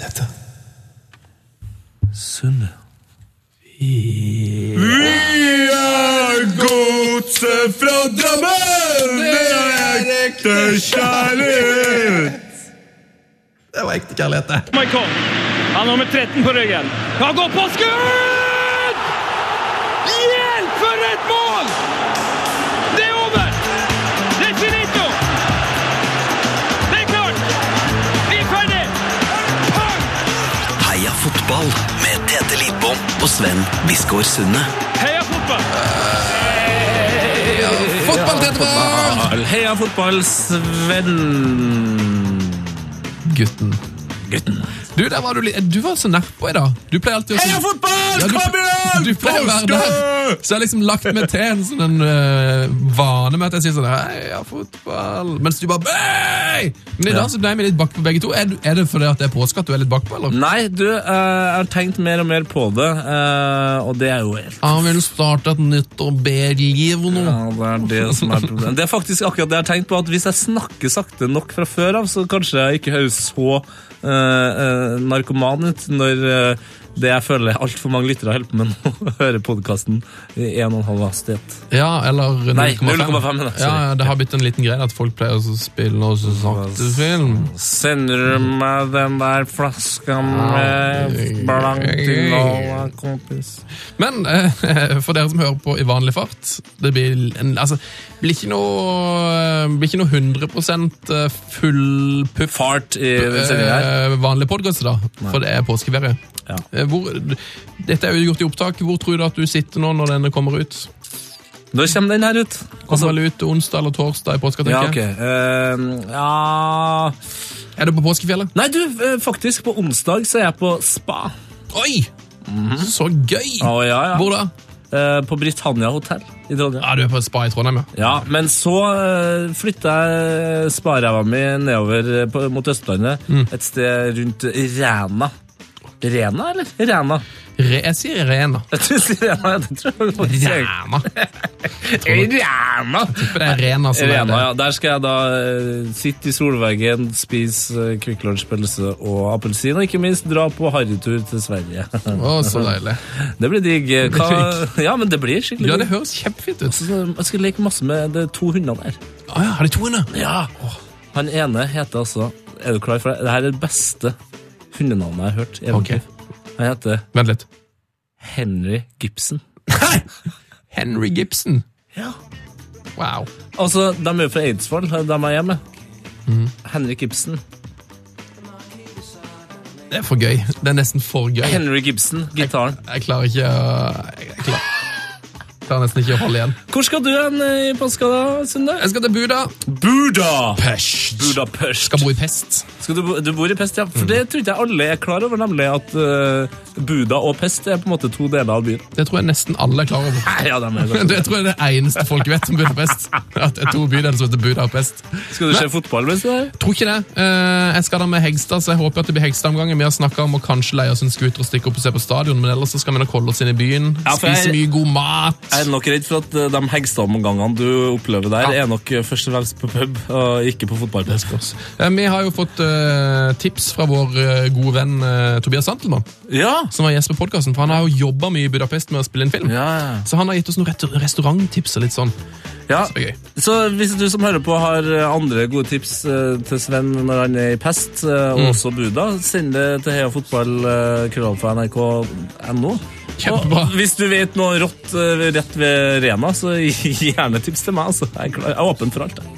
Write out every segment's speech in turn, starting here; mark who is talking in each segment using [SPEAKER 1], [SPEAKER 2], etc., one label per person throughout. [SPEAKER 1] Dette Sunne. Vi
[SPEAKER 2] er godset fra Drammen! Det er ekte kjærlighet!
[SPEAKER 1] Det var ekte kjærlighet, det.
[SPEAKER 3] Michael. Han har nummer 13 på ryggen. Han går på skudd! Hjelp, for et mål! Det er over! Det er finito! Det er klart! Vi er ferdig! Pang!
[SPEAKER 4] Heia fotball med Tete Lidbom og Sven Biskår Sunde.
[SPEAKER 3] Heia fotball!
[SPEAKER 1] Fotball, Tete Ball!
[SPEAKER 5] Heia fotball, Sven
[SPEAKER 1] Gutten.
[SPEAKER 5] Gutten.
[SPEAKER 1] Du, der var du, li- du var så nærpå i dag. Du pleier alltid å si-
[SPEAKER 2] fotball!
[SPEAKER 1] Ja, du- Du pleier å være der. Så jeg har liksom lagt meg til en sånn en, eh, vane med at jeg sier sånn Heia, fotball! Mens du bare Bøy! Men i dag så ble vi litt bakpå begge to. Er, du- er det fordi at det er påske at du er litt bakpå, eller?
[SPEAKER 5] Nei, du, eh, jeg har tenkt mer og mer på det, eh, og det er jo helt
[SPEAKER 1] Jeg vil starte et nytt og bedre liv nå.
[SPEAKER 5] ja, det er det som er problemet. Det er faktisk akkurat det jeg har tenkt på, at hvis jeg snakker sakte nok fra før av, så kanskje jeg ikke høres så eh, eh, narkoman ut når eh, det jeg føler altfor mange lyttere holder på med nå, hører podkasten i 1,5 hastighet.
[SPEAKER 1] Ja, eller 0,5.
[SPEAKER 5] Nei, 0,5, ja, sorry.
[SPEAKER 1] Ja, ja, det har blitt en liten greie at folk pleier å spille og så sakte film.
[SPEAKER 5] Sender du meg den der flaska med blank til alle, kompis?
[SPEAKER 1] Men eh, for dere som hører på i vanlig fart, det blir, en, altså, blir ikke noe eh, blir ikke noe 100 full puff
[SPEAKER 5] Fart i sendinga her.
[SPEAKER 1] eh, vanlig podkast, da. For det er påskeferie.
[SPEAKER 5] Ja.
[SPEAKER 1] Eh, Hvor, dette er jo gjort i opptak. Hvor tror du at du sitter nå når denne kommer ut?
[SPEAKER 5] Da kommer den her ut.
[SPEAKER 1] Kommer vel ut onsdag eller torsdag i påska,
[SPEAKER 5] Altså- ja,
[SPEAKER 1] tenker
[SPEAKER 5] ok.
[SPEAKER 1] jeg.
[SPEAKER 5] Eh, ja
[SPEAKER 1] Er du på påskefjellet?
[SPEAKER 5] Nei, du, eh, faktisk, på onsdag så er jeg på spa.
[SPEAKER 1] Oi! Så gøy!
[SPEAKER 5] Å, Mhm. ja, ja.
[SPEAKER 1] Hvor da?
[SPEAKER 5] Eh, på Britannia hotell i Trondheim.
[SPEAKER 1] Ja, Du er på et spa i Trondheim, ja.
[SPEAKER 5] Ja, men så uh, flytta jeg sparæva mi nedover eh, på, mot Østlandet, et sted rundt Ræna. Rena, eller? Ræna.
[SPEAKER 1] Re, jeg sier Rena.
[SPEAKER 5] Jeg tror jeg sier Ræna. jeg tror jeg faktisk jeg-
[SPEAKER 1] Ræna.
[SPEAKER 5] Ræna!
[SPEAKER 1] For det er Rena som er
[SPEAKER 5] Rena,
[SPEAKER 1] det.
[SPEAKER 5] ja. Der skal jeg da eh, sitte i solveggen, spise eh, Kvikk Lunsj-pølse og appelsin, og ikke minst dra på harrytur til Sverige.
[SPEAKER 1] Å, så deilig.
[SPEAKER 5] Det blir digg. Hva... Ja, men det blir skikkelig
[SPEAKER 1] Ja,
[SPEAKER 5] digg.
[SPEAKER 1] det høres kjempefint ut.
[SPEAKER 5] Så Jeg skal leke masse med de to hundene der.
[SPEAKER 1] Å ja, har de to henne?
[SPEAKER 5] Ja! Han ene heter altså Er du klar for det? Dette er det beste hundenavnet jeg har hørt. i hele
[SPEAKER 1] Ok.
[SPEAKER 5] mitt liv. Han heter
[SPEAKER 1] Vent litt.
[SPEAKER 5] Henry Gibson.
[SPEAKER 1] Henry Gibson.
[SPEAKER 5] Ja.
[SPEAKER 1] Wow.
[SPEAKER 5] Altså, de er jo fra Eidsvoll, de er hjemme. Mm. Henry Gibson.
[SPEAKER 1] Det er for gøy. Det er nesten for gøy. Jeg
[SPEAKER 5] Henry Gibson, gitaren.
[SPEAKER 1] klarer ikke å Jeg klarer, klarer nesten ikke å holde igjen.
[SPEAKER 5] Hvor skal du hen eh, i påska, da, Sunde?
[SPEAKER 1] Jeg skal til Buda.
[SPEAKER 5] Buda!
[SPEAKER 1] Pest.
[SPEAKER 5] Budapest.
[SPEAKER 1] Skal bo i Pest.
[SPEAKER 5] Skal du, bo- du bor i Pest, ja. For det tror ikke jeg alle er klar over, nemlig at eh, Buda og Pest er på en måte to deler av byen.
[SPEAKER 1] Det tror jeg nesten alle er klar over.
[SPEAKER 5] Nei, ja, de er det.
[SPEAKER 1] Det tror jeg er det eneste folk vet om Budapest. At det er to bydeler som heter Buda og Pest.
[SPEAKER 5] Skal du se fotball mens du er her?
[SPEAKER 1] Tror ikke det. Eh, Jeg skal da med Hegstad, så jeg håper at det blir Hegstad-omgangen. Vi har snakka om å kanskje leie oss en scooter og stikke opp og se på stadion, men ellers så skal vi nok holde oss inne i byen.
[SPEAKER 5] Ja, for jeg-
[SPEAKER 1] Spise mye god mat.
[SPEAKER 5] Jeg er nok redd for at eh, de hegstamomgangene du opplever der,
[SPEAKER 1] Ja.
[SPEAKER 5] er nok eh, først og fremst på pub og ikke på fotballplass.
[SPEAKER 1] Eh, Vi har jo fått eh, tips fra vår eh, gode venn eh, Tobias Santelmann,
[SPEAKER 5] Ja!
[SPEAKER 1] som var gjest på podkasten. For han har jo jobba mye i Budapest med å spille inn film.
[SPEAKER 5] Ja,
[SPEAKER 1] Så han har gitt oss noen rett- restauranttips og litt sånn.
[SPEAKER 5] ja.
[SPEAKER 1] Så gøy.
[SPEAKER 5] Så hvis du som hører på har eh, andre gode tips eh, til Sven når han er i Pest, eh,
[SPEAKER 1] Mm.
[SPEAKER 5] og også Buda, send det til eh, heiafotballkrøllalfa.nrk.no.
[SPEAKER 1] Kjempebra.
[SPEAKER 5] Og hvis du vet noe rått eh, rett ved Rena, så gi gi gjerne tips til meg. Altså. Jeg, er klar, jeg er åpen for alt. Jeg.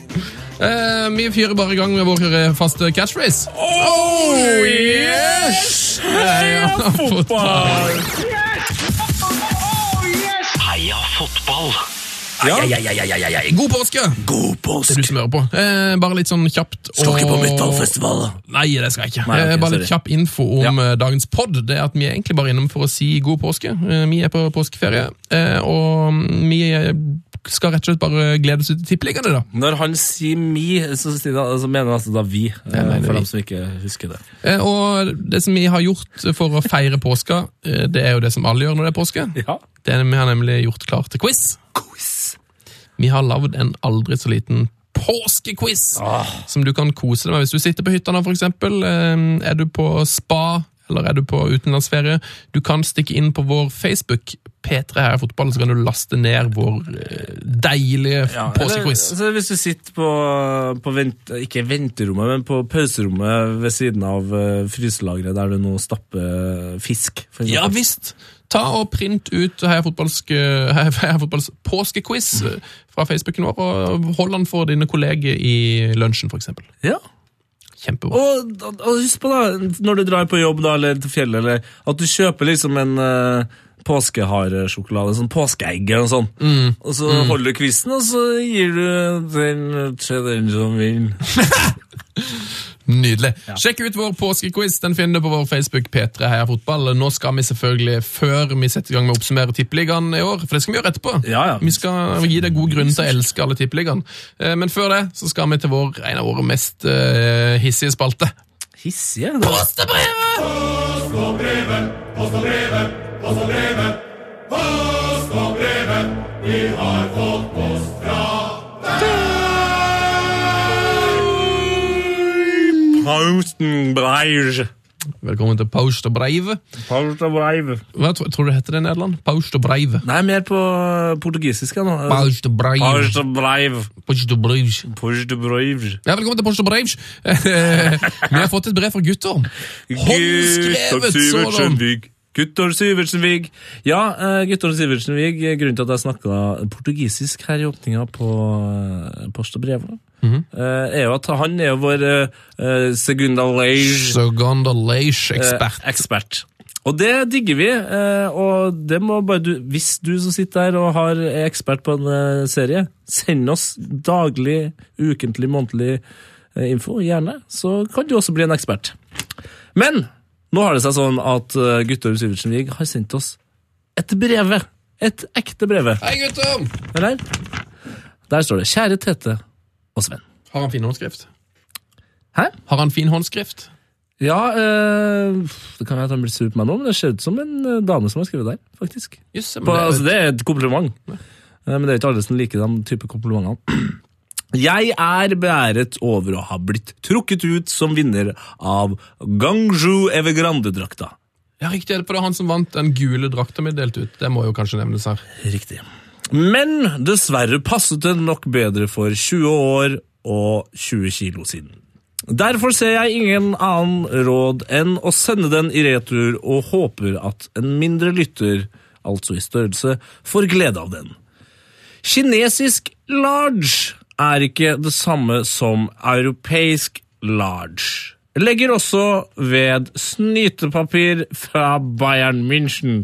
[SPEAKER 1] Eh, vi fyrer bare i gang med vår eh, faste catchphrase.
[SPEAKER 5] Oh yes!
[SPEAKER 1] Heia fotball!
[SPEAKER 4] Heia fotball!
[SPEAKER 5] Ja.
[SPEAKER 4] Ai, ai, ai, ai, ai, ai.
[SPEAKER 1] God påske! Det
[SPEAKER 4] God
[SPEAKER 1] er
[SPEAKER 4] påske!
[SPEAKER 1] du som hører på. Eh, bare litt sånn kjapt
[SPEAKER 4] Skal ikke på
[SPEAKER 1] og-
[SPEAKER 4] Metallfestival.
[SPEAKER 1] Nei, det skal jeg ikke.
[SPEAKER 5] Nei, ok,
[SPEAKER 1] Eh, Bare litt
[SPEAKER 5] sorry.
[SPEAKER 1] kjapp info om eh, dagens pod. Det er at Vi er egentlig bare innom for å si god påske. Eh, Vi er på påskeferie, eh, og vi eh, skal rett og slett bare glede oss ut til tippeliggende, da.
[SPEAKER 5] Når han sier mi, så, sier han, så mener han altså da vi. eh,
[SPEAKER 1] mener
[SPEAKER 5] for
[SPEAKER 1] vi.
[SPEAKER 5] dem som ikke husker det.
[SPEAKER 1] Eh, Og det som vi har gjort for å feire påska, eh, det er jo det som alle gjør når det er påske.
[SPEAKER 5] Ja.
[SPEAKER 1] Det er, vi har nemlig gjort klar til quiz.
[SPEAKER 5] Quiz.
[SPEAKER 1] Vi har lagd en aldri så liten påskequiz!
[SPEAKER 5] Ah.
[SPEAKER 1] Som du kan kose deg med hvis du sitter på hytta nå, for eksempel. Eh, Er du på spa, eller er du på utenlandsferie? Du kan stikke inn på vår Facebook, P3 her i fotball, så kan du laste ned vår eh, deilige påskequiz.
[SPEAKER 5] Eller, altså, hvis du sitter på, på vent, ikke venterommet, men på pauserommet ved siden av eh, fryselageret der du nå stapper eh, fisk. for
[SPEAKER 1] Ja
[SPEAKER 5] eksempel.
[SPEAKER 1] visst! Ta og print ut Heia Fotballs, Heia Heia Fotballs påskequiz eh, fra Facebooken vår, og hold den for dine kolleger i lunsjen, for eksempel.
[SPEAKER 5] ja.
[SPEAKER 1] Kjempebra.
[SPEAKER 5] Og, og og husk på da, når du drar på jobb da, eller til fjellet, eller, at du kjøper liksom en eh, påskeharesjokolade, sånn påskeegg eller noe sånt.
[SPEAKER 1] Mm.
[SPEAKER 5] Og så holder du kvisten, og så gir du den til den som vil.
[SPEAKER 1] Nydelig. Sjekk ut vår påskequiz. Den finner du på vår Facebook P3 Heia Fotball. Nå skal vi selvfølgelig, før vi setter i gang med å oppsummere Tippeligaen i år, for det skal vi gjøre etterpå
[SPEAKER 5] Ja, ja.
[SPEAKER 1] Vi skal gi deg god grunn til å elske alle Tippeligaen. Eh, Men før det så skal vi til vår en av våre mest eh, hissige spalte.
[SPEAKER 5] Hissige. da. Paustenbreir.
[SPEAKER 1] Velkommen til Paust og Breive.
[SPEAKER 5] Paustenbreir.
[SPEAKER 1] Hva tror, tror du det heter det i Nederland? Paust og Breive.
[SPEAKER 5] Nei, mer på portugisisk jeg, nå.
[SPEAKER 1] Paust og Breive.
[SPEAKER 5] Paustenbreir.
[SPEAKER 1] Post og Breivs.
[SPEAKER 5] Paustenbreir.
[SPEAKER 1] Ja, velkommen til Post og Breivs. Vi har fått et brev fra Guttorm. Håndskrevet sådan.
[SPEAKER 5] Guttor Syvertsenvig. Ja, uh, Guttor Syvertsenvig, eh, grunnen til at jeg snakka portugisisk her i åpninga på eh, Post og Brev,
[SPEAKER 1] Mhm.
[SPEAKER 5] eh, er jo at han er jo vår uh, segunda leige
[SPEAKER 1] Segondalage-ekspert.
[SPEAKER 5] Eh, ekspert. Og det digger vi, eh, og det må bare du, hvis du som sitter her og har, er ekspert på en eh, serie, send oss daglig, ukentlig, månedlig eh, info, gjerne, så kan du også bli en ekspert. Men nå har det seg sånn at eh, Guttorm Syvertsenvig har sendt oss et breve, et ekte breve,
[SPEAKER 1] Hei, Guttorm!
[SPEAKER 5] eller? Der står det, kjære Tete og Sven.
[SPEAKER 1] Har han fin håndskrift?
[SPEAKER 5] Hæ?
[SPEAKER 1] Har han fin håndskrift?
[SPEAKER 5] Ja, eh, det kan være at han blir sur på meg nå, men det ser ut som en eh, dame som har skrevet der, faktisk.
[SPEAKER 1] Jøss, men
[SPEAKER 5] På,
[SPEAKER 1] det-
[SPEAKER 5] altså, det er et kompliment. Eh, Men det er ikke alle som liker den type komplimentene. Jeg er beæret over å ha blitt trukket ut som vinner av Gangju Evergrande-drakta.
[SPEAKER 1] Ja, riktig, er det for det er han som vant den gule drakta mi delt ut. Det må jo kanskje nevnes her.
[SPEAKER 5] Riktig. Men dessverre passet den nok bedre for 20 år og 20 kilo siden. Derfor ser jeg ingen annen råd enn å sende den i retur og håper at en mindre lytter, altså i størrelse, får glede av den. Kinesisk large er ikke det samme som europeisk large. Legger også ved snytepapir fra Bayern München.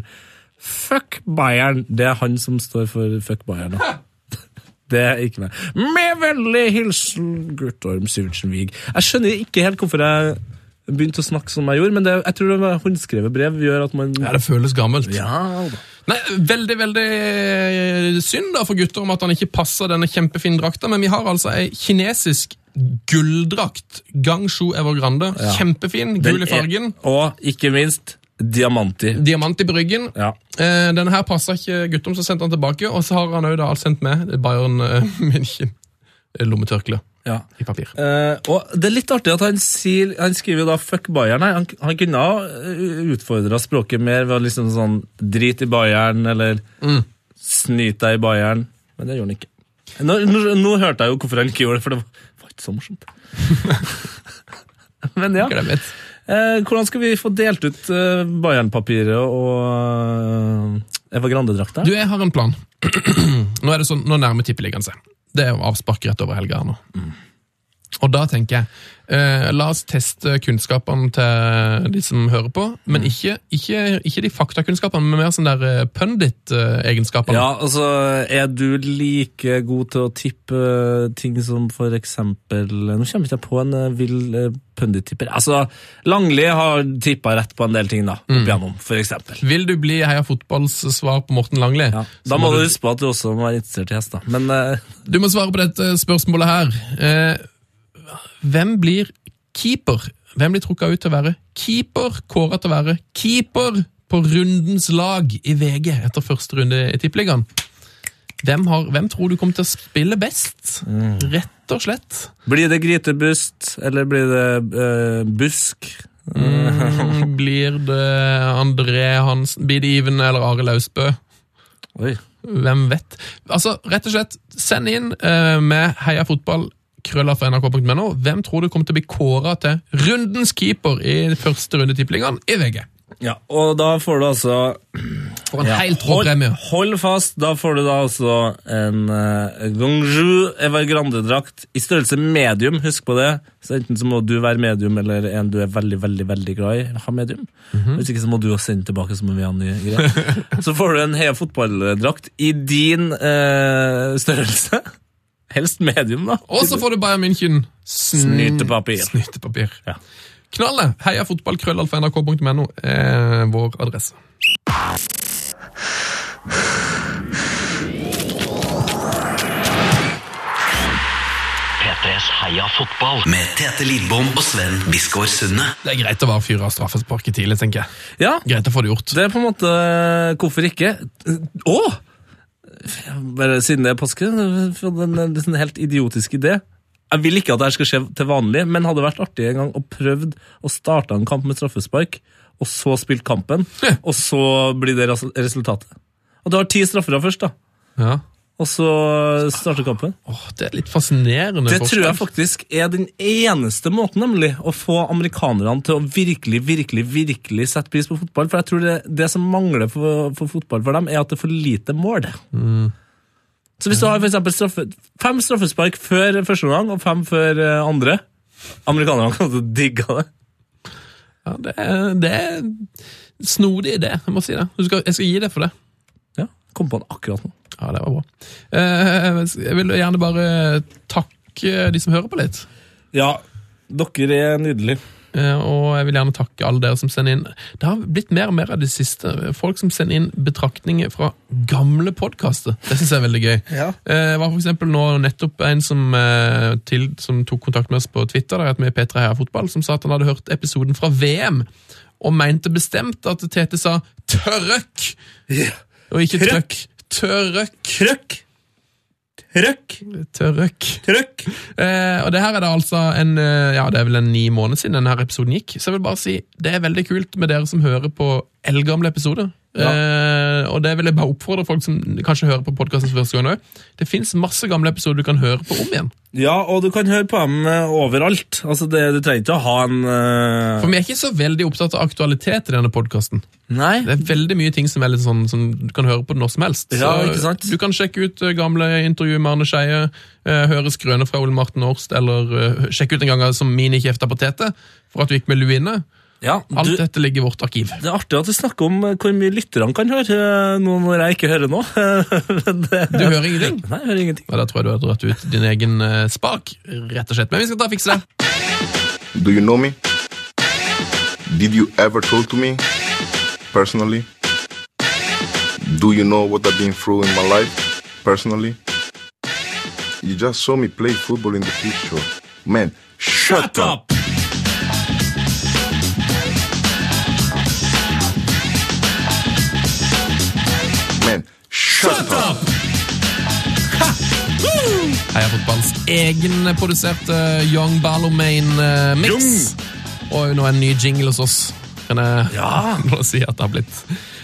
[SPEAKER 5] Fuck Bayern. Det er han som står for fuck Bayern. nå. Det er ikke meg. Med vennlig hilsen Guttorm Sivertsen-Wiig. Jeg skjønner ikke helt hvorfor jeg begynte å snakke som jeg gjorde, men det, jeg tror det var håndskrevet brev gjør at man
[SPEAKER 1] Ja, det føles gammelt.
[SPEAKER 5] Ja, da.
[SPEAKER 1] Nei, Veldig veldig eh, synd da for gutter om at han ikke passer denne kjempefine drakta, men vi har altså ei kinesisk gulldrakt. Gangshu Evergrande. Kjempefin, gul
[SPEAKER 5] Den
[SPEAKER 1] i fargen.
[SPEAKER 5] Er, og ikke minst diamanti.
[SPEAKER 1] Diamant i bryggen.
[SPEAKER 5] Ja.
[SPEAKER 1] Eh, denne her passa ikke Guttorm, så sendte han tilbake. Og så har han òg sendt med Bayern eh, München eh, lommetørkle
[SPEAKER 5] ja.
[SPEAKER 1] i papir.
[SPEAKER 5] Eh, og det er litt artig at han, sier, han skriver jo da 'fuck Bayern'. Her. Han, han kunne ha utfordra språket mer ved å liksom sånn 'drit i Bayern' eller 'snyt deg i Bayern', men det gjorde han ikke. Nå, nå, nå hørte jeg jo hvorfor han ikke gjorde det, for det var, var ikke så morsomt. men ja.
[SPEAKER 1] Ikke det jeg vet.
[SPEAKER 5] Eh, hvordan skal vi få delt ut eh, Bayern-papiret og eh, Eva Grande-drakta?
[SPEAKER 1] Du, jeg har en plan. nå er det sånn, nå nærmer tippeligaen seg. Det er jo avspark rett over helga her nå.
[SPEAKER 5] Mm.
[SPEAKER 1] Og da tenker jeg, eh, la oss teste kunnskapene til de som hører på, men
[SPEAKER 5] Mm.
[SPEAKER 1] ikke, ikke, ikke de faktakunnskapene, men mer sånn der eh, pundit-egenskapene.
[SPEAKER 5] Ja, altså, er du like god til å tippe eh, ting som for eksempel Nå kommer ikke jeg på en eh, vill eh, pundit-tipper. Altså, Langli har tippa rett på en del ting, da, opp igjennom, for eksempel.
[SPEAKER 1] Vil du bli Heia Fotballs svar på Morten Langli?
[SPEAKER 5] Ja.
[SPEAKER 1] så
[SPEAKER 5] Da må du huske på at du også må være interessert i hester. Men eh,
[SPEAKER 1] Du må svare på dette spørsmålet her. Eh, hvem blir keeper? Hvem blir trukket ut til å være keeper, kåret til å være keeper på rundens lag i VG etter første runde i Tippeligaen? Hvem, har- hvem tror du kommer til å spille best? Rett rett og slett.
[SPEAKER 5] Blir det grytebust, eller blir det eh, busk?
[SPEAKER 1] Mm, Blir det André Hansen, blir det Iven eller Are Lausbø?
[SPEAKER 5] Oi.
[SPEAKER 1] Mm. Hvem vet? Altså, rett og slett, send inn eh, med heia fotball nrk.no. Hvem tror du kommer til å bli kåra til rundens keeper i første rundetippelingene i VG?
[SPEAKER 5] Ja, og da får du altså
[SPEAKER 1] For en
[SPEAKER 5] ja,
[SPEAKER 1] helt rå
[SPEAKER 5] hold,
[SPEAKER 1] premie.
[SPEAKER 5] hold fast, da får du da altså en uh, Gongju Evergrande-drakt i størrelse medium, husk på det. Så enten så må du være medium, eller en du er veldig, veldig veldig glad i, ha medium.
[SPEAKER 1] Mhm.
[SPEAKER 5] Hvis ikke så må du jo sende tilbake, så må vi ha en ny greie. så får du en heia fotballdrakt i din eh, størrelse. Helst medium, da.
[SPEAKER 1] Og så får du Bayern München. Sn
[SPEAKER 5] Snytepapir.
[SPEAKER 1] Snytepapir.
[SPEAKER 5] Ja.
[SPEAKER 1] Knall det! Heia fotballkrøllalfa.nrk.no er vår adresse.
[SPEAKER 4] P3s Heia fotball med Tete Lidbom og Sven Biskår Sunne.
[SPEAKER 1] Det er greit å være fyr av straffesparket tidlig, tenker jeg.
[SPEAKER 5] Ja,
[SPEAKER 1] Greit å få det gjort.
[SPEAKER 5] Det er på en måte eh, Hvorfor ikke? Å! Bare siden det er påske, fått en en sånn helt idiotisk idé. Jeg vil ikke at dette skal skje til vanlig, men hadde vært artig en gang å prøvd å starte en kamp med straffespark, og så spilt kampen, og så blir det res- resultatet. Og du har ti straffer først, da.
[SPEAKER 1] Ja.
[SPEAKER 5] Og så starter kampen.
[SPEAKER 1] Åh, det er litt fascinerende.
[SPEAKER 5] Det
[SPEAKER 1] forskjell.
[SPEAKER 5] tror jeg faktisk er den eneste måten nemlig å få amerikanerne til å virkelig, virkelig, virkelig sette pris på fotball. For jeg tror det, det som mangler for, for fotball for dem, er at det er for lite mål. Mm. Så hvis du har for eksempel straffe, fem straffespark før første omgang og fem før eh, andre Amerikanerne kan til å digge det.
[SPEAKER 1] Ja, det, er, det er en snodig idé, jeg må si det. Du skal, jeg skal gi deg for det.
[SPEAKER 5] Ja, kom på den akkurat nå.
[SPEAKER 1] Ja, det var bra. Eh, Jeg vil gjerne bare takke de som hører på litt.
[SPEAKER 5] Ja, dere er nydelige.
[SPEAKER 1] Eh, Og jeg vil gjerne takke alle dere som sender inn Det har blitt mer og mer av det siste. Folk som sender inn betraktninger fra gamle podkaster. Det syns jeg er veldig gøy.
[SPEAKER 5] Ja.
[SPEAKER 1] Eh, Det var for eksempel nå nettopp en som, eh, til, som tok kontakt med oss på Twitter, der, at vi er P3 Heia Fotball, som sa at han hadde hørt episoden fra VM, og mente bestemt at Tete sa 'tørrøkk' og ikke 'trøkk'. Tørrøkk.
[SPEAKER 5] Trøkk! Trøkk!
[SPEAKER 1] Tørrøkk.
[SPEAKER 5] Trøkk!
[SPEAKER 1] Eh, og det her er da altså en, eh, ja, det er vel en ni måned siden denne her episoden gikk, så jeg vil bare si det er veldig kult med dere som hører på eldgamle episoder. Eh, og det vil jeg bare oppfordre folk som kanskje hører på podkasten første gang òg. Det fins masse gamle episoder du kan høre på om igjen.
[SPEAKER 5] Ja, og du kan høre på dem eh, overalt. Altså, det, Du trenger ikke å ha en eh,
[SPEAKER 1] For vi er ikke så veldig opptatt av aktualitet i denne podkasten.
[SPEAKER 5] Nei.
[SPEAKER 1] Det er veldig mye ting som er litt sånn som du kan høre på når som helst.
[SPEAKER 5] Ja, ikke sant?
[SPEAKER 1] Du kan sjekke ut eh, gamle intervju med Arne Skeie, eh, høre skrøner fra Ole Martin Årst, eller eh, sjekke ut en gang som Mini kjefta på Tete for at du gikk med lue inne.
[SPEAKER 5] Ja,
[SPEAKER 1] Alt
[SPEAKER 5] du, det
[SPEAKER 1] dette ligger i vårt arkiv.
[SPEAKER 5] er artig at du snakker om eh, hvor mye lytterne kan høre, eh, nå når jeg ikke hører nå. Men det,
[SPEAKER 1] Du hører ingenting?
[SPEAKER 5] Nei, jeg hører ingenting.
[SPEAKER 1] Ja, da tror jeg du har dratt ut din egen eh, spak, rett og slett. Men vi skal ta og fikse det.
[SPEAKER 6] Do you know me? Did you ever talk to me personally? Do you know what I've been through in my life personally? You just saw me play football in the picture. Man, shut up! Man, shut, up.
[SPEAKER 1] Heia fotballens egenproduserte Young Ballomain-mix. Og nå en ny jingle hos oss, kan jeg bare si at det har blitt.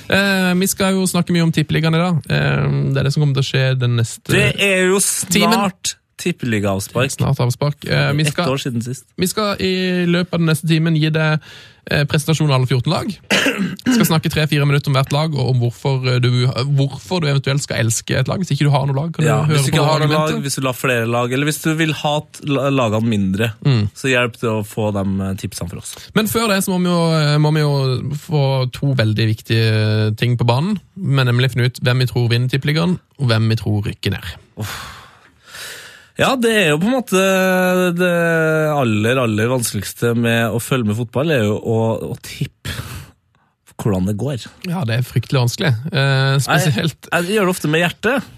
[SPEAKER 1] Eh, vi skal jo snakke mye om tippeligaen i dag. Eh, det er det som kommer til å skje den neste
[SPEAKER 5] Det er jo snart tippeligaavspark.
[SPEAKER 1] snart avspark. Eh, vi,
[SPEAKER 5] Ett
[SPEAKER 1] skal,
[SPEAKER 5] år siden sist.
[SPEAKER 1] vi skal i løpet av den neste timen gi deg eh, presentasjon av alle 14 lag. skal snakke 3-4 minutter om hvert lag, og om hvorfor eh, du, hvorfor du eventuelt skal elske et lag. Hvis ikke du har noe lag, kan du
[SPEAKER 5] Ja,
[SPEAKER 1] høre
[SPEAKER 5] hvis du
[SPEAKER 1] på
[SPEAKER 5] ikke har noe lag,
[SPEAKER 1] argumentet.
[SPEAKER 5] hvis du vil ha flere lag, eller hvis du vil ha t- la- lagene mindre,
[SPEAKER 1] Mm.
[SPEAKER 5] så hjelp det å få de eh, tipsene for oss.
[SPEAKER 1] Men før det så må vi, jo, eh, må vi jo få to veldig viktige ting på banen. Men nemlig finne ut hvem vi tror vinner tippeligaen, og hvem vi tror rykker ned.
[SPEAKER 5] Ja, det er jo på en måte det aller, aller vanskeligste med å følge med fotball, er jo å, å tippe hvordan det går.
[SPEAKER 1] Ja, det er fryktelig vanskelig. Eh, spesielt
[SPEAKER 5] Jeg, jeg gjør det ofte med hjertet.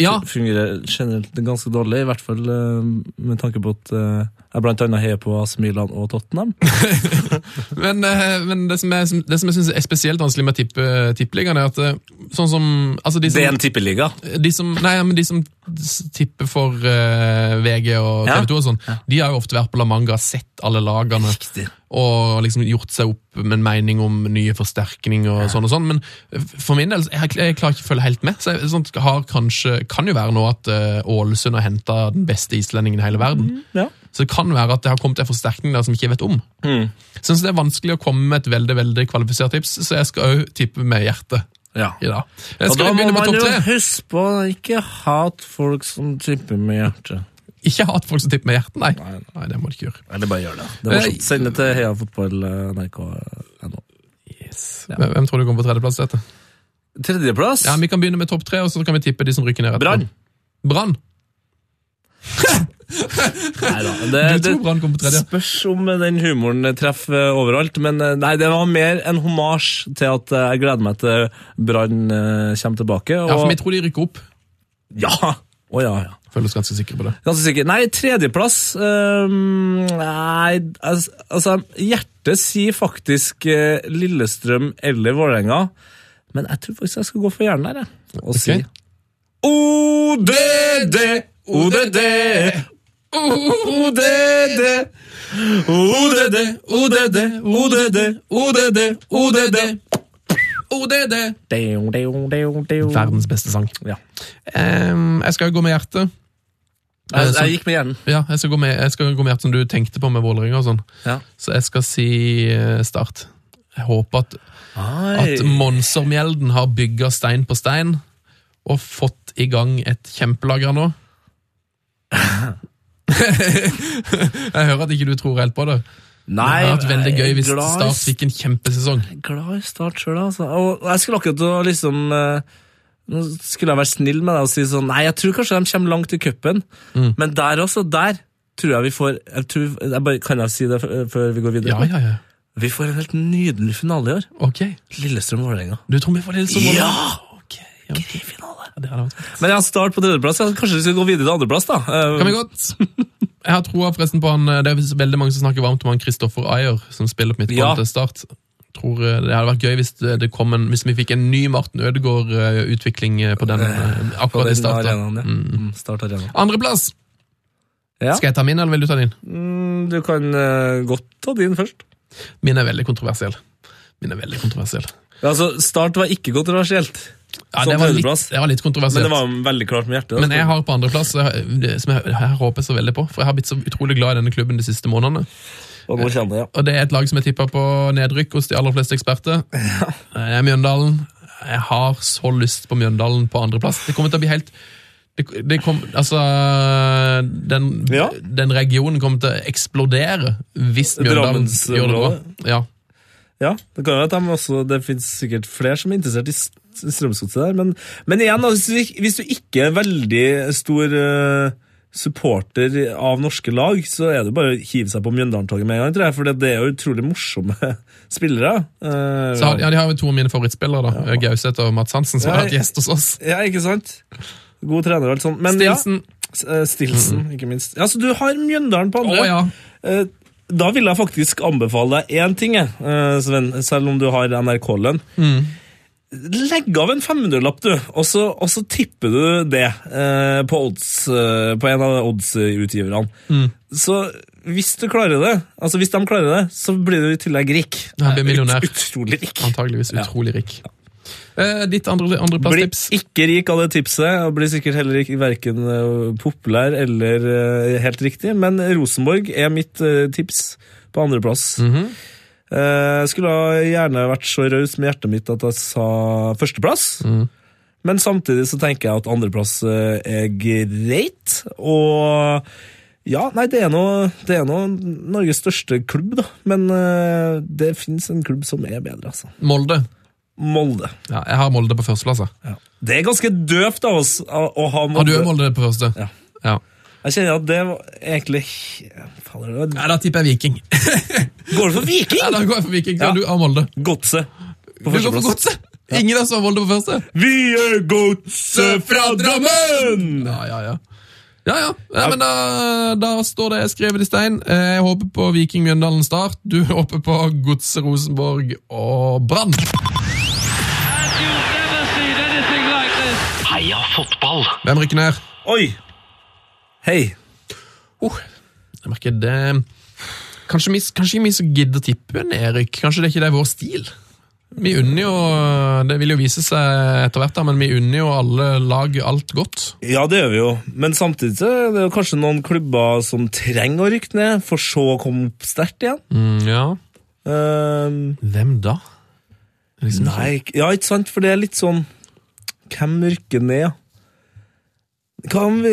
[SPEAKER 1] Ja,
[SPEAKER 5] Det fungerer generelt ganske dårlig, i hvert fall eh, med tanke på at eh, jeg blant annet heier på AC Milan og Tottenham.
[SPEAKER 1] men, eh, men det som, er, det som jeg syns er spesielt vanskelig med tippe- tippeligaen, er at eh, sånn som altså de
[SPEAKER 5] Det er
[SPEAKER 1] som,
[SPEAKER 5] en tippeliga.
[SPEAKER 1] de som, nei, men de som s- tipper for eh, VG og
[SPEAKER 5] Ja.
[SPEAKER 1] TV 2 og sånn, de har jo ofte vært på La Manga, sett alle lagene
[SPEAKER 5] Riktig.
[SPEAKER 1] og liksom gjort seg opp med en mening om nye forsterkninger og sånn og sånn. Men f- for min del, så- jeg, jeg klarer ikke å følge helt med. Så jeg sånn, har kanskje, kan jo være nå at eh, Ålesund har henta den beste islendingen i hele verden.
[SPEAKER 5] Mhm. Ja.
[SPEAKER 1] Så det kan være at det har kommet en forsterkning der som ikke jeg vet om.
[SPEAKER 5] Mm.
[SPEAKER 1] Syns det er vanskelig å komme med et veldig veldig kvalifisert tips, så jeg skal òg tippe med hjertet
[SPEAKER 5] Ja.
[SPEAKER 1] i dag. Jeg
[SPEAKER 5] Og da
[SPEAKER 1] skal
[SPEAKER 5] må
[SPEAKER 1] begynne på
[SPEAKER 5] man
[SPEAKER 1] topp
[SPEAKER 5] jo
[SPEAKER 1] tre.
[SPEAKER 5] huske på å ikke hat folk som tipper med hjertet.
[SPEAKER 1] Ikke hat folk som tipper med hjertet, nei. Nei, det må du ikke gjøre.
[SPEAKER 5] Eller bare gjør det. Det er
[SPEAKER 1] Eh,
[SPEAKER 5] morsomt. Send det til eh, heiafotball.nrk.no.
[SPEAKER 1] Hvem hvem tror du kommer på tredjeplass? til dette?
[SPEAKER 5] Tredjeplass?
[SPEAKER 1] Ja, Vi kan begynne med topp tre, og så kan vi tippe de som rykker ned. etterpå.
[SPEAKER 5] Brann.
[SPEAKER 1] Brann.
[SPEAKER 5] Nei da. Det,
[SPEAKER 1] Du
[SPEAKER 5] Eh, det
[SPEAKER 1] tror Brann kommer på tredje?
[SPEAKER 5] spørs om den humoren treffer overalt. Men eh, nei, det var mer en homasj til at eh, jeg gleder meg til Brann eh, kommer tilbake. Og,
[SPEAKER 1] Ja, for vi tror de rykker opp.
[SPEAKER 5] ja! Å, ja, ja.
[SPEAKER 1] Føler oss ganske sikre på det.
[SPEAKER 5] Ganske sikker. Nei, tredjeplass øhm, Nei, al- altså Hjertet sier faktisk eh, Lillestrøm eller Vålerenga. Men jeg tror faktisk jeg skal gå for hjernen her, jeg. Og si
[SPEAKER 1] Ok.
[SPEAKER 5] ODD, ODD, ODD. ODD, ODD, ODD, ODD, ODD.
[SPEAKER 1] ODD!
[SPEAKER 5] Deong, deong, deong, deong.
[SPEAKER 1] Verdens beste sang.
[SPEAKER 5] Mm. Ja.
[SPEAKER 1] Ehm, jeg skal jo gå med hjertet.
[SPEAKER 5] Jeg, jeg gikk med hjernen.
[SPEAKER 1] Ja, jeg skal gå med, jeg skal gå med hjertet som du tenkte på med Vålerenga og sånn.
[SPEAKER 5] Ja.
[SPEAKER 1] Så jeg skal si eh, Start. Jeg håper at, at Monsermjelden har bygga stein på stein og fått i gang et kjempelag her nå. jeg hører at ikke du tror helt på det. Det
[SPEAKER 5] Nei,
[SPEAKER 1] hadde vært veldig gøy
[SPEAKER 5] jeg er
[SPEAKER 1] hvis
[SPEAKER 5] glad i
[SPEAKER 1] Start fikk en kjempesesong.
[SPEAKER 5] glad i Start sjøl, altså. Og jeg skulle akkurat å liksom eh, Nå skulle jeg være snill med deg og si sånn Nei, jeg tror kanskje de kommer langt i cupen,
[SPEAKER 1] Mm.
[SPEAKER 5] men der også, der tror jeg vi får jeg tror, jeg bare, Kan jeg si det f- eh, før vi går videre?
[SPEAKER 1] Ja, ja, ja.
[SPEAKER 5] Vi får en helt nydelig finale i år.
[SPEAKER 1] Ok.
[SPEAKER 5] Lillestrøm-Vålerenga.
[SPEAKER 1] Du tror vi får Lillestrøm?
[SPEAKER 5] Ja!
[SPEAKER 1] Ok, ja, ok.
[SPEAKER 5] I finale.
[SPEAKER 1] Ja, det hadde vært godt.
[SPEAKER 5] Men jeg har Start på tredjeplass. ja, Kanskje vi skal gå videre til andreplass, da? Eh,
[SPEAKER 1] Kan vi godt? Jeg har troa forresten på han eh, Det er visst veldig mange som snakker varmt om han Kristoffer Ayer, som spiller på midtbanen
[SPEAKER 5] Ja.
[SPEAKER 1] til start. Tror eh, Det hadde vært gøy hvis, det det kom en, hvis vi fikk en ny Marten Ødegaard-utvikling på den eh,
[SPEAKER 5] på
[SPEAKER 1] akkurat i
[SPEAKER 5] den
[SPEAKER 1] start. da.
[SPEAKER 5] arenaen, ja. Mm, Start arena.
[SPEAKER 1] Andreplass!
[SPEAKER 5] Ja.
[SPEAKER 1] Skal jeg ta min, eller vil du ta din?
[SPEAKER 5] Mm, Du kan eh, godt ta din først.
[SPEAKER 1] Min er veldig kontroversiell. Min er veldig kontroversiell.
[SPEAKER 5] Altså, Start var ikke kontroversielt.
[SPEAKER 1] Ja,
[SPEAKER 5] Som
[SPEAKER 1] det, var litt,
[SPEAKER 5] tredjeplass.
[SPEAKER 1] det var litt
[SPEAKER 5] Men det
[SPEAKER 1] kontroversielt.
[SPEAKER 5] var veldig klart med hjertet. da.
[SPEAKER 1] Men jeg har på andreplass, eh, det som jeg, jeg håper så veldig på, for jeg har blitt så utrolig glad i denne klubben de siste månedene.
[SPEAKER 5] Og nå kjenner jeg, ja.
[SPEAKER 1] Og det er et lag som er tippa på nedrykk hos de aller fleste eksperter. Det er Mjøndalen. Jeg har så lyst på Mjøndalen på andreplass. Det kommer til å bli helt det, det kom, altså, den,
[SPEAKER 5] Ja.
[SPEAKER 1] den regionen kommer til å eksplodere hvis Mjøndalen
[SPEAKER 5] Drammensområdet.
[SPEAKER 1] gjør det bra. Ja.
[SPEAKER 5] Ja, det kan jo at de også, det finnes sikkert flere som er interessert i st- Strømsgodset der, men, men igjen, altså, hvis, hvis du ikke er veldig stor eh, supporter av norske lag, så er det bare å hive seg på Mjøndalen-toget med en gang, tror jeg, for det, det er jo utrolig morsomme spillere. eh,
[SPEAKER 1] Så har, ja, de har jo to av mine favorittspillere, da. Gauseth og Mats Hansen, som har
[SPEAKER 5] Ja,
[SPEAKER 1] vært gjest hos oss.
[SPEAKER 5] ja, ikke sant? God trener og alt sånt. Men
[SPEAKER 1] Stilson.
[SPEAKER 5] ja, s- eh, Stilson, ikke minst. Ja, så du har Mjøndalen på
[SPEAKER 1] Å
[SPEAKER 5] andre.
[SPEAKER 1] ja.
[SPEAKER 5] Eh, Da vil jeg faktisk anbefale deg én ting, jeg, eh, Sven, selv om du har NRK-lønn. Legg av en 500-lapp, du, og så, og så tipper du det eh, på, odds, eh, på en av oddsutgiverne.
[SPEAKER 1] Mm.
[SPEAKER 5] Så hvis du klarer det, altså hvis de klarer det, så blir du i tillegg rik. Eh,
[SPEAKER 1] Han blir millionær.
[SPEAKER 5] Ut- Utrolig rik.
[SPEAKER 1] Antageligvis utrolig rik. Eh, ditt andre,
[SPEAKER 5] Blir
[SPEAKER 1] andreplass-tips?
[SPEAKER 5] ikke rik av det tipset, og blir sikkert heller ikke verken eh, populær eller eh, helt riktig, men Rosenborg er mitt eh, tips på andreplass. Eh, skulle ha gjerne vært så raus med hjertet mitt at jeg sa førsteplass, men samtidig så tenker jeg at andreplass eh, er greit, og ja, nei, det er nå det er nå Norges største klubb, da, men eh, det finnes en klubb som er bedre, altså.
[SPEAKER 1] Molde.
[SPEAKER 5] Molde.
[SPEAKER 1] Ja, jeg har Molde på førsteplass. jeg.
[SPEAKER 5] Det er ganske døvt av oss å, å ha
[SPEAKER 1] Har du
[SPEAKER 5] Molde.
[SPEAKER 1] Molde på første?
[SPEAKER 5] Ja.
[SPEAKER 1] ja.
[SPEAKER 5] Jeg kjenner at det var egentlig Fader, det var-
[SPEAKER 1] Nei, da tipper jeg Viking.
[SPEAKER 5] Går det
[SPEAKER 1] Ja,
[SPEAKER 5] for Viking?
[SPEAKER 1] da går jeg for Viking. Ja.
[SPEAKER 5] Ja.
[SPEAKER 1] Du har Molde.
[SPEAKER 5] Godset.
[SPEAKER 1] Du går
[SPEAKER 5] På
[SPEAKER 1] for
[SPEAKER 5] førsteplass.
[SPEAKER 1] Godset! Ingen av oss har Molde på første.
[SPEAKER 5] Vi er godset fra Drammen!
[SPEAKER 1] Ja, ja, ja. Ja, ja. ja men da, da står det skrevet i stein. Eh, Jeg håper på Viking Mjøndalen Start. Du håper på Godset Rosenborg og Brann.
[SPEAKER 3] Matthew Devastated
[SPEAKER 4] Heia fotball!
[SPEAKER 1] Hvem rykker ned?
[SPEAKER 5] Oi! Hei.
[SPEAKER 1] Oh, jeg merker det Kanskje vi, kanskje ikke vi som gidder tippe nedrykk. Kanskje det ikke det er vår stil. Vi unner jo Det vil jo vise seg etter hvert, da, men vi unner jo alle lag alt godt.
[SPEAKER 5] Ja, det gjør vi jo. Men samtidig så er det jo kanskje noen klubber som trenger å rykke ned, for så å komme opp sterkt igjen.
[SPEAKER 1] Mm, ja.
[SPEAKER 5] Ehm,
[SPEAKER 1] Hvem da? Liksom ikke.
[SPEAKER 5] nei, ja, ikke sant? For det er litt sånn Hvem rykker ned? ja? Hva om, vi,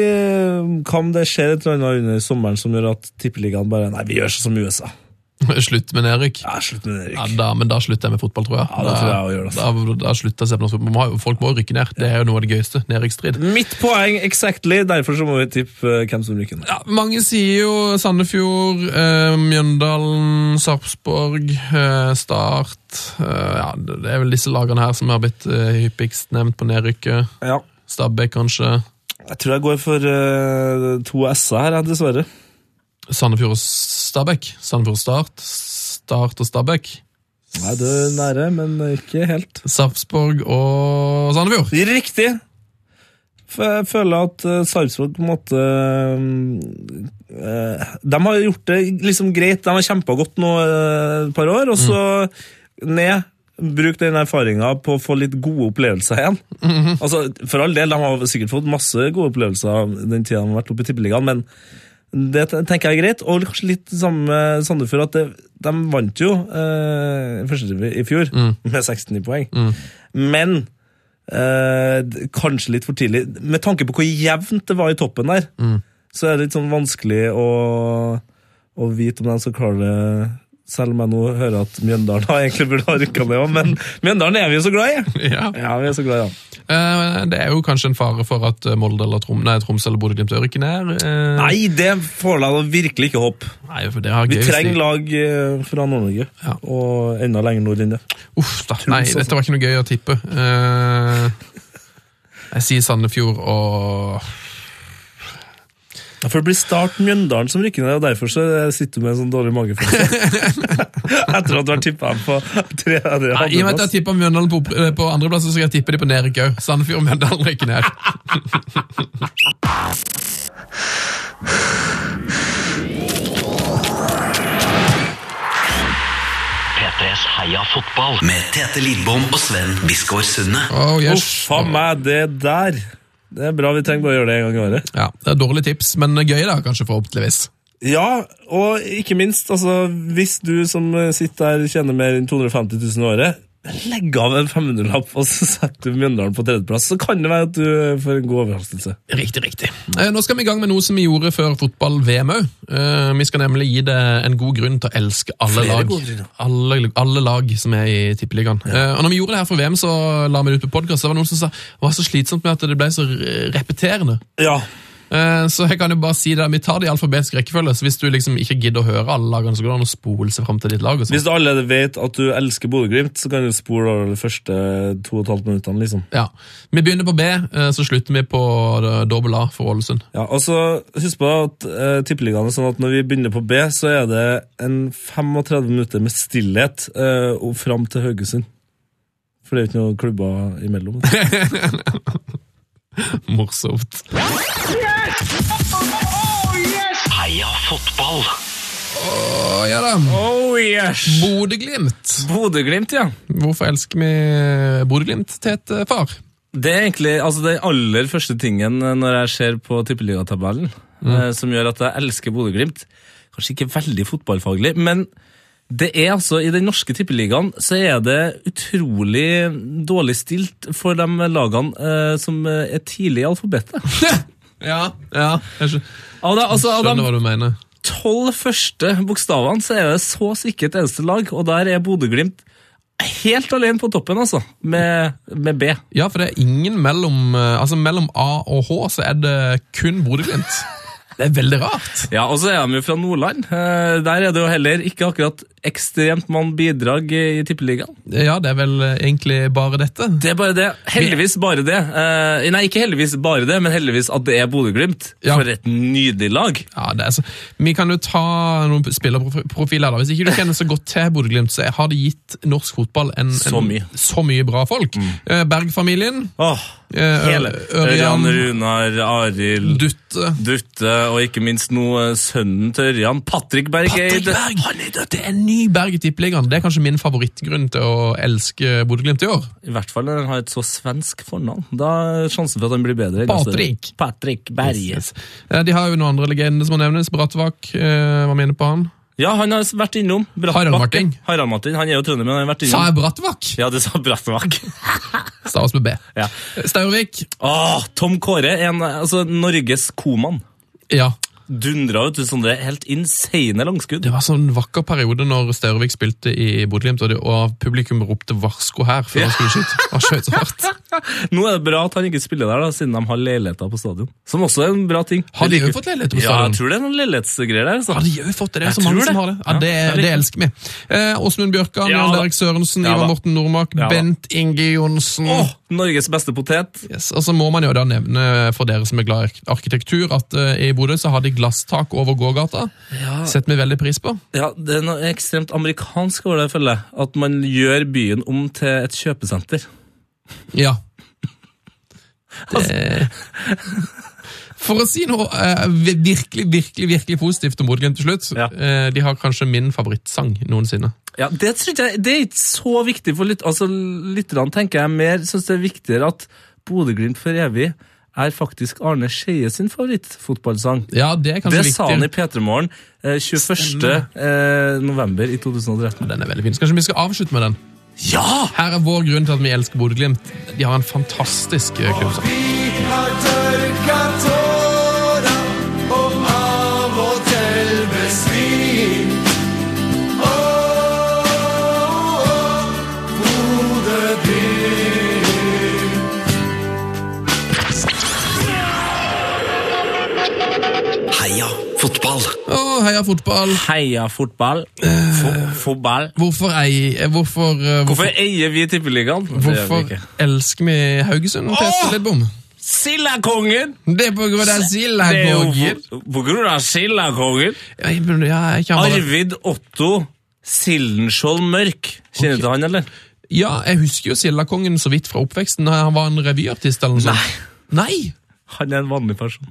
[SPEAKER 5] hva om det skjer et eller annet under sommeren som gjør at tippeligaen bare Nei, vi gjør sånn som USA.
[SPEAKER 1] Slutt med nedrykk.
[SPEAKER 5] Ja, slutt med det,
[SPEAKER 1] Ja,
[SPEAKER 5] Erik.
[SPEAKER 1] da, men da slutter jeg med fotball, tror jeg.
[SPEAKER 5] Ja, det tror jeg også gjør det,
[SPEAKER 1] da, da, da slutter jeg å se på norsk fotball. Man har jo- Folk må jo rykke ned. Det er jo noe av det gøyeste. Nedrykksstrid.
[SPEAKER 5] Mitt poeng exactly, derfor så må vi tippe eh, hvem som rykker ned.
[SPEAKER 1] Ja, mange sier jo Sandefjord, eh, Mjøndalen, Sarpsborg, eh, Start eh, ja, Det det er vel disse lagene her som har blitt eh, hyppigst nevnt på nedrykket.
[SPEAKER 5] Ja.
[SPEAKER 1] Stabæk, kanskje.
[SPEAKER 5] Jeg tror jeg går for eh, to S-er her, jeg, dessverre.
[SPEAKER 1] Sandefjord og Stabæk. Sandefjord og Start. Start og Stabæk.
[SPEAKER 5] Nei, du er nære, men ikke helt.
[SPEAKER 1] Sarpsborg og Sandefjord.
[SPEAKER 5] Riktig! For jeg føler at eh, Sarpsborg på en måte eh, eh, De har gjort det liksom greit. De har kjempa godt nå eh, et par år, og så ned. Bruk den erfaringa på å få litt gode opplevelser igjen. Altså, For all del, de har sikkert fått masse gode opplevelser den tida de har vært oppe i Tippeligaen, men Det te- tenker jeg er greit, og kanskje litt sammen med Sandefjord, at det, de vant jo eh, første div i fjor med 69 poeng. Men eh, d- kanskje litt for tidlig. Med tanke på hvor jevnt det var i toppen der, så er det litt sånn vanskelig å, å vite om de skal klare det. Selv om jeg nå hører at Mjøndalen har egentlig burde ha rykka ned òg, men Mjøndalen er vi jo så glad i!
[SPEAKER 1] Ja.
[SPEAKER 5] Ja, vi er så glad i han.
[SPEAKER 1] Eh, Det er jo kanskje en fare for at eh, Molde eller Trom, nei, Tromsø eller Bodø-Glimt rykker ned. eh,
[SPEAKER 5] Nei, det får jeg da virkelig ikke håpe.
[SPEAKER 1] Nei, for det har
[SPEAKER 5] Vi
[SPEAKER 1] gøy
[SPEAKER 5] trenger lag eh, fra Nord-Norge,
[SPEAKER 1] Ja.
[SPEAKER 5] og enda lenger nord enn det.
[SPEAKER 1] Uff da, nei,
[SPEAKER 5] Tromsø.
[SPEAKER 1] dette var ikke noe gøy å tippe. Eh, jeg sier Sandefjord og
[SPEAKER 5] Ja, For det blir Start Mjøndalen som rykker ned, og derfor så sitter du med en sånn dårlig magefølelse. Etter at du har tippa dem på tre andre
[SPEAKER 1] Nei, I og med at jeg tippa Mjøndalen på, opp- eh, på andreplass, så skal jeg tippe de på nedrykk òg. Sandefjord og Mjøndalen rykker ned.
[SPEAKER 4] P3s Heia fotball med Tete Lidbom og Sven Biskår Sunde.
[SPEAKER 1] Oh, yes.
[SPEAKER 5] Uff a meg, det der! Det er bra vi trenger bare å gjøre det en gang i året.
[SPEAKER 1] Ja, det er Dårlig tips, men gøy da, kanskje forhåpentligvis.
[SPEAKER 5] Ja, og ikke minst, altså, hvis du som eh, sitter der tjener mer enn 250 000 i året, legg av en 500-lapp og så setter du Mjøndalen på tredjeplass, så kan det være at du eh, får en god overraskelse.
[SPEAKER 1] Riktig, riktig. Eh, Nå skal vi i gang med noe som vi gjorde før fotball-VM òg. Eh, Vi skal nemlig gi det en god grunn til å elske alle
[SPEAKER 5] Flere
[SPEAKER 1] lag.
[SPEAKER 5] gode grunner.
[SPEAKER 1] Alle, alle lag som er i Tippeligaen. Eh, Og når vi gjorde det her for VM, så la vi det ut på podkast. Det var noen som sa det var så slitsomt med at det ble så re- repeterende.
[SPEAKER 5] Ja,
[SPEAKER 1] Eh, Så jeg kan jo bare si det, vi tar det i alfabetisk rekkefølge. Så hvis du liksom ikke gidder å høre alle lagene, så går det an å spole seg fram til ditt lag. og sånn. sånt.
[SPEAKER 5] Hvis du allerede vet at du elsker Bodø-Glimt, så kan du spole over de første to og et halvt minuttene. liksom.
[SPEAKER 1] Ja. Vi begynner på B, eh, så slutter vi på eh, dobbel A for Ålesund.
[SPEAKER 5] Ja, og så Husk på at eh, tippeligaen er sånn at når vi begynner på B, så er det en 35 minutter med stillhet eh, og fram til Haugesund. For det er jo ikke noen klubber imellom.
[SPEAKER 1] Morsomt.
[SPEAKER 4] Heia fotball!
[SPEAKER 1] Å, ja da.
[SPEAKER 5] Oh yes!
[SPEAKER 1] Bodø-Glimt.
[SPEAKER 5] Bodø-Glimt, ja.
[SPEAKER 1] Hvorfor elsker vi Bodø-Glimt til et eh, far?
[SPEAKER 5] Det er egentlig altså den aller første tingen eh, når jeg ser på tippeligatabellen, eh, som gjør at jeg elsker Bodø-Glimt. Kanskje ikke veldig fotballfaglig, men det er altså, i den norske tippeligaen så er det utrolig dårlig stilt for de lagene eh, som eh, er tidlig i alfabetet.
[SPEAKER 1] Ja, ja. Jeg skjø-
[SPEAKER 5] Av de, altså, av
[SPEAKER 1] skjønner
[SPEAKER 5] de
[SPEAKER 1] hva du mener.
[SPEAKER 5] tolv første bokstavene så er det så sikkert et eneste lag, og der er Bodø-Glimt helt alene på toppen, altså, med, med B.
[SPEAKER 1] Ja, for det er ingen mellom eh, Altså mellom A og H så er det kun Bodø-Glimt. Det er veldig rart.
[SPEAKER 5] Ja, og så er de jo fra Nordland. Eh, Der er det jo heller ikke akkurat ekstremt mange bidrag i Tippeligaen.
[SPEAKER 1] Ja, det er vel eh, egentlig bare dette.
[SPEAKER 5] Det er bare det. Heldigvis bare det. Eh, nei, ikke heldigvis bare det, men heldigvis at det er Bodø-Glimt.
[SPEAKER 1] Ja.
[SPEAKER 5] For et nydelig lag.
[SPEAKER 1] Ja, det er så. Vi kan jo ta noen spillerprofiler. da. Hvis ikke du kjenner så godt til Bodø-Glimt, så har det gitt norsk fotball en,
[SPEAKER 5] Så
[SPEAKER 1] en-
[SPEAKER 5] mye.
[SPEAKER 1] så mye bra folk. Eh, Berg-familien,
[SPEAKER 5] Åh,
[SPEAKER 1] eh,
[SPEAKER 5] hele.
[SPEAKER 1] Ø-
[SPEAKER 5] Ørjan,
[SPEAKER 1] Ørjan
[SPEAKER 5] Runar, Arild
[SPEAKER 1] Dutte
[SPEAKER 5] Dutte, og ikke minst nå eh, sønnen til Ørjan, Patrick Bergeid.
[SPEAKER 1] Patrick Berg! Han er død. Det er en ny Berg i Tippeligaen. Det er kanskje min favorittgrunn til å elske Bodø-Glimt i år.
[SPEAKER 5] I hvert fall når han har et så svensk fornavn. Da er sjansen for at han blir bedre. enda større.
[SPEAKER 1] Patrick.
[SPEAKER 5] Patrick Berg.
[SPEAKER 1] Eh, De har jo noen andre legender som må nevnes. Brattvak, eh, hva mener du på han?
[SPEAKER 5] Ja, han har vært innom. Brattbakk.
[SPEAKER 1] Harald Martin.
[SPEAKER 5] Harald Martin, Han er jo trønder, men han har vært
[SPEAKER 1] Sa
[SPEAKER 5] innom.
[SPEAKER 1] jeg Brattvak?
[SPEAKER 5] Ja, det sa Brattbakk.
[SPEAKER 1] Stavas med B.
[SPEAKER 5] Ja.
[SPEAKER 1] Staurvik?
[SPEAKER 5] Åh, Ah, Tom Kåre, en, altså Norges komann.
[SPEAKER 1] Ja.
[SPEAKER 5] Dundra ut som det helt insane langskudd.
[SPEAKER 1] Det var sånn vakker periode når Staurvik spilte i Bodø-Glimt, og, det- og publikum ropte 'varsko' her før han skulle skyte. Han skjøt så hardt.
[SPEAKER 5] Nå er det bra at han ikke spiller der, da, siden de har leiligheter på stadion. Som også er en bra ting.
[SPEAKER 1] Har de
[SPEAKER 5] Jeg
[SPEAKER 1] òg
[SPEAKER 5] liker-
[SPEAKER 1] fått leilighet på
[SPEAKER 5] Ja, jeg
[SPEAKER 1] stadion?
[SPEAKER 5] tror det er noen leilighetsgreier der. altså. Så.
[SPEAKER 1] Har de òg fått det? Det er
[SPEAKER 5] Jeg
[SPEAKER 1] så mange
[SPEAKER 5] tror
[SPEAKER 1] som
[SPEAKER 5] det.
[SPEAKER 1] har det. Ja,
[SPEAKER 5] Ja,
[SPEAKER 1] det,
[SPEAKER 5] det
[SPEAKER 1] det
[SPEAKER 5] er
[SPEAKER 1] elsker vi. Eh, Åsmund Bjørkan,
[SPEAKER 5] Ja,
[SPEAKER 1] Jan
[SPEAKER 5] da.
[SPEAKER 1] Derek Sørensen,
[SPEAKER 5] Ja,
[SPEAKER 1] Ivar
[SPEAKER 5] da.
[SPEAKER 1] Morten Nordmark,
[SPEAKER 5] Ja, da.
[SPEAKER 1] Bent Inge Johnsen.
[SPEAKER 5] Åh, Norges beste potet.
[SPEAKER 1] Yes, og så må man jo da nevne for dere som er glad i arkitektur, at eh, i Bodø så har de glasstak over gågata.
[SPEAKER 5] Ja.
[SPEAKER 1] Setter vi veldig pris på.
[SPEAKER 5] Ja, Det er noe ekstremt amerikansk over det, føler jeg. At man gjør byen om til et kjøpesenter.
[SPEAKER 1] Ja. Det... For å si noe eh, vi- virkelig virkelig, virkelig positivt om Bodø-Glimt til slutt
[SPEAKER 5] Ja.
[SPEAKER 1] eh, De har kanskje min favorittsang noensinne.
[SPEAKER 5] Ja, Det tror ikke jeg, det er ikke så viktig for lyt, altså, lytterne, tenker jeg. mer synes det er viktigere at Bodø-Glimt for evig er faktisk Arne Skeie sin favorittfotballsang.
[SPEAKER 1] Ja, Det er kanskje
[SPEAKER 5] Det sa han i
[SPEAKER 1] viktig.
[SPEAKER 5] P3 Morgen eh, 21. Eh, november i 2013.
[SPEAKER 1] Den er veldig fin. Så Kanskje vi skal avslutte med den?
[SPEAKER 5] Ja!
[SPEAKER 1] Her er vår grunn til at vi elsker Bodø-Glimt. De har en fantastisk eh, klubbsang.
[SPEAKER 4] Heia fotball.
[SPEAKER 1] Å, heia fotball!
[SPEAKER 5] Heia fotball. Fo- Fotball.
[SPEAKER 1] Hvorfor ei... eh, Hvorfor, eh, hvorfor,
[SPEAKER 5] Hvorfor eier vi Tippeligaen? Det gjør vi
[SPEAKER 1] hvorfor
[SPEAKER 5] ikke.
[SPEAKER 1] elsker vi Haugesund? Tete Lidbom?
[SPEAKER 5] Sildakongen!
[SPEAKER 1] Det er på grunn av Silda
[SPEAKER 5] Det er jo
[SPEAKER 1] Borger.
[SPEAKER 5] på, på grunn av Sildakongen.
[SPEAKER 1] Ja, jeg- ja, jeg kan bare-
[SPEAKER 5] Arvid Otto Sildenskjold Mørk. Kjenner du til han, eller?
[SPEAKER 1] Ja, jeg husker jo Sildakongen så vidt fra oppveksten. da Han var en revyartist eller noe sånt. Nei.
[SPEAKER 5] Han er en vanlig person.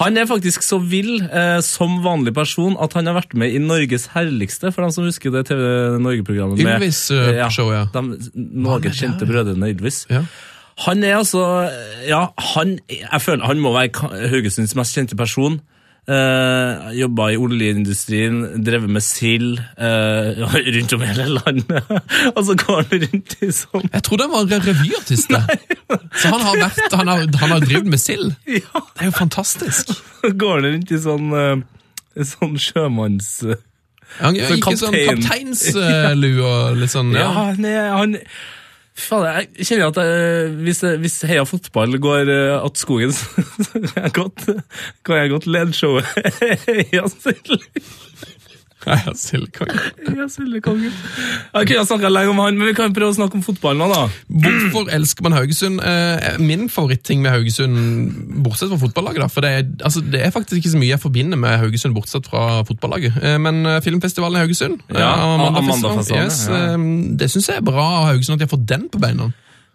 [SPEAKER 5] Han er faktisk så vill eh, som vanlig person at han har vært med i Norges herligste, for de som husker det TV Norge-programmet. med-
[SPEAKER 1] Ylvis-showet, ja. eh, ja.
[SPEAKER 5] De
[SPEAKER 1] med det,
[SPEAKER 5] noen kjente brødrene Ylvis.
[SPEAKER 1] Ja.
[SPEAKER 5] Han er altså Ja, han, jeg føler han må være Ka- Haugesunds mest kjente person. Uh, Jobba i oljeindustrien, drevet med sild eh, rundt om hele landet. Og så går han rundt i sånn
[SPEAKER 1] Jeg trodde han var re- revyartist. det. Så han har, vært, han har, han har drevet med sild.
[SPEAKER 5] Ja,
[SPEAKER 1] Det er jo fantastisk.
[SPEAKER 5] går han rundt i sånn eh, Sånn sjømanns...
[SPEAKER 1] Han er jo
[SPEAKER 5] Så
[SPEAKER 1] ikke sånn
[SPEAKER 5] kaptein.
[SPEAKER 1] kapteinslue og litt sånn
[SPEAKER 5] Ja,
[SPEAKER 1] ja.
[SPEAKER 5] han er han, Faen, jeg kjenner at jeg, hvis, jeg- hvis heia fotball går uh, att skogen, så så kan jeg godt, kan jeg godt lede showet. Heia Silje.
[SPEAKER 1] ja. Sildkongen.
[SPEAKER 5] Heia Siljekongen. Jeg kunne ha snakket lenge om han, men vi kan prøve å snakke om fotball nå, da.
[SPEAKER 1] Hvorfor elsker man Haugesund? Eh, Min favoritting med Haugesund, bortsett fra fotballaget, da, for det er, altså, det er faktisk ikke så mye jeg forbinder med Haugesund, bortsett fra fotballaget. Eh, Men eh, filmfestivalen i Haugesund, eh,
[SPEAKER 5] Ja,
[SPEAKER 1] Amandafestivalen,
[SPEAKER 5] Amandafestivalen,
[SPEAKER 1] yes,
[SPEAKER 5] ja.
[SPEAKER 1] eh, det syns jeg er bra av Haugesund at de har fått den på beina.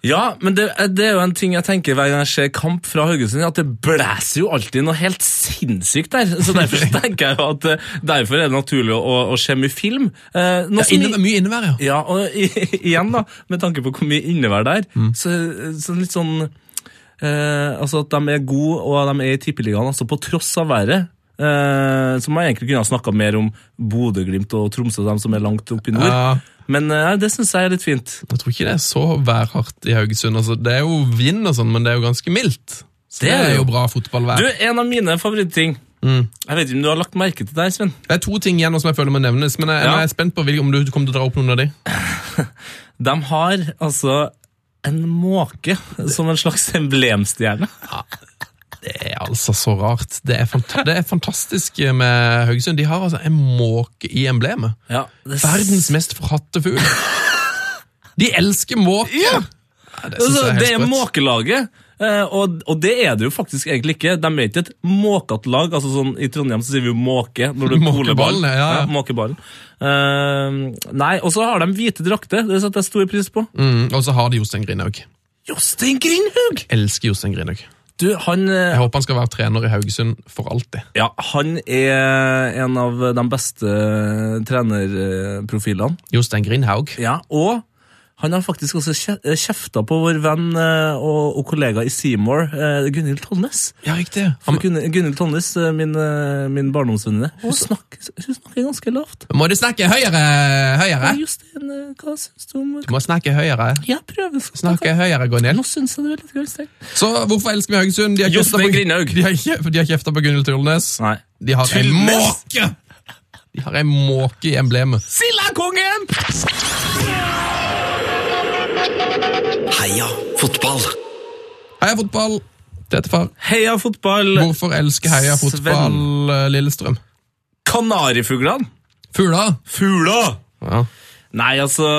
[SPEAKER 5] Ja, men det, det er jo en ting jeg tenker hver gang jeg ser kamp fra Haugesund, at det blæser jo alltid noe helt sinnssykt der. Så derfor så tenker jeg jo at eh, derfor er det naturlig å, å, å se mye film. Eh, noe
[SPEAKER 1] Ja,
[SPEAKER 5] som-
[SPEAKER 1] inne, mye innevær, ja.
[SPEAKER 5] Ja, og i, igjen da, med tanke på hvor mye innevær det er, så, så litt sånn eh, Altså at de er gode, og de er i tippeligaen, altså på tross av været. Eh, så må jeg egentlig kunne ha snakka mer om Bodø-Glimt og Tromsø, dem som er langt oppe i nord.
[SPEAKER 1] Ja.
[SPEAKER 5] Men eh, det syns jeg er litt fint.
[SPEAKER 1] Jeg tror ikke det er så værhardt i Haugesund. Altså, det er jo vind og sånn, men det er jo ganske mildt. Så det,
[SPEAKER 5] Det er
[SPEAKER 1] er
[SPEAKER 5] det jo.
[SPEAKER 1] jo bra fotballvær.
[SPEAKER 5] Du, en av mine favorittting. Jeg vet ikke om du har lagt merke til deg, Sven.
[SPEAKER 1] Det er to ting igjen nå som jeg føler må nevnes, men jeg,
[SPEAKER 5] Ja.
[SPEAKER 1] jeg er spent på hvil- om du kommer til å dra opp noen av de.
[SPEAKER 5] De har altså en måke som en slags emblemstjerne.
[SPEAKER 1] Det er altså så rart. Det er, fant det er fantastisk med Haugesund. De har altså en måke i emblemet.
[SPEAKER 5] Ja, det s-
[SPEAKER 1] Verdens mest forhatte fugl. De elsker måker!
[SPEAKER 5] Ja.
[SPEAKER 1] Nei, det, synes
[SPEAKER 5] Altså,
[SPEAKER 1] jeg er
[SPEAKER 5] det er
[SPEAKER 1] helt sprøtt.
[SPEAKER 5] måkelaget. eh, og, og det er det jo faktisk egentlig ikke. De er ikke et måkete lag. Altså, sånn, I Trondheim så sier vi jo måke når du
[SPEAKER 1] Måkeball,
[SPEAKER 5] poler ball.
[SPEAKER 1] ja, ja.
[SPEAKER 5] måkeball. Eh, nei, og så har de hvite drakter. Det setter jeg stor pris på.
[SPEAKER 1] Mm, og så har de Jostein Grindhaug.
[SPEAKER 5] Jostein Grindhaug!
[SPEAKER 1] Elsker Jostein Grindhaug.
[SPEAKER 5] Du, han, eh,
[SPEAKER 1] Jeg håper han skal være trener i Haugesund for alltid.
[SPEAKER 5] ja, han er en av de beste eh, trenerprofilene.
[SPEAKER 1] Jostein Grindhaug.
[SPEAKER 5] Ja, og han har faktisk også kje- eh, kjefta på vår venn eh, og, og kollega i Seymour, eh, Gunhild Tollnes.
[SPEAKER 1] Ja, riktig.
[SPEAKER 5] For
[SPEAKER 1] Han,
[SPEAKER 5] Gun- Gunhild Tonnes, min, eh, min barndomsvenninne, hun, snakker- hun snakker ganske lavt.
[SPEAKER 1] må du snakke høyere? høyere?
[SPEAKER 5] Og Jostein, eh, hva syns du om
[SPEAKER 1] Du må snakke høyere.
[SPEAKER 5] Ja, prøv.
[SPEAKER 1] Snakke høyere, Gunhild.
[SPEAKER 5] Nå syns jeg det er litt gøy, Stein.
[SPEAKER 1] Så hvorfor elsker vi Haugesund? De har kjefta
[SPEAKER 5] Jostein
[SPEAKER 1] på-
[SPEAKER 5] Grindhaug.
[SPEAKER 1] De har kje- de har kjefta på Gunhild Tulnes.
[SPEAKER 5] Nei.
[SPEAKER 1] De har en
[SPEAKER 5] Tulnes!
[SPEAKER 1] måke! De har en måke i emblemet.
[SPEAKER 5] Sildakongen!
[SPEAKER 4] Heia fotball!
[SPEAKER 1] Heia fotball! Tete far.
[SPEAKER 5] Heia fotball!
[SPEAKER 1] Hvorfor elsker heia fotball eh, Lillestrøm?
[SPEAKER 5] Kanarifuglene!
[SPEAKER 1] Fugler!
[SPEAKER 5] Fugler!
[SPEAKER 1] Ja.
[SPEAKER 5] Nei, altså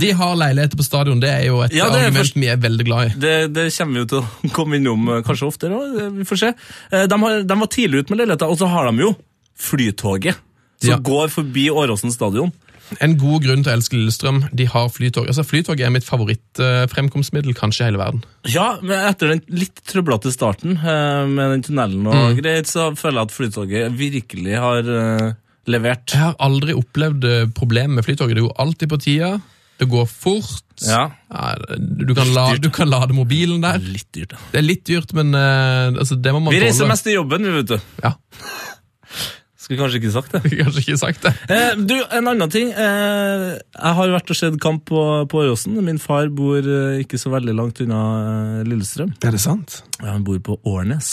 [SPEAKER 1] De har leiligheter på stadion. Det er jo et
[SPEAKER 5] Ja, det er
[SPEAKER 1] argument
[SPEAKER 5] først-
[SPEAKER 1] vi er veldig glad i.
[SPEAKER 5] Det, det kommer vi jo til å komme innom eh, kanskje oftere òg, vi får se. Eh, De, har, de var tidlig ute med leiligheter, og så har de jo Flytoget. Som
[SPEAKER 1] Ja.
[SPEAKER 5] går forbi Åråsen stadion.
[SPEAKER 1] En god grunn til å elske Lillestrøm. De har flytog. Altså, Flytog er mitt favorittfremkomstmiddel eh, kanskje i hele verden.
[SPEAKER 5] Ja, men etter den litt trøblete starten eh, med den tunnelen og greit, så føler jeg at Flytoget virkelig har eh, levert.
[SPEAKER 1] Jeg har aldri opplevd eh, problem med flytoget. Det går alltid på tida. Det går fort.
[SPEAKER 5] Ja.
[SPEAKER 1] Ja, du, kan la, du kan lade mobilen der.
[SPEAKER 5] Litt dyrt, da.
[SPEAKER 1] Det er litt dyrt, men eh, altså, det må man
[SPEAKER 5] Vi reiser mest til jobben, vi, vet du.
[SPEAKER 1] Ja.
[SPEAKER 5] Skulle kanskje ikke sagt det.
[SPEAKER 1] Jeg har Kanskje ikke sagt det.
[SPEAKER 5] Eh, du, en annen ting. Eh, jeg har vært og sett kamp på, på Åråsen. Min far bor eh, ikke så veldig langt unna eh, Lillestrøm.
[SPEAKER 1] Er det sant?
[SPEAKER 5] Ja, han bor på Årnes.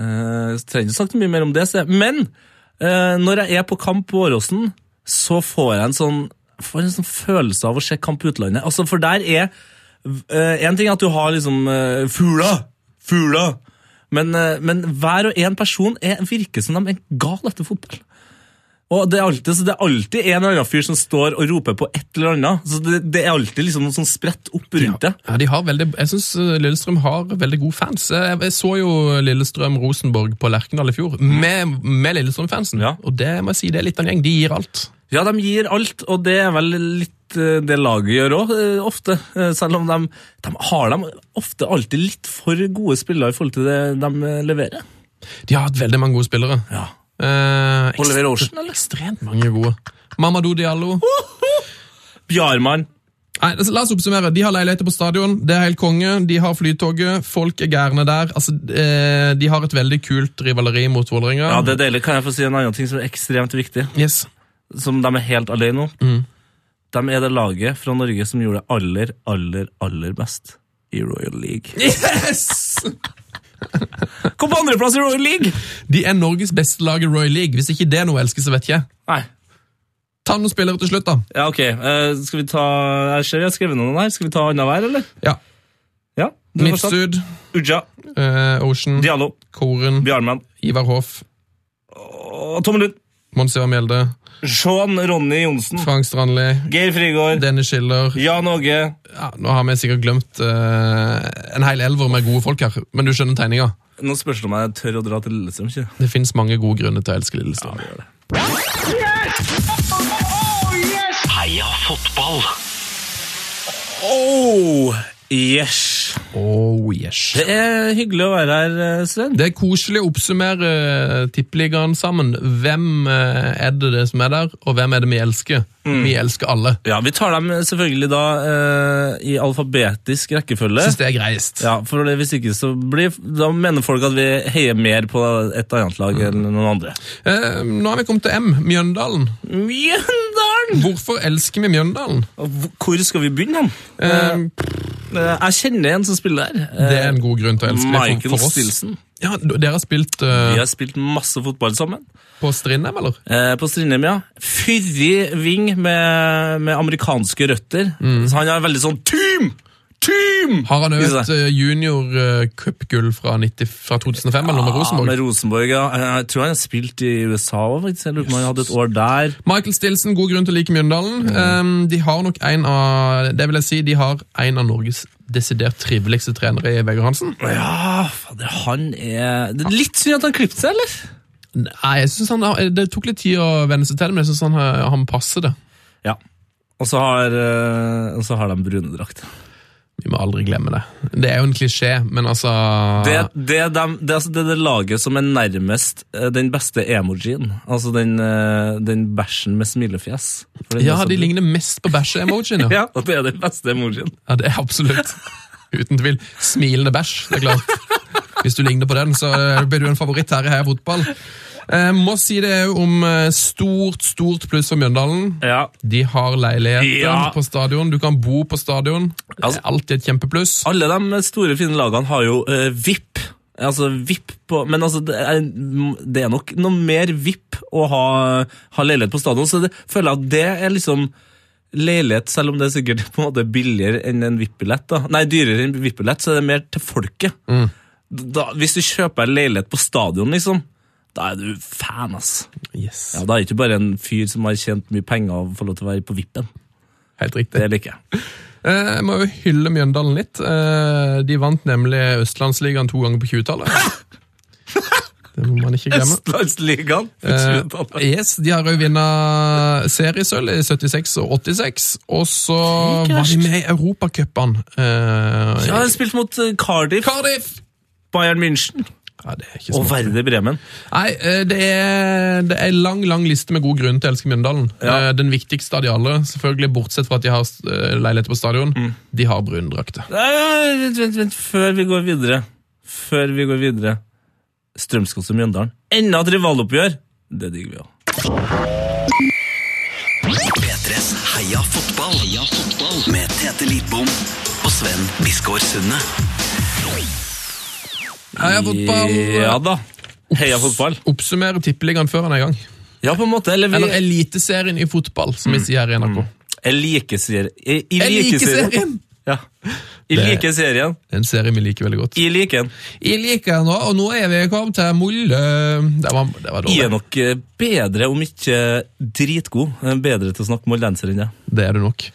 [SPEAKER 5] Eh, så trenger ikke snakke mye mer om det. Så jeg, men eh, når jeg er på kamp på Åråsen, så får jeg en sånn jeg får en sånn følelse av å se kamp i utlandet. Altså, For der er eh, En ting er at du har liksom eh, Fugla! Fugla! Men, eh, men hver og en person er, virker som de er gal etter fotball. Og det er, alltid, så det er alltid en eller annen fyr som står og roper på et eller annet. Så Det, det er alltid liksom noe sånn spredt opp rundt det.
[SPEAKER 1] Ja, de har veldig, jeg syns Lillestrøm har veldig gode fans. Eh, Jeg, jeg så jo Lillestrøm-Rosenborg på Lerkendal i fjor, med, med Lillestrøm-fansen.
[SPEAKER 5] Ja.
[SPEAKER 1] Og det må jeg si, det er litt av en gjeng. De gir alt.
[SPEAKER 5] Ja, de gir alt, og det er vel litt eh, det laget gjør òg, ofte. Eh, Selv om de, de har dem ofte alltid litt for gode spillere i forhold til det de eh, leverer.
[SPEAKER 1] De har hatt veldig mange gode spillere.
[SPEAKER 5] Ja.
[SPEAKER 1] Eh,
[SPEAKER 5] Oliver Olsen, eller?
[SPEAKER 1] ekstremt mange gode. Mamadou Diallo.
[SPEAKER 5] Bjarmann.
[SPEAKER 1] Nei, altså, la oss oppsummere. De har leiligheter på stadion, det er helt konge. De har flytoget, folk er gærne der. Altså, eh, de har et veldig kult rivaleri mot Vålerenga.
[SPEAKER 5] Ja, det er deilig. Kan jeg få si en annen ting som er ekstremt viktig,
[SPEAKER 1] Yes.
[SPEAKER 5] som de er helt alene om? De er det laget fra Norge som gjorde det aller, aller, aller best i Royal League.
[SPEAKER 1] Yes!
[SPEAKER 5] Kom på andreplass i Royal League!
[SPEAKER 1] De er Norges beste lag i Royal League. Hvis ikke det er noe jeg elsker, så vet ikke jeg.
[SPEAKER 5] Nei.
[SPEAKER 1] Ta noen spillere til slutt, da.
[SPEAKER 5] Ja, ok. Eh, skal vi ta Jeg ser vi har skrevet noen her. Skal vi ta annenhver, eller?
[SPEAKER 1] Ja.
[SPEAKER 5] Ja. du får starte.
[SPEAKER 1] Midtsud,
[SPEAKER 5] Uja.
[SPEAKER 1] eh, Ocean,
[SPEAKER 5] Diallo.
[SPEAKER 1] Koren,
[SPEAKER 5] Bjarmann.
[SPEAKER 1] Ivar Hoff,
[SPEAKER 5] Og Tom Lund.
[SPEAKER 1] Monsiva Mjelde,
[SPEAKER 5] Sean Ronny Johnsen.
[SPEAKER 1] Frank Strandli,
[SPEAKER 5] Geir Frigård.
[SPEAKER 1] Dennis Schiller
[SPEAKER 5] Jan Åge.
[SPEAKER 1] ja, Nå har vi sikkert glemt eh, en hel elver med gode folk her, men du skjønner tegninga.
[SPEAKER 5] Nå spørs det om jeg tør å dra til Lillestrøm. ikke?
[SPEAKER 1] Det fins mange gode grunner til å elske Lillestrøm.
[SPEAKER 4] Heia fotball!
[SPEAKER 5] Oh, yes.
[SPEAKER 1] Oh, yes.
[SPEAKER 5] Det er hyggelig å være her, eh, Sven.
[SPEAKER 1] Det er koselig å oppsummere eh, tippeligaen sammen. Hvem eh, er det, det som er der, og hvem er det vi elsker? Vi elsker alle.
[SPEAKER 5] Ja, Vi tar dem selvfølgelig da eh, i alfabetisk rekkefølge.
[SPEAKER 1] Syns det er greist.
[SPEAKER 5] Ja, for det- Hvis ikke så blir Da mener folk at vi heier mer på et annet lag enn noen andre.
[SPEAKER 1] Eh, nå har vi kommet til M, Mjøndalen.
[SPEAKER 5] Mjøndalen!
[SPEAKER 1] Hvorfor elsker vi Mjøndalen?
[SPEAKER 5] Og hvor- Hvor skal vi begynne? da?
[SPEAKER 1] Eh,
[SPEAKER 5] Eh, Jeg kjenner en som spiller der. Eh,
[SPEAKER 1] det er en god grunn til å elske det for,
[SPEAKER 5] Michael
[SPEAKER 1] for oss.
[SPEAKER 5] Stilson.
[SPEAKER 1] Ja, d- dere har spilt eh,
[SPEAKER 5] Vi har spilt masse fotball sammen.
[SPEAKER 1] på Strindheim, eller?
[SPEAKER 5] Eh, på Strindheim, ja. Fyrig ving med, med amerikanske røtter. Så han har veldig sånn Team!
[SPEAKER 2] team!
[SPEAKER 1] Mm. Har han
[SPEAKER 5] Ikke
[SPEAKER 1] øvd
[SPEAKER 5] sant?
[SPEAKER 1] eh, junior eh, cupgull fra, 90 fra 2005 eller med
[SPEAKER 5] Ja,
[SPEAKER 1] Rosenborg?
[SPEAKER 5] med Rosenborg, ja. Eh, Jeg tror han har spilt i USA òg, faktisk. Jeg lurer på om han hadde et år der.
[SPEAKER 1] Michael Stilson, god grunn til å like Mjøndalen.
[SPEAKER 5] Mm.
[SPEAKER 1] Ehm, de har nok en av det vil jeg si, de har en av Norges desidert triveligste trenere i Vegard Hansen.
[SPEAKER 5] Ja, Ah, fader, han er det er Litt synd at han klippet seg, eller?
[SPEAKER 1] Nei, jeg synes han, har- eh, Det tok litt tid å venne seg til det, men jeg syns han, har- han passer det.
[SPEAKER 5] Ja. Og så har, eh, og så har de brune drakt.
[SPEAKER 1] Vi må aldri glemme det. Det er jo en klisjé, men altså
[SPEAKER 5] Det, det, er dem- det, er altså det, er det laget som er nærmest eh, den beste emojien. Altså den, eh, den bæsjen med smilefjes. For den er
[SPEAKER 1] Ja,
[SPEAKER 5] så
[SPEAKER 1] de
[SPEAKER 5] brun.
[SPEAKER 1] ligner mest på bæsje-emojien, ja.
[SPEAKER 5] Ja, og det er den beste emojien.
[SPEAKER 1] ja. Det er absolutt. Uten tvil. Smilende bæsj, det er klart. Hvis du ligner på den, så eh, blir du en favoritt her i Heia Fotball. Jeg må si det er jo om eh, stort, stort pluss for Mjøndalen.
[SPEAKER 5] Ja.
[SPEAKER 1] De har leiligheter
[SPEAKER 5] Ja.
[SPEAKER 1] på stadion. Du kan bo på stadion. Det
[SPEAKER 5] Altså-
[SPEAKER 1] er alltid et kjempepluss.
[SPEAKER 5] Alle de store, fine lagene har jo eh, VIP. Altså VIP på Men altså, det er, det er nok noe mer VIP å ha, ha leilighet på stadion, så det, føler jeg at det er liksom leilighet, selv om det er sikkert på en måte billigere enn en VIP-billett. da. Nei, dyrere enn VIP-billett, så er det mer til folket. Da, hvis du kjøper en leilighet på stadion, liksom, da er du fan, ass.
[SPEAKER 1] Yes.
[SPEAKER 5] Ja, Da er det ikke bare en fyr som har tjent mye penger og får lov til å være på VIP-en.
[SPEAKER 1] Helt riktig.
[SPEAKER 5] Det liker jeg.
[SPEAKER 1] Eh, Jeg må jo hylle Mjøndalen litt. Eh, De vant nemlig Østlandsligaen to ganger på 20-tallet. Det må man ikke glemme.
[SPEAKER 5] Østlandsligaen!
[SPEAKER 1] Eh, yes, De har jo vunnet seriesølv i 76 og 86. Og så var de med i Europacupen. Eh,
[SPEAKER 5] Ja, han spilte mot eh, Cardiff,
[SPEAKER 1] Cardiff!
[SPEAKER 5] Bayern München
[SPEAKER 1] Ja, det er ikke
[SPEAKER 5] og
[SPEAKER 1] smart.
[SPEAKER 5] Verde Bremen.
[SPEAKER 1] Nei, eh, det er, det er en lang lang liste med god grunn til å elske Mjøndalen.
[SPEAKER 5] Ja.
[SPEAKER 1] Eh, Den viktigste av de alle, selvfølgelig bortsett fra at de har eh, leiligheter på stadion,
[SPEAKER 5] Mm.
[SPEAKER 1] de har brun drakte.
[SPEAKER 5] Nei, nei, Vent, vent, vent, før vi går videre. Før vi går videre. Strømsgods og Mjøndalen. Enda et rivaloppgjør! Det digger vi òg.
[SPEAKER 4] P3s Heia fotball. Heia fotball. Med Tete Lidbom og Sven Biskår Sunde.
[SPEAKER 1] Heia fotball!
[SPEAKER 5] Ja da. Heia fotball.
[SPEAKER 1] Oppsummere eh, tippeligaen før han er i gang.
[SPEAKER 5] Ja, Mm. på en måte. Eller
[SPEAKER 1] Eller
[SPEAKER 5] vi
[SPEAKER 1] Eliteserien i fotball, som vi sier her i NRK.
[SPEAKER 5] Elikeserien. I i likeserien.
[SPEAKER 1] Eliteserien!
[SPEAKER 5] Ja. I
[SPEAKER 1] Det-
[SPEAKER 5] likeserien.
[SPEAKER 1] En serie vi liker veldig godt.
[SPEAKER 5] I liken.
[SPEAKER 1] Jeg liker den nå, og nå er vi kommet til Molde. Det var, det var
[SPEAKER 5] Jeg
[SPEAKER 1] dårlig.
[SPEAKER 5] er nok eh, bedre, om ikke dritgod, eh, bedre til å snakke moldenser enn jeg.
[SPEAKER 1] Det er du nok.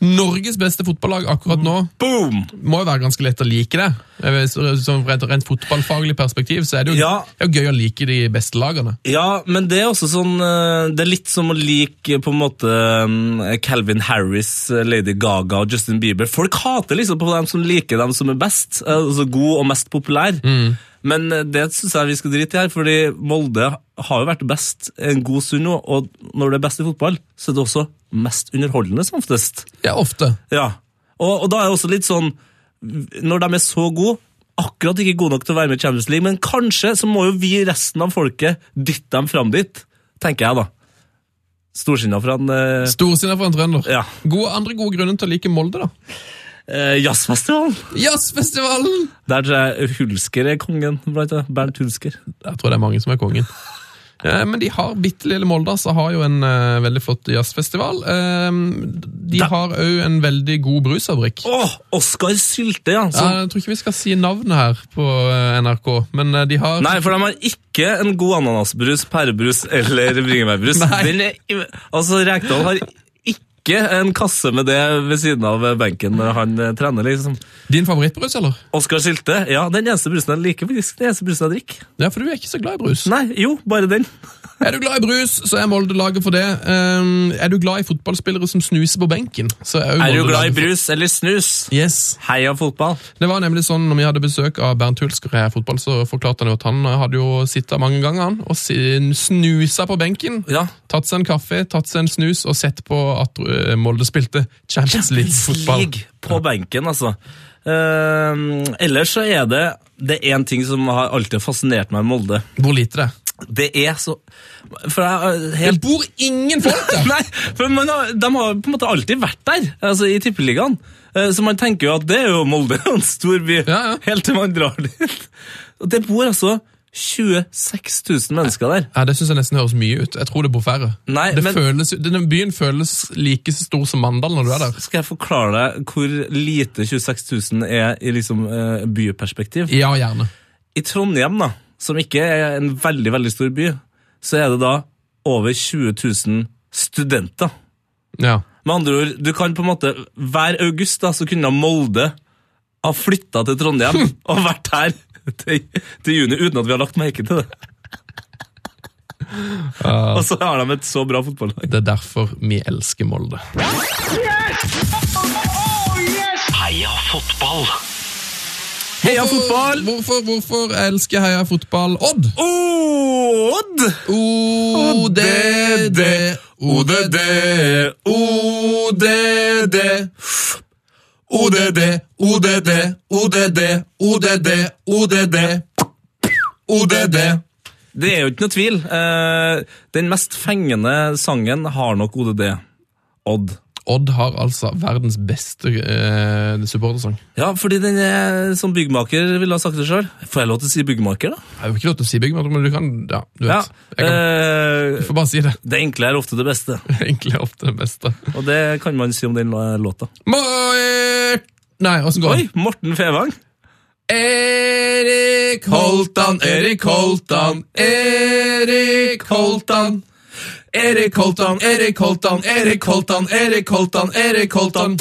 [SPEAKER 1] Norges beste fotballag akkurat nå
[SPEAKER 5] Boom!
[SPEAKER 1] må jo være ganske lett å like det. Jeg vet, så- Sånn fra et rent fotballfaglig perspektiv så er det jo,
[SPEAKER 5] Ja.
[SPEAKER 1] det er jo gøy å like de beste lagene.
[SPEAKER 5] Ja, men det er også sånn eh, Det er litt som å like eh, på en måte mm, Calvin Harris, eh, Lady Gaga og Justin Bieber. Folk hater liksom på dem som liker dem som er best, eh, altså god og mest populær. Men eh, det syns jeg vi skal drite i her, fordi Molde har jo vært best en god stund nå, og når det er best i fotball, så er det også mest underholdende som oftest.
[SPEAKER 1] Ja, ofte.
[SPEAKER 5] Ja, og, og da er det også litt sånn Når de er så gode Akkurat ikke gode nok til å være med i Champions League Men kanskje så må jo vi resten av folket Dytte dem fram dit, tenker jeg da Storsinnet fra en eh,
[SPEAKER 1] Storsinnet for en trønder.
[SPEAKER 5] Ja.
[SPEAKER 1] Gode, andre gode grunner til å like Molde, da.
[SPEAKER 5] eh, jazzfestival
[SPEAKER 1] Jazzfestivalen!
[SPEAKER 5] Der tror jeg Hulsker er kongen blant annet, Bernt Hulsker
[SPEAKER 1] Jeg tror det er mange som er kongen. Eh, Men de har bitte lille Molde, så har jo en eh, veldig flott jazzfestival. Eh, de har òg en veldig god brusfabrikk.
[SPEAKER 5] Åh, Oskar Sylte ja, som,
[SPEAKER 1] Ja, jeg tror ikke vi skal si navnet her på eh, NRK, men eh, de har
[SPEAKER 5] Nei, for de har ikke en god ananasbrus, pærebrus eller bringebærbrus
[SPEAKER 1] Nei.
[SPEAKER 5] Den er, Altså, Rekdal har ikke en kasse med det ved siden av benken Når han eh, trener liksom
[SPEAKER 1] Din favorittbrus, eller?
[SPEAKER 5] Oskar Sylte? Ja, den eneste brusen jeg liker. faktisk. Den eneste brusen jeg drikker.
[SPEAKER 1] Ja, for du er ikke så glad i brus.
[SPEAKER 5] Nei, jo, bare den.
[SPEAKER 1] Er du glad i brus, så er Molde laget for det. Um, er du glad i fotballspillere som snuser på benken, så er, jo
[SPEAKER 5] Er du
[SPEAKER 1] Molde
[SPEAKER 5] glad i
[SPEAKER 1] laget for-
[SPEAKER 5] brus eller snus?
[SPEAKER 1] Yes.
[SPEAKER 5] Heia fotball.
[SPEAKER 1] Det var nemlig sånn, når vi hadde besøk av Bernt Hulsker her i fotball, så forklarte han jo at han eh, hadde jo sittet mange ganger han, og sin- snusa på benken,
[SPEAKER 5] Ja.
[SPEAKER 1] tatt seg en kaffe, tatt seg en snus og sett på at eh, Molde spilte Champions League-fotball.
[SPEAKER 5] Slig på benken, altså. Ehm, ellers så er det det er én ting som har alltid fascinert meg med Molde.
[SPEAKER 1] Hvor lite det? er.
[SPEAKER 5] Det er så For jeg er helt
[SPEAKER 1] Det bor ingen folk der!
[SPEAKER 5] Nei, for man har, de har på en måte alltid vært der, altså i tippeligaen. Eh, Så man tenker jo at det er jo Molde, en stor by,
[SPEAKER 1] Ja, ja.
[SPEAKER 5] helt til man drar dit. Og det bor altså 26 000 mennesker der.
[SPEAKER 1] Ja, det syns jeg nesten høres mye ut. Jeg tror det bor færre.
[SPEAKER 5] Nei,
[SPEAKER 1] det
[SPEAKER 5] men-
[SPEAKER 1] føles, denne byen føles like stor som Mandal når du er der.
[SPEAKER 5] Skal jeg forklare deg hvor lite 26 000 er i liksom, eh, byperspektiv?
[SPEAKER 1] Ja, gjerne.
[SPEAKER 5] I Trondheim, da, som ikke er en veldig veldig stor by, så er det da over 20 000 studenter.
[SPEAKER 1] Ja.
[SPEAKER 5] Med andre ord, du kan på en måte Hver august da, så kunne Molde ha flytta til Trondheim og vært her til, til juni uten at vi har lagt merke til det. og så har de et så bra fotballag.
[SPEAKER 1] Det er derfor vi elsker Molde.
[SPEAKER 4] Heia fotball.
[SPEAKER 5] Heia fotball!
[SPEAKER 1] Hvorfor, hvorfor elsker Heia fotball Odd?
[SPEAKER 5] Odd!
[SPEAKER 1] ODD, ODD, ODD. ODD, ODD, ODD, ODD, ODD. ODD.
[SPEAKER 5] Det er jo ikke noe tvil. Eh, den mest fengende sangen har nok ODD. Odd.
[SPEAKER 1] Odd har altså verdens beste eh, supportersang.
[SPEAKER 5] Ja, fordi den er som byggmaker ville ha sagt det sjøl. Får jeg lov til å si byggmaker, da?
[SPEAKER 1] Jeg har jo ikke lov til å si Big Mouth, men du kan Ja, du vet. Jeg kan,
[SPEAKER 5] eh,
[SPEAKER 1] får bare si det.
[SPEAKER 5] det enkle er ofte det beste,
[SPEAKER 1] Egentlig er ofte det beste.
[SPEAKER 5] og det kan man si om den la- låta.
[SPEAKER 1] Må eh, Nei, åssen går
[SPEAKER 5] Oi,
[SPEAKER 1] det?
[SPEAKER 5] Morten Fevang!
[SPEAKER 1] Erik Holtan, Erik Holtan, Erik Holtan. Erik Holtan, Erik Holtan, Erik Holtan, Erik Holtan, Erik Holtan.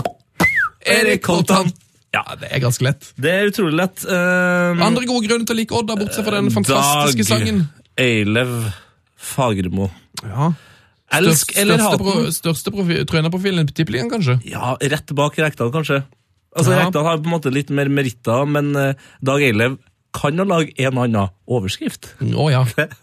[SPEAKER 1] Erik Holtan. Ja, det er ganske lett.
[SPEAKER 5] Det er utrolig lett. Eh,
[SPEAKER 1] Andre gode grunner til å like Odd, da, bortsett fra den fantastiske
[SPEAKER 5] Dag
[SPEAKER 1] sangen.
[SPEAKER 5] Eilev Fagermo.
[SPEAKER 1] Ja.
[SPEAKER 5] Elsk eller hat den?
[SPEAKER 1] Største profi- trønderprofilen i Tippeligaen, kanskje?
[SPEAKER 5] Ja, rett bak Rekdal, kanskje. Altså,
[SPEAKER 1] Ja.
[SPEAKER 5] Rekdal har på en måte litt mer meritter, men eh, Dag Eilev kan jo lage en og annen overskrift.
[SPEAKER 1] Å ja.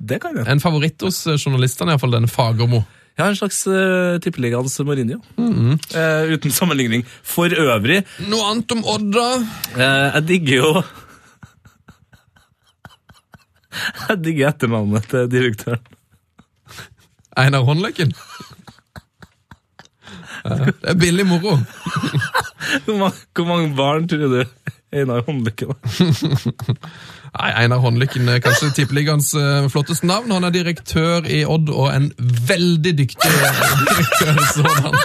[SPEAKER 5] Det kan han.
[SPEAKER 1] En favoritt hos eh, journalistene, iallfall denne Fagermo.
[SPEAKER 5] Ja, en slags uh, tippeligaens Mourinho. Eh, uten sammenligning. For øvrig,
[SPEAKER 1] Noe annet om Odd, da?
[SPEAKER 5] eh, jeg digger jo Jeg digger etternavnet til direktøren.
[SPEAKER 1] Einar Håndløkken? Ja, Det er billig moro.
[SPEAKER 5] Hvor mange, hvor mange barn tror du Einar Håndlykke har?
[SPEAKER 1] Nei, Einar Håndlykken er kanskje tippeligaens eh, flotteste navn. Han er direktør i Odd og en veldig dyktig eh, direktør sådan.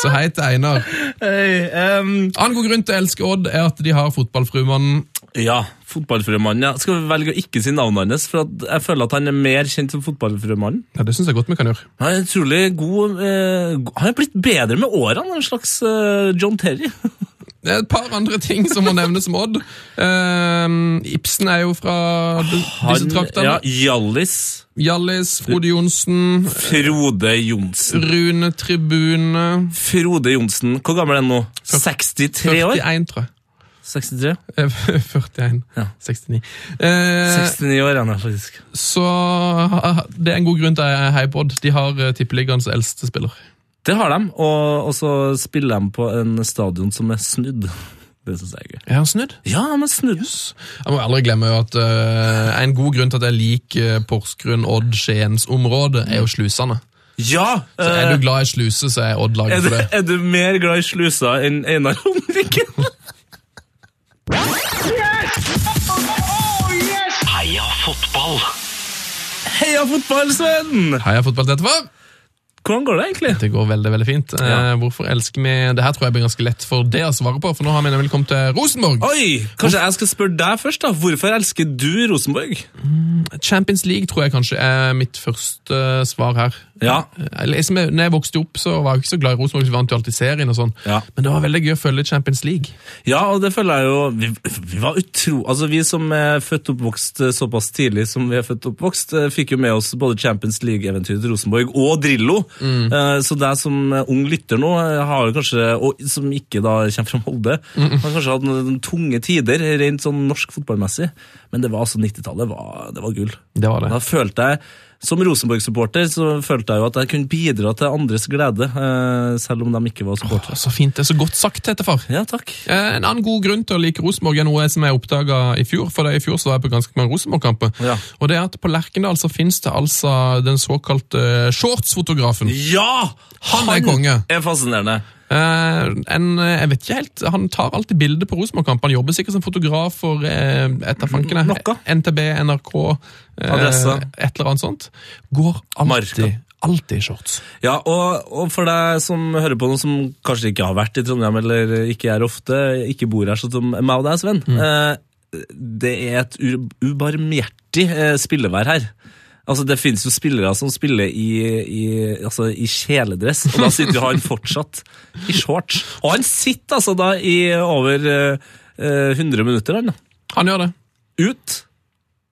[SPEAKER 1] Så hei til Einar.
[SPEAKER 5] Hey, ehm,
[SPEAKER 1] Annen god grunn til å elske Odd er at de har fotballfruemannen.
[SPEAKER 5] Ja, fotballfrømannen. Ja. Skal vi velge å ikke si navnet hans, for at jeg føler at han er mer kjent som fotballfrømannen.
[SPEAKER 1] Ja, det syns jeg godt vi kan gjøre.
[SPEAKER 5] Han er utrolig god eh, go- Han er blitt bedre med årene, en slags eh, John Terry.
[SPEAKER 1] Det er et par andre ting som må nevnes som Odd. Ehm, Ibsen er jo fra d- disse traktene.
[SPEAKER 5] ja, Hjallis
[SPEAKER 1] Hjallis, Frode Johnsen,
[SPEAKER 5] Frode Johnsen.
[SPEAKER 1] Rune Tribune
[SPEAKER 5] Frode Johnsen, hvor gammel er han nå? 63 år?
[SPEAKER 1] 41, tror jeg.
[SPEAKER 5] 63?
[SPEAKER 1] Eh, 41.
[SPEAKER 5] Ja.
[SPEAKER 1] 69. Eh,
[SPEAKER 5] 69 år er han faktisk.
[SPEAKER 1] så ah, det er en god grunn til at jeg heier på Odd. De har eh, tippeligaens eldste spiller.
[SPEAKER 5] Det har de, og, og så spiller de på en stadion som er snudd. Det syns jeg er gøy.
[SPEAKER 1] Er han snudd?
[SPEAKER 5] Ja, men snudd.
[SPEAKER 1] Jeg må aldri glemme jo at eh, en god grunn til at jeg liker eh, Porsgrunn, Odd, Skiens område, er jo slusene.
[SPEAKER 5] Ja!
[SPEAKER 1] Så er du glad i sluse, så er Odd
[SPEAKER 5] Er
[SPEAKER 1] laget
[SPEAKER 5] du,
[SPEAKER 1] for det.
[SPEAKER 5] er du mer glad i slusa enn Einar Håndlykken?
[SPEAKER 4] Heia fotball.
[SPEAKER 5] Heia fotball, Sven!
[SPEAKER 1] Har jeg fotball til dette for?
[SPEAKER 5] Hvordan går det egentlig?
[SPEAKER 1] Det går veldig veldig fint. Eh,
[SPEAKER 5] Ja.
[SPEAKER 1] hvorfor elsker vi Det her tror jeg blir ganske lett for det å svare på, for nå har vi nemlig kommet til Rosenborg.
[SPEAKER 5] Oi, Kanskje jeg skal spørre deg først. da. Hvorfor elsker du Rosenborg?
[SPEAKER 1] Champions League tror jeg kanskje er mitt første eh, svar her.
[SPEAKER 5] Ja.
[SPEAKER 1] Jeg, liksom, jeg- når jeg vokste opp, så var jeg ikke så glad i Rosenborg. Vi vant jo alltid serien og sånn.
[SPEAKER 5] Ja.
[SPEAKER 1] Men det var veldig gøy å følge Champions League.
[SPEAKER 5] ja, og det føler jeg jo Vi, vi var utro... Altså, Vi som er født og oppvokst eh, såpass tidlig som vi er født og oppvokst, eh, fikk jo med oss både Champions League-eventyret til Rosenborg og Drillo. Eh, Så deg som eh, ung lytter nå, eh, har kanskje, og som ikke da kommer fra Molde, har kanskje hatt noen tunge tider rent sånn norsk fotballmessig, men det var altså 90-tallet. var- Det var gull.
[SPEAKER 1] Det var det.
[SPEAKER 5] Da følte jeg, Som Rosenborg-supporter så følte jeg jo at jeg kunne bidra til andres glede, eh, selv om de ikke var supportere.
[SPEAKER 1] Åh, så fint. Det er så godt sagt, Tetefar.
[SPEAKER 5] Ja, takk.
[SPEAKER 1] Eh, En annen god grunn til å like Rosenborg er noe som jeg oppdaga i fjor. For det, I fjor så var jeg på ganske mange Rosenborg-kamper.
[SPEAKER 5] Ja.
[SPEAKER 1] Og det er at på Lerkendal så fins det altså den såkalte eh, shortsfotografen.
[SPEAKER 5] Ja!
[SPEAKER 1] Han er konge.
[SPEAKER 5] er fascinerende.
[SPEAKER 1] Eh, en, eh, jeg vet ikke helt, Han tar alltid bilder på Rosenborg-kamp. Han jobber sikkert som fotograf for eh, et av fankene.
[SPEAKER 5] Noe.
[SPEAKER 1] NTB, NRK, eh,
[SPEAKER 5] Adresse.
[SPEAKER 1] et eller annet sånt. Går alltid,
[SPEAKER 5] Marka.
[SPEAKER 1] alltid i shorts.
[SPEAKER 5] Ja, og, og for deg som hører på noe som kanskje ikke har vært i Trondheim, eller ikke er ofte, ikke bor her sånn som meg og deg, Sven.
[SPEAKER 1] Mm.
[SPEAKER 5] Eh, det er et u- ubarmhjertig eh, spillevær her. Altså, Det finnes jo spillere som spiller i, i, altså, i kjeledress, og da sitter jo han fortsatt i shorts. Og han sitter altså da i over eh, eh, 100 minutter, han da.
[SPEAKER 1] Han gjør det.
[SPEAKER 5] Ut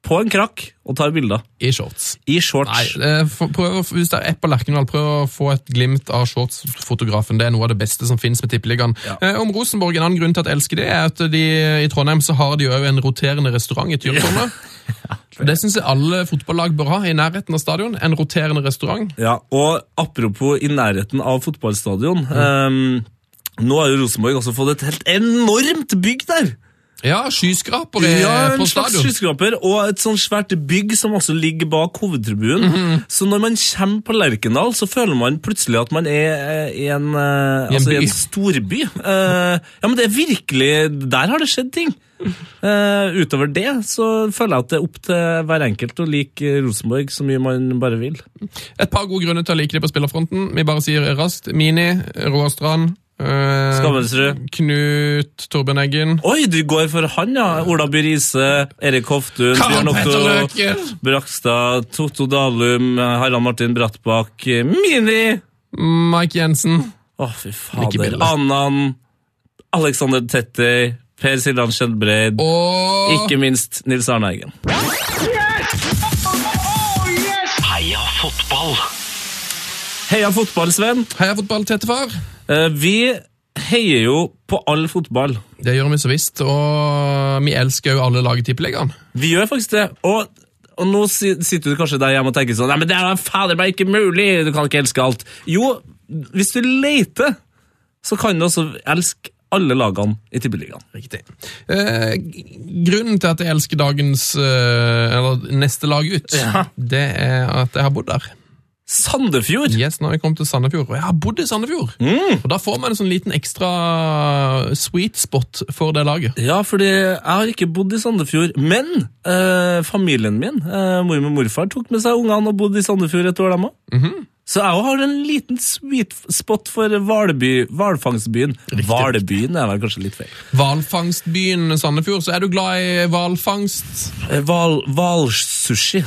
[SPEAKER 5] på en krakk og tar bilder.
[SPEAKER 1] I shorts.
[SPEAKER 5] I shorts.
[SPEAKER 1] Nei, eh, for- prøv å, Hvis det er på Lerkendal, prøv å få et glimt av shortsfotografen. Det er noe av det beste som finnes med Tippeligaen. Eh, om Rosenborg, En annen grunn til at jeg elsker det, er at de i Trondheim så har de jo også en roterende restaurant i Tyretårnet. Det syns jeg alle fotballag bør ha i nærheten av stadion. En roterende restaurant.
[SPEAKER 5] Ja, og apropos i nærheten av fotballstadion ehm, Nå har jo Rosenborg også fått et helt enormt bygg der!
[SPEAKER 1] Ja, skyskraper i-
[SPEAKER 5] Ja,
[SPEAKER 1] Eh, på
[SPEAKER 5] En slags
[SPEAKER 1] stadion.
[SPEAKER 5] skyskraper og et sånn svært bygg som også ligger bak hovedtribunen.
[SPEAKER 1] Mhm.
[SPEAKER 5] Så når man kommer på Lerkendal, så føler man plutselig at man er eh, i en, eh,
[SPEAKER 1] I en
[SPEAKER 5] altså, i
[SPEAKER 1] by.
[SPEAKER 5] en storby. Eh, ja, men det er virkelig Der har det skjedd ting! Eh, utover det så føler jeg at det er opp til hver enkelt å like Rosenborg så mye man bare vil.
[SPEAKER 1] Et par gode grunner til å like det på spillerfronten. Vi bare sier raskt Mini, Roar Strand, eh,
[SPEAKER 5] Skammelsrud.
[SPEAKER 1] Knut Torbjørn Eggen
[SPEAKER 5] Oi, du går for han, ja. Ola By Riise, Erik Hoftun, Bjørn Otto Brakstad, Totto Dalum, Harald Martin Brattbakk, Mini
[SPEAKER 1] Mike Jensen.
[SPEAKER 5] Å, fy
[SPEAKER 1] Like
[SPEAKER 5] fader.
[SPEAKER 1] billig.
[SPEAKER 5] Annan, Alexander Tetter, Per Siljan Skjelbreid,
[SPEAKER 1] Og
[SPEAKER 5] ikke minst Nils Arne Eggen.
[SPEAKER 4] Heia fotball.
[SPEAKER 5] Heia fotball, Sven.
[SPEAKER 1] Heia fotball, tetefar!
[SPEAKER 5] Eh, Vi heier jo på all fotball.
[SPEAKER 1] Det gjør vi så visst, og vi elsker jo alle lag i Tippeligaen.
[SPEAKER 5] Vi gjør faktisk det. Og, og nå si- sitter du kanskje der hjemme og tenker sånn Nei, men det er da fader meg ikke mulig! Du kan ikke elske alt. Jo, hvis du leter, så kan du også elske alle lagene i Tippeligaen.
[SPEAKER 1] Riktig. Eh, g- grunnen til at jeg elsker dagens, eh, eller neste lag ut,
[SPEAKER 5] Ja.
[SPEAKER 1] det er at jeg har bodd der.
[SPEAKER 5] Sandefjord!
[SPEAKER 1] Yes, nå har jeg kommet til Sandefjord, og jeg har bodd i Sandefjord.
[SPEAKER 5] Mm.
[SPEAKER 1] Og da får man en sånn liten ekstra sweet spot for det laget.
[SPEAKER 5] Ja, fordi jeg har ikke bodd i Sandefjord, men eh, familien min, eh, mor og morfar, tok med seg ungene og bodde i Sandefjord et år, dem òg. Så jeg også har en liten sweet spot for Hvalby- hvalfangstbyen. Hvalbyen er vel kanskje litt feil.
[SPEAKER 1] Hvalfangstbyen Sandefjord, så er du glad i hvalfangst,
[SPEAKER 5] Eh, hval- Hvalsushi.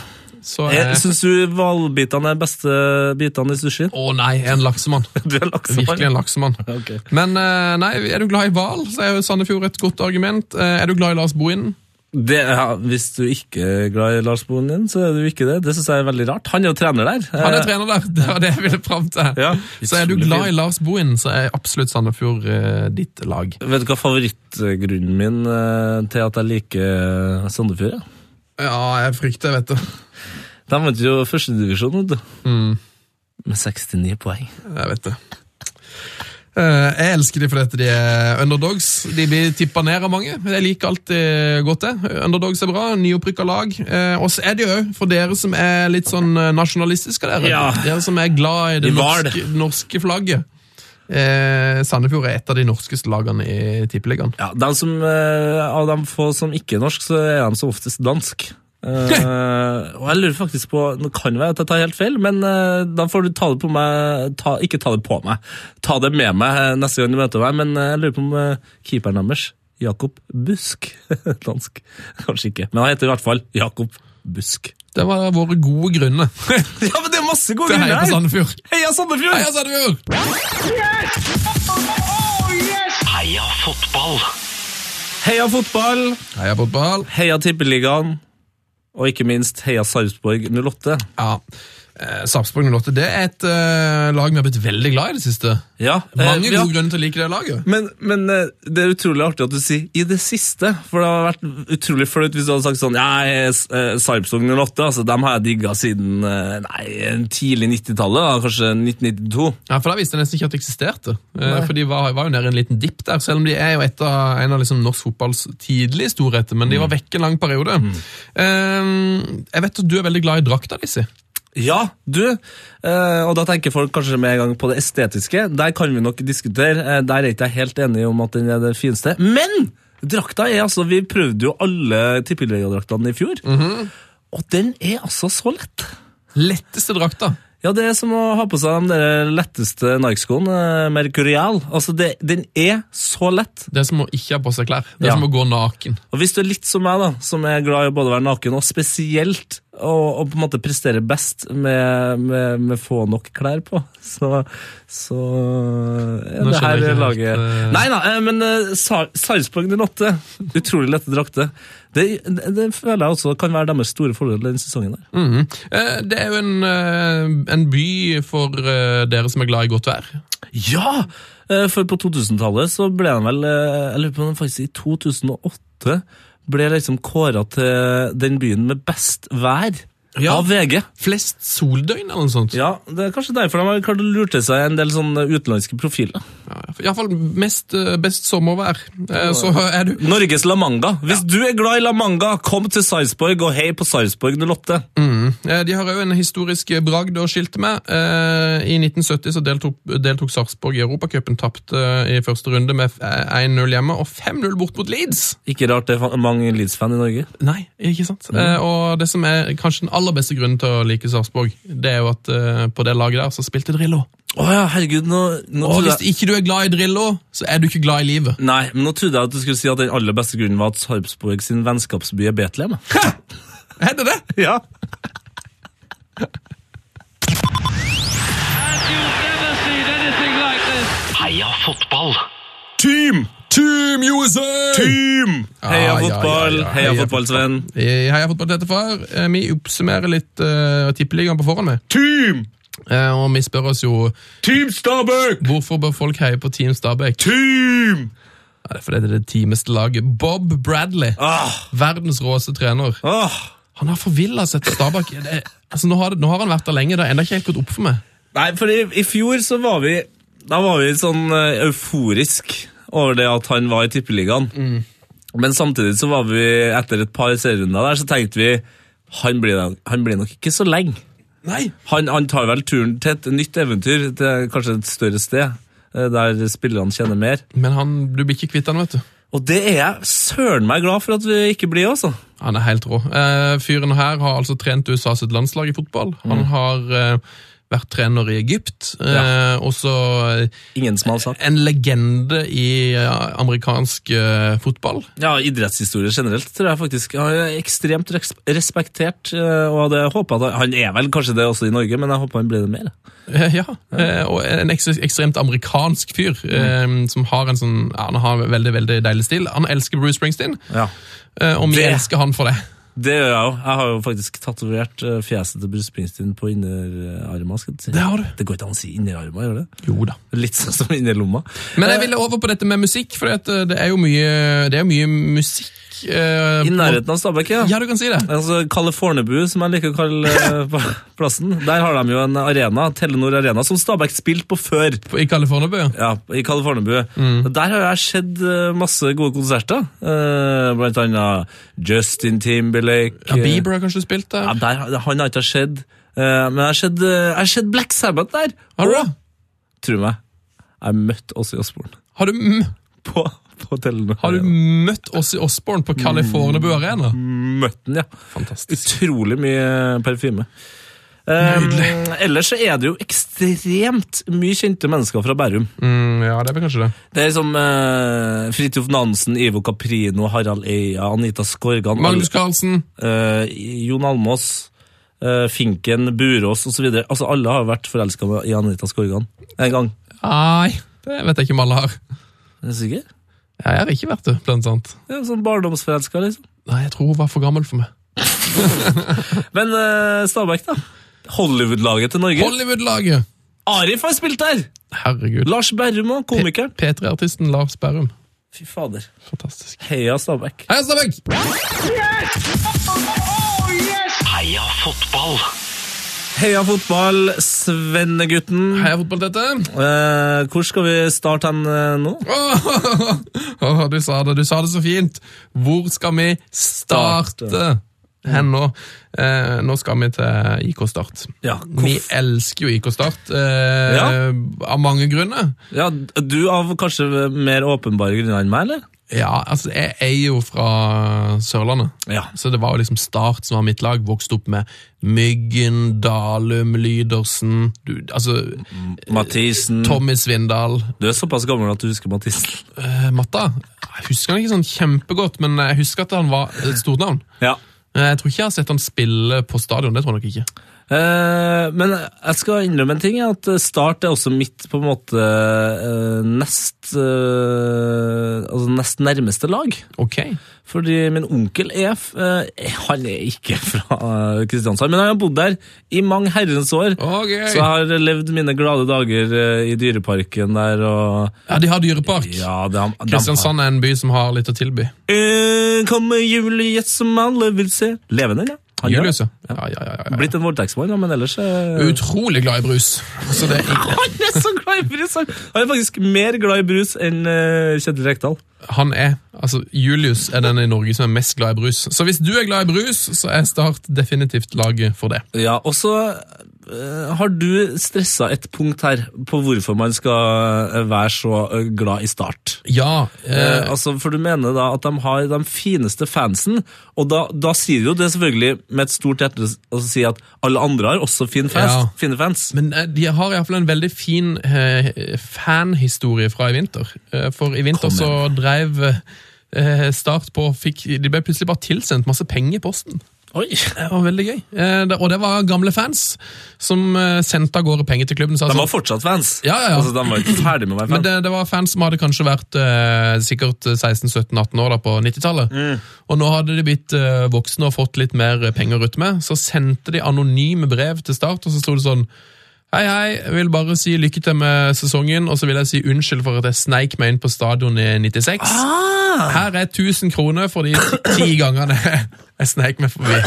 [SPEAKER 1] så eh, er
[SPEAKER 5] Jeg Syns du hvalbitene er beste bitene i sushien?
[SPEAKER 1] Å nei, jeg er en laksemann.
[SPEAKER 5] Du er laksemann.
[SPEAKER 1] Virkelig en laksemann.
[SPEAKER 5] Ok.
[SPEAKER 1] Men eh, nei, er du glad i hval, så er jo Sandefjord et godt argument. Eh, Er du glad i Lars Bohinen?
[SPEAKER 5] Det, ja, hvis du ikke er glad i Lars Bohnen din, så er du ikke det. Det syns jeg er veldig rart. Han er jo trener der.
[SPEAKER 1] Han er
[SPEAKER 5] Eh,
[SPEAKER 1] trener der, det var det jeg ville fram til.
[SPEAKER 5] Ja,
[SPEAKER 1] så er du
[SPEAKER 5] utrolig
[SPEAKER 1] glad i
[SPEAKER 5] fint.
[SPEAKER 1] Lars Bohin, så er absolutt Sandefjord eh, ditt lag.
[SPEAKER 5] Vet du hva favorittgrunnen min eh, til at jeg liker eh, Sandefjord er?
[SPEAKER 1] Ja, jeg frykter, vet du.
[SPEAKER 5] De vant jo førstedivisjon, vet du. Med 69 poeng.
[SPEAKER 1] Jeg vet det. Eh, Jeg elsker de fordi at de er underdogs. De blir tippa ned av mange. Jeg liker alltid godt det. Underdogs er bra. Nyopprykka lag. Eh, Og så er det jo for dere som er litt sånn eh, nasjonalistiske, dere.
[SPEAKER 5] Ja.
[SPEAKER 1] Dere som er glad i det
[SPEAKER 5] I Vard.
[SPEAKER 1] norske, norske flagget. Eh, Sandefjord er et av de norskeste lagene i Tippeligaen.
[SPEAKER 5] Ja, de som, eh, av de få som ikke er norsk, så er de som oftest dansk. Eh, og jeg lurer faktisk på Nå kan det være at jeg tar helt feil, men eh, da får du ta det på meg ta, Ikke ta det på meg, ta det med meg eh, neste gang du møter meg, men eh, jeg lurer på om eh, keeperen deres, Jakob Busk Dansk. Kanskje ikke, men han heter i hvert fall Jakob Busk.
[SPEAKER 1] Det var våre gode grunner
[SPEAKER 5] ja, men det er masse gode
[SPEAKER 1] til å heie på
[SPEAKER 5] grunner her!
[SPEAKER 1] Sandefjord.
[SPEAKER 5] Heia Sandefjord!
[SPEAKER 1] Heia Sandefjord!
[SPEAKER 4] Heia fotball.
[SPEAKER 5] Heia fotball!
[SPEAKER 1] Heia fotball.
[SPEAKER 5] Heia Tippeligaen! Og ikke minst Heia Sarpsborg 08.
[SPEAKER 1] Ja. Eh, Sarpsborg 08 det er et eh, lag vi har blitt veldig glad i i det siste.
[SPEAKER 5] Ja, eh,
[SPEAKER 1] Mange
[SPEAKER 5] vi har-
[SPEAKER 1] gode grunner til å like det laget.
[SPEAKER 5] Men, men eh, det er utrolig artig at du sier 'i det siste', for det hadde vært utrolig flaut hvis du hadde sagt sånn «Ja, eh, Sarpsborg 08, altså, dem har jeg digga siden eh, nei, tidlig 90-tallet, da, kanskje 1992.
[SPEAKER 1] Ja, For Da visste jeg nesten ikke at det eksisterte. Eh, for De var, var jo nede i en liten dipp der, selv om de er jo et av, en av liksom norsk fotballs tidlige Mm. storheter. Men de var vekke en lang periode. Eh, jeg vet at du er veldig glad i drakta di. si.
[SPEAKER 5] Ja, du. Eh, og da tenker folk kanskje med en gang på det estetiske. Der kan vi nok diskutere. Eh, der er ikke jeg helt enig om at den er det fineste. Men drakta er altså Vi prøvde jo alle tippeligadraktene i fjor, og den er altså så lett.
[SPEAKER 1] Letteste drakta.
[SPEAKER 5] Ja, det er som å ha på seg de der letteste Nike-skoene, eh, Mercurial. Altså, det, den er så lett.
[SPEAKER 1] Det er som å ikke ha på seg klær. Det er
[SPEAKER 5] Ja.
[SPEAKER 1] som å gå naken.
[SPEAKER 5] Og hvis du er litt som meg, da, som er glad i både å være naken og spesielt å- å på en måte prestere best med, med, med få nok klær på, så, så ja,
[SPEAKER 1] Nå
[SPEAKER 5] det
[SPEAKER 1] skjønner
[SPEAKER 5] her
[SPEAKER 1] jeg ikke
[SPEAKER 5] laget
[SPEAKER 1] helt, eh.
[SPEAKER 5] Nei da, eh, men eh, Sar- Sarpsborg 08, utrolig lette drakter. Det, det, det føler jeg også kan være deres store fordel denne sesongen. der.
[SPEAKER 1] Mhm. Eh, Det er jo en, eh, en by for eh, dere som er glad i godt vær.
[SPEAKER 5] Ja! eh, For på 2000-tallet så ble han vel eh, Jeg lurer på om han faktisk i 2008 ble liksom kåra til den byen med best vær
[SPEAKER 1] Ja.
[SPEAKER 5] av VG.
[SPEAKER 1] Flest soldøgn eller noe sånt. Ja.
[SPEAKER 5] Ja, det er kanskje derfor de har klart å lure til seg en del sånne utenlandske profiler.
[SPEAKER 1] Iallfall best sommervær. Eh, Så er du
[SPEAKER 5] Norges La Manga. Hvis du er glad i La Manga, kom til Sarpsborg og hei på Sarpsborg 08.
[SPEAKER 1] Eh, De har òg en historisk bragd å skilte med. Eh, I 1970 så deltok, deltok Sarpsborg i Europacupen, tapte eh, i første runde med f- eh, 1-0 hjemme og 5-0 bort mot Leeds.
[SPEAKER 5] Ikke rart det er fa- mange Leeds-fan i Norge.
[SPEAKER 1] Nei, ikke sant? Eh, Og det som er kanskje den aller beste grunnen til å like Sarpsborg, det er jo at eh, på det laget der så spilte Drillo.
[SPEAKER 5] Å ja, herregud, nå, nå
[SPEAKER 1] Og
[SPEAKER 5] trodde
[SPEAKER 1] hvis
[SPEAKER 5] jeg
[SPEAKER 1] ikke du er glad i Drillo, så er du ikke glad i livet.
[SPEAKER 5] Nei, men nå trodde jeg at du skulle si at den aller beste grunnen var at Sarpsborg sin vennskapsby er Betlehem.
[SPEAKER 1] Er det det?
[SPEAKER 5] Ja.
[SPEAKER 3] You've never seen anything like this.
[SPEAKER 4] Heia fotball!
[SPEAKER 5] Team!
[SPEAKER 1] Team USA!
[SPEAKER 5] Team! Heia
[SPEAKER 1] Ah, Ja, ja, ja,
[SPEAKER 5] fotball!
[SPEAKER 1] ja.
[SPEAKER 5] Heia
[SPEAKER 1] Heia
[SPEAKER 5] fotball, Sven.
[SPEAKER 1] I Heia fotball til dette far. Eh, Vi oppsummerer litt uh, tippeligaen på forhånd, vi.
[SPEAKER 5] Team!
[SPEAKER 1] Eh, og vi spør oss jo
[SPEAKER 5] Team Stabæk!
[SPEAKER 1] hvorfor bør folk heie på Team Stabæk?
[SPEAKER 5] Team!
[SPEAKER 1] Ja, det er fordi det er det teameste laget. Bob Bradley,
[SPEAKER 5] Ah,
[SPEAKER 1] verdens råeste trener.
[SPEAKER 5] ah.
[SPEAKER 1] Han har forvilla seg til Stabæk. Det, altså, nå, har det, nå har han vært der lenge. Det har ennå ikke helt gått opp for meg.
[SPEAKER 5] Nei, for i, i fjor så var vi Da var vi sånn eh, euforisk over det at han var i tippeligaen.
[SPEAKER 1] Mm.
[SPEAKER 5] Men samtidig så var vi etter et par serierunder der, så tenkte vi han blir, han blir nok ikke så lenge.
[SPEAKER 1] Nei.
[SPEAKER 5] Han, han tar vel turen til et nytt eventyr, til kanskje et større sted, eh, der spillerne tjener mer.
[SPEAKER 1] Men han, du blir ikke kvitt han, vet du.
[SPEAKER 5] Og det er jeg søren meg glad for at vi ikke blir, altså.
[SPEAKER 1] Han er helt rå. Eh, fyren her har altså trent USA sitt landslag i fotball.
[SPEAKER 5] Mm.
[SPEAKER 1] Han har eh, vært trener i Egypt. Eh, Også
[SPEAKER 5] Ingen som har sagt.
[SPEAKER 1] en legende i eh, amerikansk eh, fotball.
[SPEAKER 5] Ja, idrettshistorie generelt tror jeg faktisk. Han er ekstremt res- respektert, eh, og hadde håpet at han er vel kanskje det også i Norge, men jeg håper han blir det mer.
[SPEAKER 1] Eh, Ja, eh, og en eks- ekstremt amerikansk fyr eh, som har en sånn ja, Han har veldig veldig deilig stil. Han elsker Bruce Springsteen,
[SPEAKER 5] Ja.
[SPEAKER 1] eh, og vi
[SPEAKER 5] Det-
[SPEAKER 1] elsker han for det.
[SPEAKER 5] Det gjør jeg jo. Jeg har jo faktisk tatovert eh, fjeset til Bruce Springsteen på innerarmen. skal jeg si.
[SPEAKER 1] Det har du.
[SPEAKER 5] Det går ikke an å si innerarmen, gjør det?
[SPEAKER 1] Jo da.
[SPEAKER 5] Litt sånn som innerlomma.
[SPEAKER 1] Men jeg ville over på dette med musikk, for det er jo mye, det er jo mye musikk. eh,
[SPEAKER 5] I nærheten av Stabæk, ja.
[SPEAKER 1] på- Ja, du kan si det.
[SPEAKER 5] Altså Californebu, som jeg liker å kalle eh, pl- plassen. Der har de jo en arena, Telenor Arena, som Stabæk spilte på før.
[SPEAKER 1] På- I California.
[SPEAKER 5] Ja, i Kalifornebu.
[SPEAKER 1] Mm.
[SPEAKER 5] Der har jeg sett eh, masse gode konserter. Eh, Blant annet Justin Timberlake.
[SPEAKER 1] Ja, Bieber har kanskje spilt
[SPEAKER 5] Ja,
[SPEAKER 1] der.
[SPEAKER 5] der, har- han har ikke jeg sett. Eh, Men jeg har sett, eh, jeg har sett Black Sabbath der.
[SPEAKER 1] Har du,
[SPEAKER 5] Og, tro meg, jeg møtte Åse Jåsborn
[SPEAKER 1] har du, m-
[SPEAKER 5] på, på Telenor.
[SPEAKER 1] har du møtt Åssi Osborn på California Arena?
[SPEAKER 5] møtt den, ja.
[SPEAKER 1] Fantastisk.
[SPEAKER 5] Utrolig mye parfyme. Eh, ellers så er det jo ekstremt mye kjente mennesker fra Bærum.
[SPEAKER 1] Mm, ja, det er vel kanskje det.
[SPEAKER 5] Det er som eh, Fridtjof Nansen, Ivo Caprino, Harald Eia, Anita Skorgan,
[SPEAKER 1] Magnus Carlsen.
[SPEAKER 5] alle- eh, Jon Almås, eh, Finken, Burås osv. Altså, alle har vært forelska i Anita Skorgan en gang.
[SPEAKER 1] Nei, det vet jeg ikke om alle har.
[SPEAKER 5] Er du sikker?
[SPEAKER 1] Jeg har ikke vært det, blant annet.
[SPEAKER 5] Ja, sånn barndomsforelska, liksom.
[SPEAKER 1] Nei, jeg tror hun var for gammel for meg.
[SPEAKER 5] Men eh, Stabæk, da? Hollywood-laget til Norge.
[SPEAKER 1] Hollywood-laget!
[SPEAKER 5] Arif har spilt der!
[SPEAKER 1] Herregud.
[SPEAKER 5] Lars Berrum og komikeren.
[SPEAKER 1] P3-artisten Lars Berrum.
[SPEAKER 5] Fy fader.
[SPEAKER 1] Fantastisk.
[SPEAKER 5] Heia Stabæk.
[SPEAKER 1] Hei, Stabæk!
[SPEAKER 4] Heia fotball!
[SPEAKER 5] Heia fotball, Svennegutten.
[SPEAKER 1] Heia fotballtette!
[SPEAKER 5] Eh, hvor skal vi starte hen eh, nå?
[SPEAKER 1] Åh, du sa det, du sa det så fint. Hvor skal vi starte? hen nå. Eh, nå skal vi til IK Start.
[SPEAKER 5] Ja,
[SPEAKER 1] Vi
[SPEAKER 5] hvorf-
[SPEAKER 1] elsker jo IK Start eh,
[SPEAKER 5] Ja.
[SPEAKER 1] av mange grunner.
[SPEAKER 5] ja, du av kanskje mer åpenbare grunner enn meg, eller?
[SPEAKER 1] Ja, altså jeg er jo fra Sørlandet.
[SPEAKER 5] Ja.
[SPEAKER 1] Så det var jo liksom Start som var mitt lag. Vokste opp med Myggen, Dalum, Lydersen du, Altså
[SPEAKER 5] Mathisen.
[SPEAKER 1] Tommy Svindal.
[SPEAKER 5] Du er såpass gammel at du husker Mathisen.
[SPEAKER 1] Eh, Matta? Jeg husker han ikke sånn kjempegodt, men jeg husker at han var et stort navn.
[SPEAKER 5] Ja.
[SPEAKER 1] Eh, Jeg tror ikke jeg har sett han spille på stadion. det tror jeg nok ikke.
[SPEAKER 5] Eh, men jeg skal innrømme en ting, at Start er også mitt på en måte eh, nest eh, Altså nest nærmeste lag.
[SPEAKER 1] Ok.
[SPEAKER 5] Fordi min onkel er f- eh, Han er ikke fra eh, Kristiansand, men han har bodd der i mange herrens år. Så jeg
[SPEAKER 1] okay.
[SPEAKER 5] har levd mine glade dager eh, i dyreparken der og
[SPEAKER 1] Ja, De har dyrepark.
[SPEAKER 5] Ja, de, de,
[SPEAKER 1] Kristiansand er en by som har litt å tilby.
[SPEAKER 5] Eh, Kommer julegjett som alle vil se. Levende, ja. Han gjør det.
[SPEAKER 1] Julius, ja. Ja, ja, ja, ja, ja.
[SPEAKER 5] Blitt en voldtektsmann, ja, men ellers eh,
[SPEAKER 1] Utrolig glad i brus. Så det er
[SPEAKER 5] Han er så glad i brus! Han Han er faktisk mer glad i brus enn eh, Kjetil Rekdal.
[SPEAKER 1] Han er, altså Julius er den i Norge som er mest glad i brus. Så hvis du er glad i brus, så er Start definitivt laget for det.
[SPEAKER 5] Ja, og så eh, har du stressa et punkt her på hvorfor man skal eh, være så eh, glad i Start.
[SPEAKER 1] Ja,
[SPEAKER 5] Eh,
[SPEAKER 1] eh,
[SPEAKER 5] altså, for du mener da at de har de fineste fansen, og da, da sier du jo det selvfølgelig med et stort hjerte og så sier at alle andre har også fin fans,
[SPEAKER 1] Ja.
[SPEAKER 5] fine fans.
[SPEAKER 1] men eh, de har iallfall en veldig fin eh, fanhistorie fra i vinter. Eh, for i vinter
[SPEAKER 5] Kom igjen.
[SPEAKER 1] så dreiv eh, Start på fikk, De ble plutselig bare tilsendt masse penger i posten.
[SPEAKER 5] Oi!
[SPEAKER 1] Det var veldig gøy. Eh, det, og det var gamle fans som eh, sendte av gårde penger til klubben. Så
[SPEAKER 5] De
[SPEAKER 1] altså-
[SPEAKER 5] var fortsatt fans.
[SPEAKER 1] Ja, ja, ja.
[SPEAKER 5] Altså, de var ikke ferdig med å være
[SPEAKER 1] Men
[SPEAKER 5] fans.
[SPEAKER 1] det, det var fans som hadde kanskje vært eh, sikkert 16-17-18 år da på 90-tallet. Og nå hadde de blitt eh, voksne og fått litt mer eh, penger ut med. Så sendte de anonyme brev til start, og så sto det sånn Hei, hei, jeg vil bare si lykke til med sesongen, og så vil jeg si unnskyld for at jeg sneik meg inn på stadion i 96.
[SPEAKER 5] Ah.
[SPEAKER 1] Her er 1000 kroner for de ti- ti gangene jeg sneik meg forbi.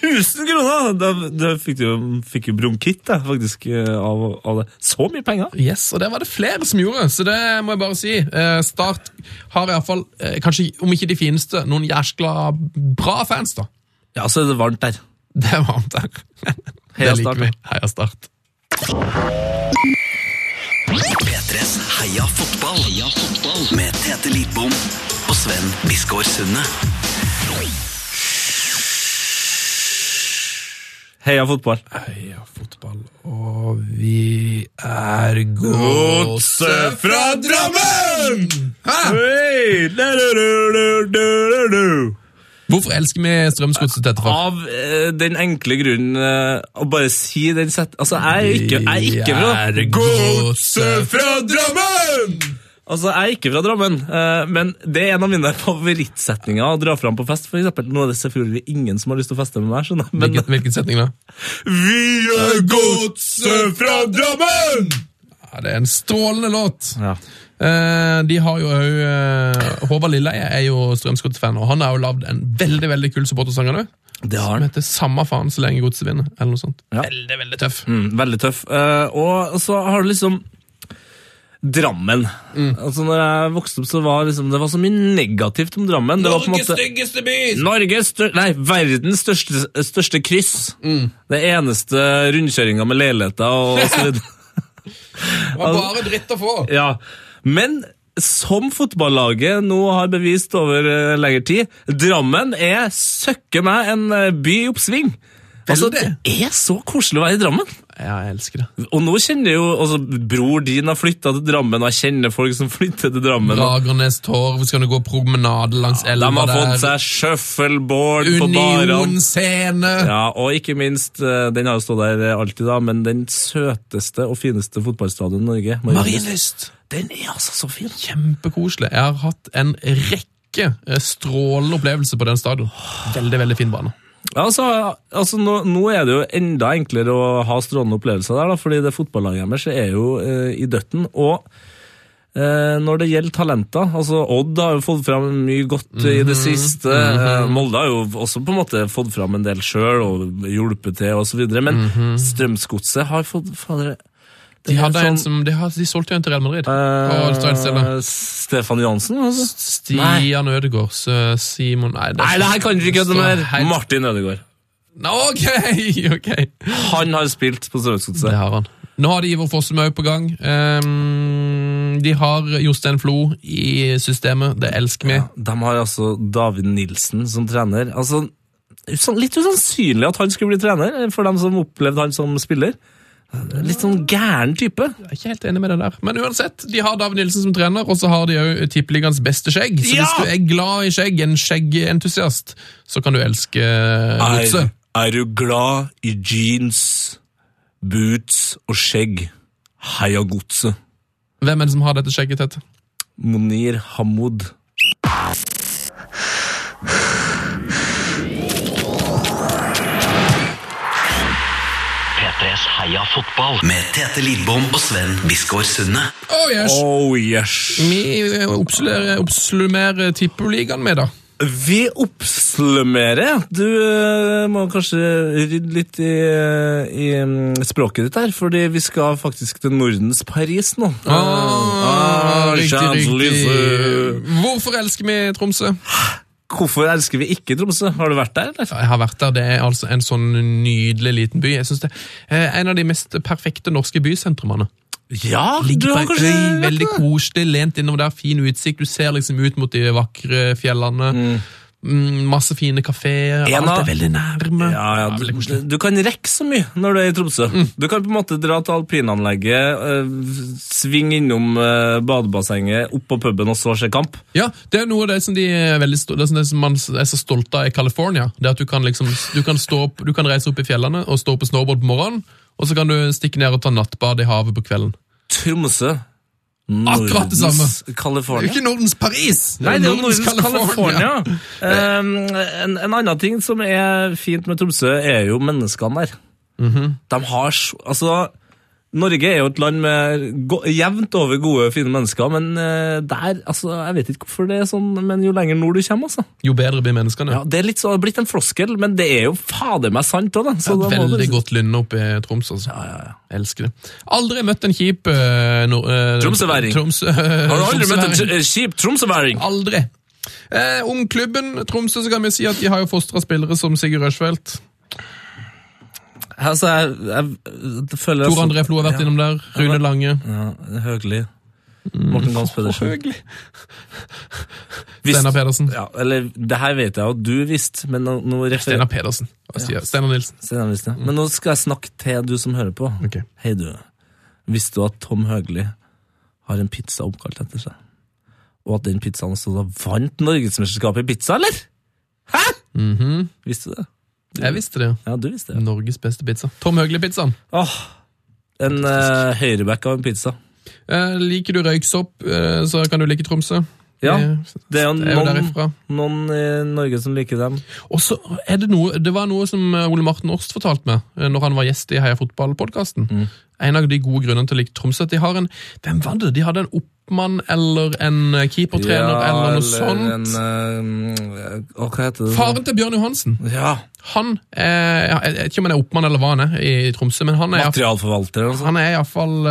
[SPEAKER 5] 1000 kroner! Da, da fikk du jo fikk jo bronkitt da, faktisk eh, av, av det. Så mye penger!
[SPEAKER 1] Yes, og det var det flere som gjorde, så det må jeg bare si. Eh, Start har iallfall, eh, kanskje om ikke de fineste, noen jæskla bra fans, da.
[SPEAKER 5] Ja, så er det varmt der.
[SPEAKER 1] Det er varmt der.
[SPEAKER 5] Heia
[SPEAKER 1] det
[SPEAKER 5] Start.
[SPEAKER 1] liker vi. Heia Start.
[SPEAKER 4] P3s Heia fotball. Heia fotball. Med Tete Lidbom og Sven Biskår Sunde.
[SPEAKER 5] Heia fotball.
[SPEAKER 1] Heia fotball, og vi er
[SPEAKER 2] Godset fra Drammen!
[SPEAKER 5] Hey! Du-du-du-du-du-du.
[SPEAKER 1] Hvorfor elsker vi Strømsgodset dette for?
[SPEAKER 5] Av eh, den enkle grunnen eh, å bare si den set... Altså, jeg er jo ikke, jeg er
[SPEAKER 1] Vi
[SPEAKER 5] ikke fra
[SPEAKER 1] er
[SPEAKER 2] Godset fra Drammen!
[SPEAKER 5] Altså, jeg er ikke fra Drammen, eh, men det er en av mine favorittsetninger å dra fram på fest, for eksempel. Nå er det selvfølgelig ingen som har lyst til å feste med meg, skjønner jeg, men
[SPEAKER 1] Hvilken, hvilken setning da?
[SPEAKER 2] Vi er godset fra Drammen!
[SPEAKER 1] Ja, det er en strålende låt.
[SPEAKER 5] Ja.
[SPEAKER 1] Eh, de har jo òg eh, Håvard Lilleheie er jo Strømsgodset-fan, og han har jo lagd en veldig veldig kul supportersang nå.
[SPEAKER 5] det har
[SPEAKER 1] Som
[SPEAKER 5] han.
[SPEAKER 1] heter 'Samme faen så lenge godset vinner'. eller noe sånt.
[SPEAKER 5] Ja.
[SPEAKER 1] Veldig, veldig tøff.
[SPEAKER 5] Mm, veldig tøff. Eh, og så har du liksom Drammen. Altså, når jeg vokste opp, så var liksom, det var så mye negativt om Drammen. Det var på en måte...
[SPEAKER 1] styggeste by!
[SPEAKER 5] Norges stør nei, verdens største, største kryss. Det eneste rundkjøringa med leiligheter og, og så videre.
[SPEAKER 1] Det var bare dritt å få!
[SPEAKER 5] Ja. Men som fotballaget nå har bevist over eh, lengre tid, Drammen er søkke meg en eh, by i oppsving. Altså, det
[SPEAKER 1] Veldig.
[SPEAKER 5] er så koselig å være i Drammen.
[SPEAKER 1] Ja, jeg elsker det.
[SPEAKER 5] Og nå kjenner jeg jo altså, Bror din har flytta til Drammen, og jeg kjenner folk som flytter til Drammen. og
[SPEAKER 1] Lagernes Torv, skal du gå promenade langs
[SPEAKER 5] De
[SPEAKER 1] elva
[SPEAKER 5] har fått
[SPEAKER 1] der.
[SPEAKER 5] seg shuffleboard på barene.
[SPEAKER 1] Union scene!
[SPEAKER 5] Ja, og ikke minst, eh, den har jo stått der eh, alltid da, men den søteste og fineste fotballstadion i Norge, Marienlyst,
[SPEAKER 1] Marienlyst!
[SPEAKER 5] den er altså så fin.
[SPEAKER 1] Kjempekoselig. Jeg har hatt en rekke eh, strålende opplevelser på den stadion. Veldig, veldig fin bane.
[SPEAKER 5] Ja, altså, altså nå, nå er det jo enda enklere å ha strålende opplevelser der, da, fordi det fotballaget deres er jo eh, i døtten, og eh, når det gjelder talenter, altså Odd har jo fått fram mye godt eh, i det siste, eh, Molde har jo også på en måte fått fram en Mhm. del selv, og hjulpet til og så videre, men Strømsgodset har fått, fader,
[SPEAKER 1] De, hadde en som, de, har- de solgte jo en til Real Madrid. og så et sted da.
[SPEAKER 5] sånn- Eh, Stefan Johansen? Altså.
[SPEAKER 1] Stian Ødegaard, så Simon Nei, det,
[SPEAKER 5] Nei, det her kan du ikke kødde
[SPEAKER 1] står
[SPEAKER 5] med!
[SPEAKER 1] helt-
[SPEAKER 5] Martin Ødegaard.
[SPEAKER 1] Nå, Ok, ok.
[SPEAKER 5] Han har spilt
[SPEAKER 1] Det
[SPEAKER 5] på Strømsgodset.
[SPEAKER 1] har han. Nå har de Ivar Fossum òg på gang. Ehm, de har Jostein Flo i systemet. Det elsker vi.
[SPEAKER 5] De har altså David Nilsen som trener. Altså, usann- Litt usannsynlig at han skulle bli trener, eh, for dem som opplevde han som spiller. Litt sånn gæren type.
[SPEAKER 1] Jeg er ikke helt enig med det der. Men uansett, de har David Nilsen som trener, og så har de òg tippeligaens beste skjegg. Så hvis du er glad i skjegg, en skjeggentusiast, så kan du elske godset.
[SPEAKER 5] er du glad i jeans, boots og skjegg? Heia godset.
[SPEAKER 1] Hvem er det som har dette skjegget tett?
[SPEAKER 5] Monir Hamoud.
[SPEAKER 4] P3s Heia fotball med Tete Lidbom og Sven Biskår Sunne.
[SPEAKER 1] Oh, yes.
[SPEAKER 5] Oh yes.
[SPEAKER 1] Vi eh, oppsummerer, oppsummerer tippeligaen med, da.
[SPEAKER 5] Vi oppsummerer. Du eh, må kanskje rydde litt i, i mm, språket ditt der, fordi vi skal faktisk til Nordens Paris nå. Ah, Champs-Élysées.
[SPEAKER 1] Hvorfor elsker vi Tromsø?
[SPEAKER 5] Hvorfor elsker vi ikke Tromsø? Har du vært der, eller?
[SPEAKER 1] Jeg har vært der. Det er altså en sånn nydelig liten by. Jeg synes det er eh, En av de mest perfekte norske bysentrumene.
[SPEAKER 5] Ja, du
[SPEAKER 1] Ligger
[SPEAKER 5] har
[SPEAKER 1] på en
[SPEAKER 5] kanskje
[SPEAKER 1] øy,
[SPEAKER 5] vært
[SPEAKER 1] veldig
[SPEAKER 5] der.
[SPEAKER 1] koselig, lent innover der, fin utsikt. Du ser liksom ut mot de vakre fjellene. Mm, masse fine kafeer.
[SPEAKER 5] En
[SPEAKER 1] Alt
[SPEAKER 5] av-
[SPEAKER 1] er veldig nærme.
[SPEAKER 5] Ja, ja, Mm.
[SPEAKER 1] veldig
[SPEAKER 5] du,
[SPEAKER 1] koselig.
[SPEAKER 5] du kan rekke så mye når du er i Tromsø. Du kan på en måte dra til alpinanlegget, eh, svinge innom eh, badebassenget, opp på puben og så se kamp.
[SPEAKER 1] Ja, det er noe av det som de er veldig stol- det er sånn det som man er så stolt av i California. Det er at du kan, liksom, du, kan stå opp, du kan reise opp i fjellene og stå på snowboard på morgenen, og så kan du stikke ned og ta nattbad i havet på kvelden.
[SPEAKER 5] Tromsø.
[SPEAKER 1] Akkurat det
[SPEAKER 5] Nordens
[SPEAKER 1] Det er
[SPEAKER 5] California.
[SPEAKER 1] jo ikke Nordens Paris!
[SPEAKER 5] Nei, det er jo Nordens California. Eh, en, en annen ting som er fint med Tromsø, er jo menneskene der. De har så Altså, Norge er jo et land med go jevnt over gode, fine mennesker, men eh, der Altså, jeg vet ikke hvorfor det er sånn, men jo lenger nord du kommer, altså.
[SPEAKER 1] Jo bedre blir menneskene.
[SPEAKER 5] Ja, det er litt så, det har blitt en floskel, men det er jo fader meg sant òg, da. Så da må du
[SPEAKER 1] Veldig
[SPEAKER 5] liksom-
[SPEAKER 1] godt lynne opp i Troms. altså. Elsker det. Aldri møtt en kjip eh, nor- eh,
[SPEAKER 5] Tromsøværing.
[SPEAKER 1] Tromsø, har
[SPEAKER 5] Har du aldri møtt en tr- eh, kjip tromsøværing?
[SPEAKER 1] Aldri. Eh, om klubben Tromsø så kan vi si at de har jo fostra spillere som Sigurd Rushfeldt.
[SPEAKER 5] Altså, jeg, jeg, jeg føler
[SPEAKER 1] Tor André Flo har vært innom der. Rune Lange.
[SPEAKER 5] Ja, Høgli. Morten Gams Pedersen.
[SPEAKER 1] Høgli.
[SPEAKER 5] Hvis-
[SPEAKER 1] Steinar Pedersen.
[SPEAKER 5] Ja, eller det her vet jeg jo du visste, men nå, nå
[SPEAKER 1] Steinar
[SPEAKER 5] refererer
[SPEAKER 1] Pedersen. Hva sier jeg? Steinar Nilsen.
[SPEAKER 5] Steinar visste det. Men nå skal jeg snakke til du som hører på.
[SPEAKER 1] Ok.
[SPEAKER 5] Hei, du. Visste du at Tom Høgli har en pizza oppkalt etter seg? Og at den pizzaen også da vant Norgesmesterskapet i pizza, eller? Hæ?!
[SPEAKER 1] Mhm.
[SPEAKER 5] Visste du det?
[SPEAKER 1] Jeg visste det.
[SPEAKER 5] Ja, du visste det.
[SPEAKER 1] Norges beste pizza. Tom Høgli-pizzaen.
[SPEAKER 5] Åh, en uh, høyreback av en pizza.
[SPEAKER 1] Eh, liker du røyksopp, eh, så kan du like Tromsø.
[SPEAKER 5] Ja,
[SPEAKER 1] Eh,
[SPEAKER 5] det er jo
[SPEAKER 1] det er jo derifra.
[SPEAKER 5] noen, noen i Norge som liker dem.
[SPEAKER 1] Og så er det noe Det var noe som eh, Ole Martin Årst fortalte meg eh, når han var gjest i Heia Fotball-podkasten. En av de gode grunnene til å like Tromsø at de har en Hvem var det? De hadde en oppmann eller en eh, keepertrener eller noe
[SPEAKER 5] eh,
[SPEAKER 1] sånt.
[SPEAKER 5] En, eh, å, hva heter det?
[SPEAKER 1] Faren til Bjørn Johansen.
[SPEAKER 5] Ja,
[SPEAKER 1] Han er, jeg vet ikke om han er oppmann eller hva han er i Tromsø, men han er,
[SPEAKER 5] materialforvalter og sånt.
[SPEAKER 1] han er iallfall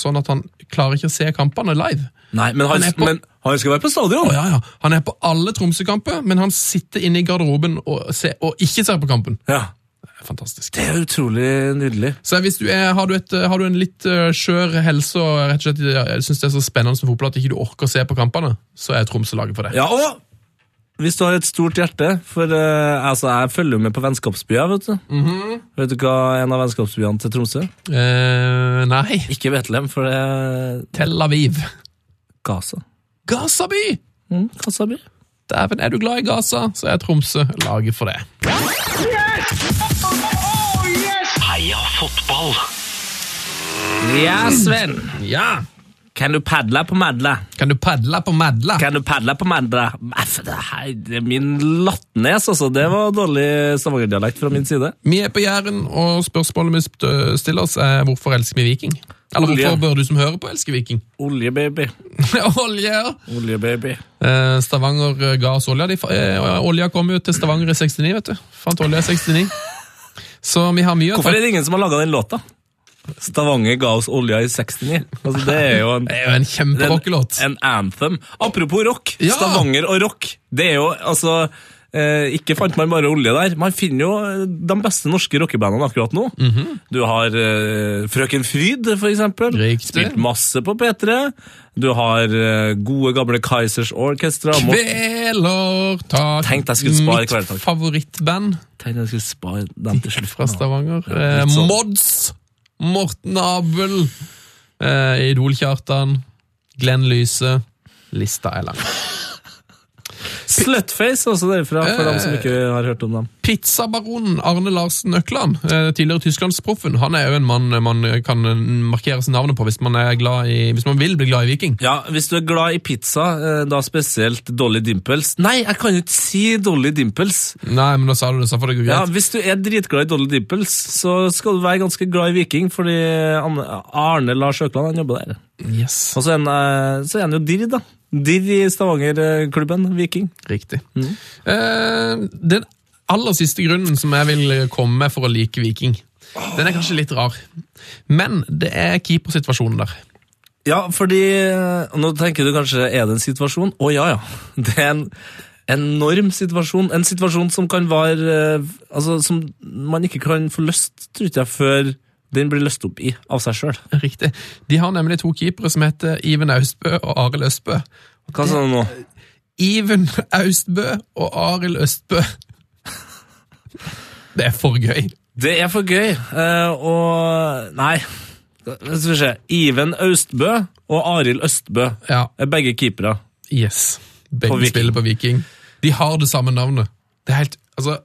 [SPEAKER 1] sånn at han klarer ikke å se kampene live.
[SPEAKER 5] Nei, men han,
[SPEAKER 1] Han er på-
[SPEAKER 5] men han skal være på stadion!
[SPEAKER 1] Å, ja, ja. Han er på alle Tromsø-kamper, men han sitter inne i garderoben og, ser, og ikke ser på kampen.
[SPEAKER 5] Ja.
[SPEAKER 1] Fantastisk.
[SPEAKER 5] Det er utrolig nydelig.
[SPEAKER 1] Så hvis du er, har, du et, har du en litt eh, skjør helse og rett og slett syns det er så spennende med fotball at ikke du orker å se på kampene, så er Tromsø laget for deg.
[SPEAKER 5] Ja, og hvis du har et stort hjerte For eh, altså, jeg følger jo med på vennskapsbyer, vet du.
[SPEAKER 1] Mhm.
[SPEAKER 5] Vet du hva en av vennskapsbyene til Tromsø?
[SPEAKER 1] Eh, nei,
[SPEAKER 5] Ikke Betlehem, for det er
[SPEAKER 1] Tel Aviv.
[SPEAKER 5] Gaza.
[SPEAKER 1] Gazaby!
[SPEAKER 5] Mm, Gaza-by.
[SPEAKER 1] Dæven, er du glad i Gaza, så er Tromsø laget for det.
[SPEAKER 4] Heia fotball.
[SPEAKER 5] Ja, Sven.
[SPEAKER 1] Ja!
[SPEAKER 5] Kan du padle på madla?
[SPEAKER 1] Kan du padle på Madla?
[SPEAKER 5] Kan du padle på madla? Nei, for det her- det er Min latnes, altså. Det var dårlig stavangerdialekt fra min side.
[SPEAKER 1] Vi er på Jæren, og spørsmålet vi st- stiller oss er hvorfor elsker vi viking? Eller
[SPEAKER 5] Olje.
[SPEAKER 1] hvorfor bør du som hører på, elske viking?
[SPEAKER 5] Oljebaby.
[SPEAKER 1] Olje! ja.
[SPEAKER 5] Oljebaby.
[SPEAKER 1] Eh, Stavanger eh, ga oss olja. De, fa- eh, olja kom jo til Stavanger i 69, vet du. Fant olja i 69. Så vi har mye å
[SPEAKER 5] Hvorfor
[SPEAKER 1] ta
[SPEAKER 5] er det ingen som har laga den låta? Stavanger ga oss olja i 69. Altså, det er jo en,
[SPEAKER 1] Det er jo en kjemperockelåt.
[SPEAKER 5] en anthem. Apropos rock.
[SPEAKER 1] Ja.
[SPEAKER 5] Stavanger og rock. Det er jo altså Eh, ikke fant man bare olje der. Man finner jo eh, de beste norske rockebandene akkurat nå.
[SPEAKER 1] Mhm.
[SPEAKER 5] Du har eh, Frøken Fryd, for eksempel.
[SPEAKER 1] Riktig.
[SPEAKER 5] Spilt masse på P3. Du har eh, gode, gamle Kaizers Orchestra. Mo-
[SPEAKER 1] Kvelertak.
[SPEAKER 5] Tenk deg skulle spare Kvelertak.
[SPEAKER 1] Mitt favorittband
[SPEAKER 5] Tenkte jeg skulle spare dem til slutt.
[SPEAKER 1] fra Stavanger.
[SPEAKER 5] Ja,
[SPEAKER 1] Eh,
[SPEAKER 5] litt sånn.
[SPEAKER 1] Mods. Morten Abel. Eh, Idol-Kjartan. Glenn Lyse. Lista er lang.
[SPEAKER 5] Slutface, altså, også derfra, for dem
[SPEAKER 1] Eh.
[SPEAKER 5] som ikke har hørt om dem.
[SPEAKER 1] Pizzabaronen Arne Larsen Økland, eh, tidligere Tysklandsproffen, han er jo en mann man kan eh, markere seg navnet på hvis man, er glad i, hvis man vil bli glad i Viking.
[SPEAKER 5] Ja, Hvis du er glad i pizza, eh, da spesielt Dolly Dimples Nei, jeg kan jo ikke si Dolly Dimples!
[SPEAKER 1] Nei, men da sa du det, så får det gå
[SPEAKER 5] Ja,
[SPEAKER 1] greit.
[SPEAKER 5] Hvis du er dritglad i Dolly Dimples, så skal du være ganske glad i Viking, fordi Anne- Arne Lars Økland han jobber der.
[SPEAKER 1] Yes.
[SPEAKER 5] Og så er han, eh, så er han jo dirr, da. Dirr i Stavanger-klubben Viking.
[SPEAKER 1] Riktig.
[SPEAKER 5] Mm.
[SPEAKER 1] Eh, den aller siste grunnen som jeg vil komme med for å like Viking, den er kanskje litt rar. Men det er keepersituasjonen der.
[SPEAKER 5] Ja, fordi eh, Nå tenker du kanskje er det en situasjon? Å ja, ja. Det er en enorm situasjon. En situasjon som kan være eh, Altså, som man ikke kan få løst, tror ikke jeg, før den blir løst opp i av seg sjøl.
[SPEAKER 1] Riktig. De har nemlig to keepere som heter Iven Austbø og Arild Østbø.
[SPEAKER 5] Hva sa du nå?
[SPEAKER 1] Iven Austbø og Arild Østbø. Det er for gøy.
[SPEAKER 5] Det er for gøy, eh, og Nei. Skal vi se. Iven Austbø og Arild Østbø
[SPEAKER 1] Ja.
[SPEAKER 5] er begge keepere.
[SPEAKER 1] Yes.
[SPEAKER 5] På
[SPEAKER 1] Begge
[SPEAKER 5] Viking.
[SPEAKER 1] spiller på Viking. De har det samme navnet. Det er helt, altså,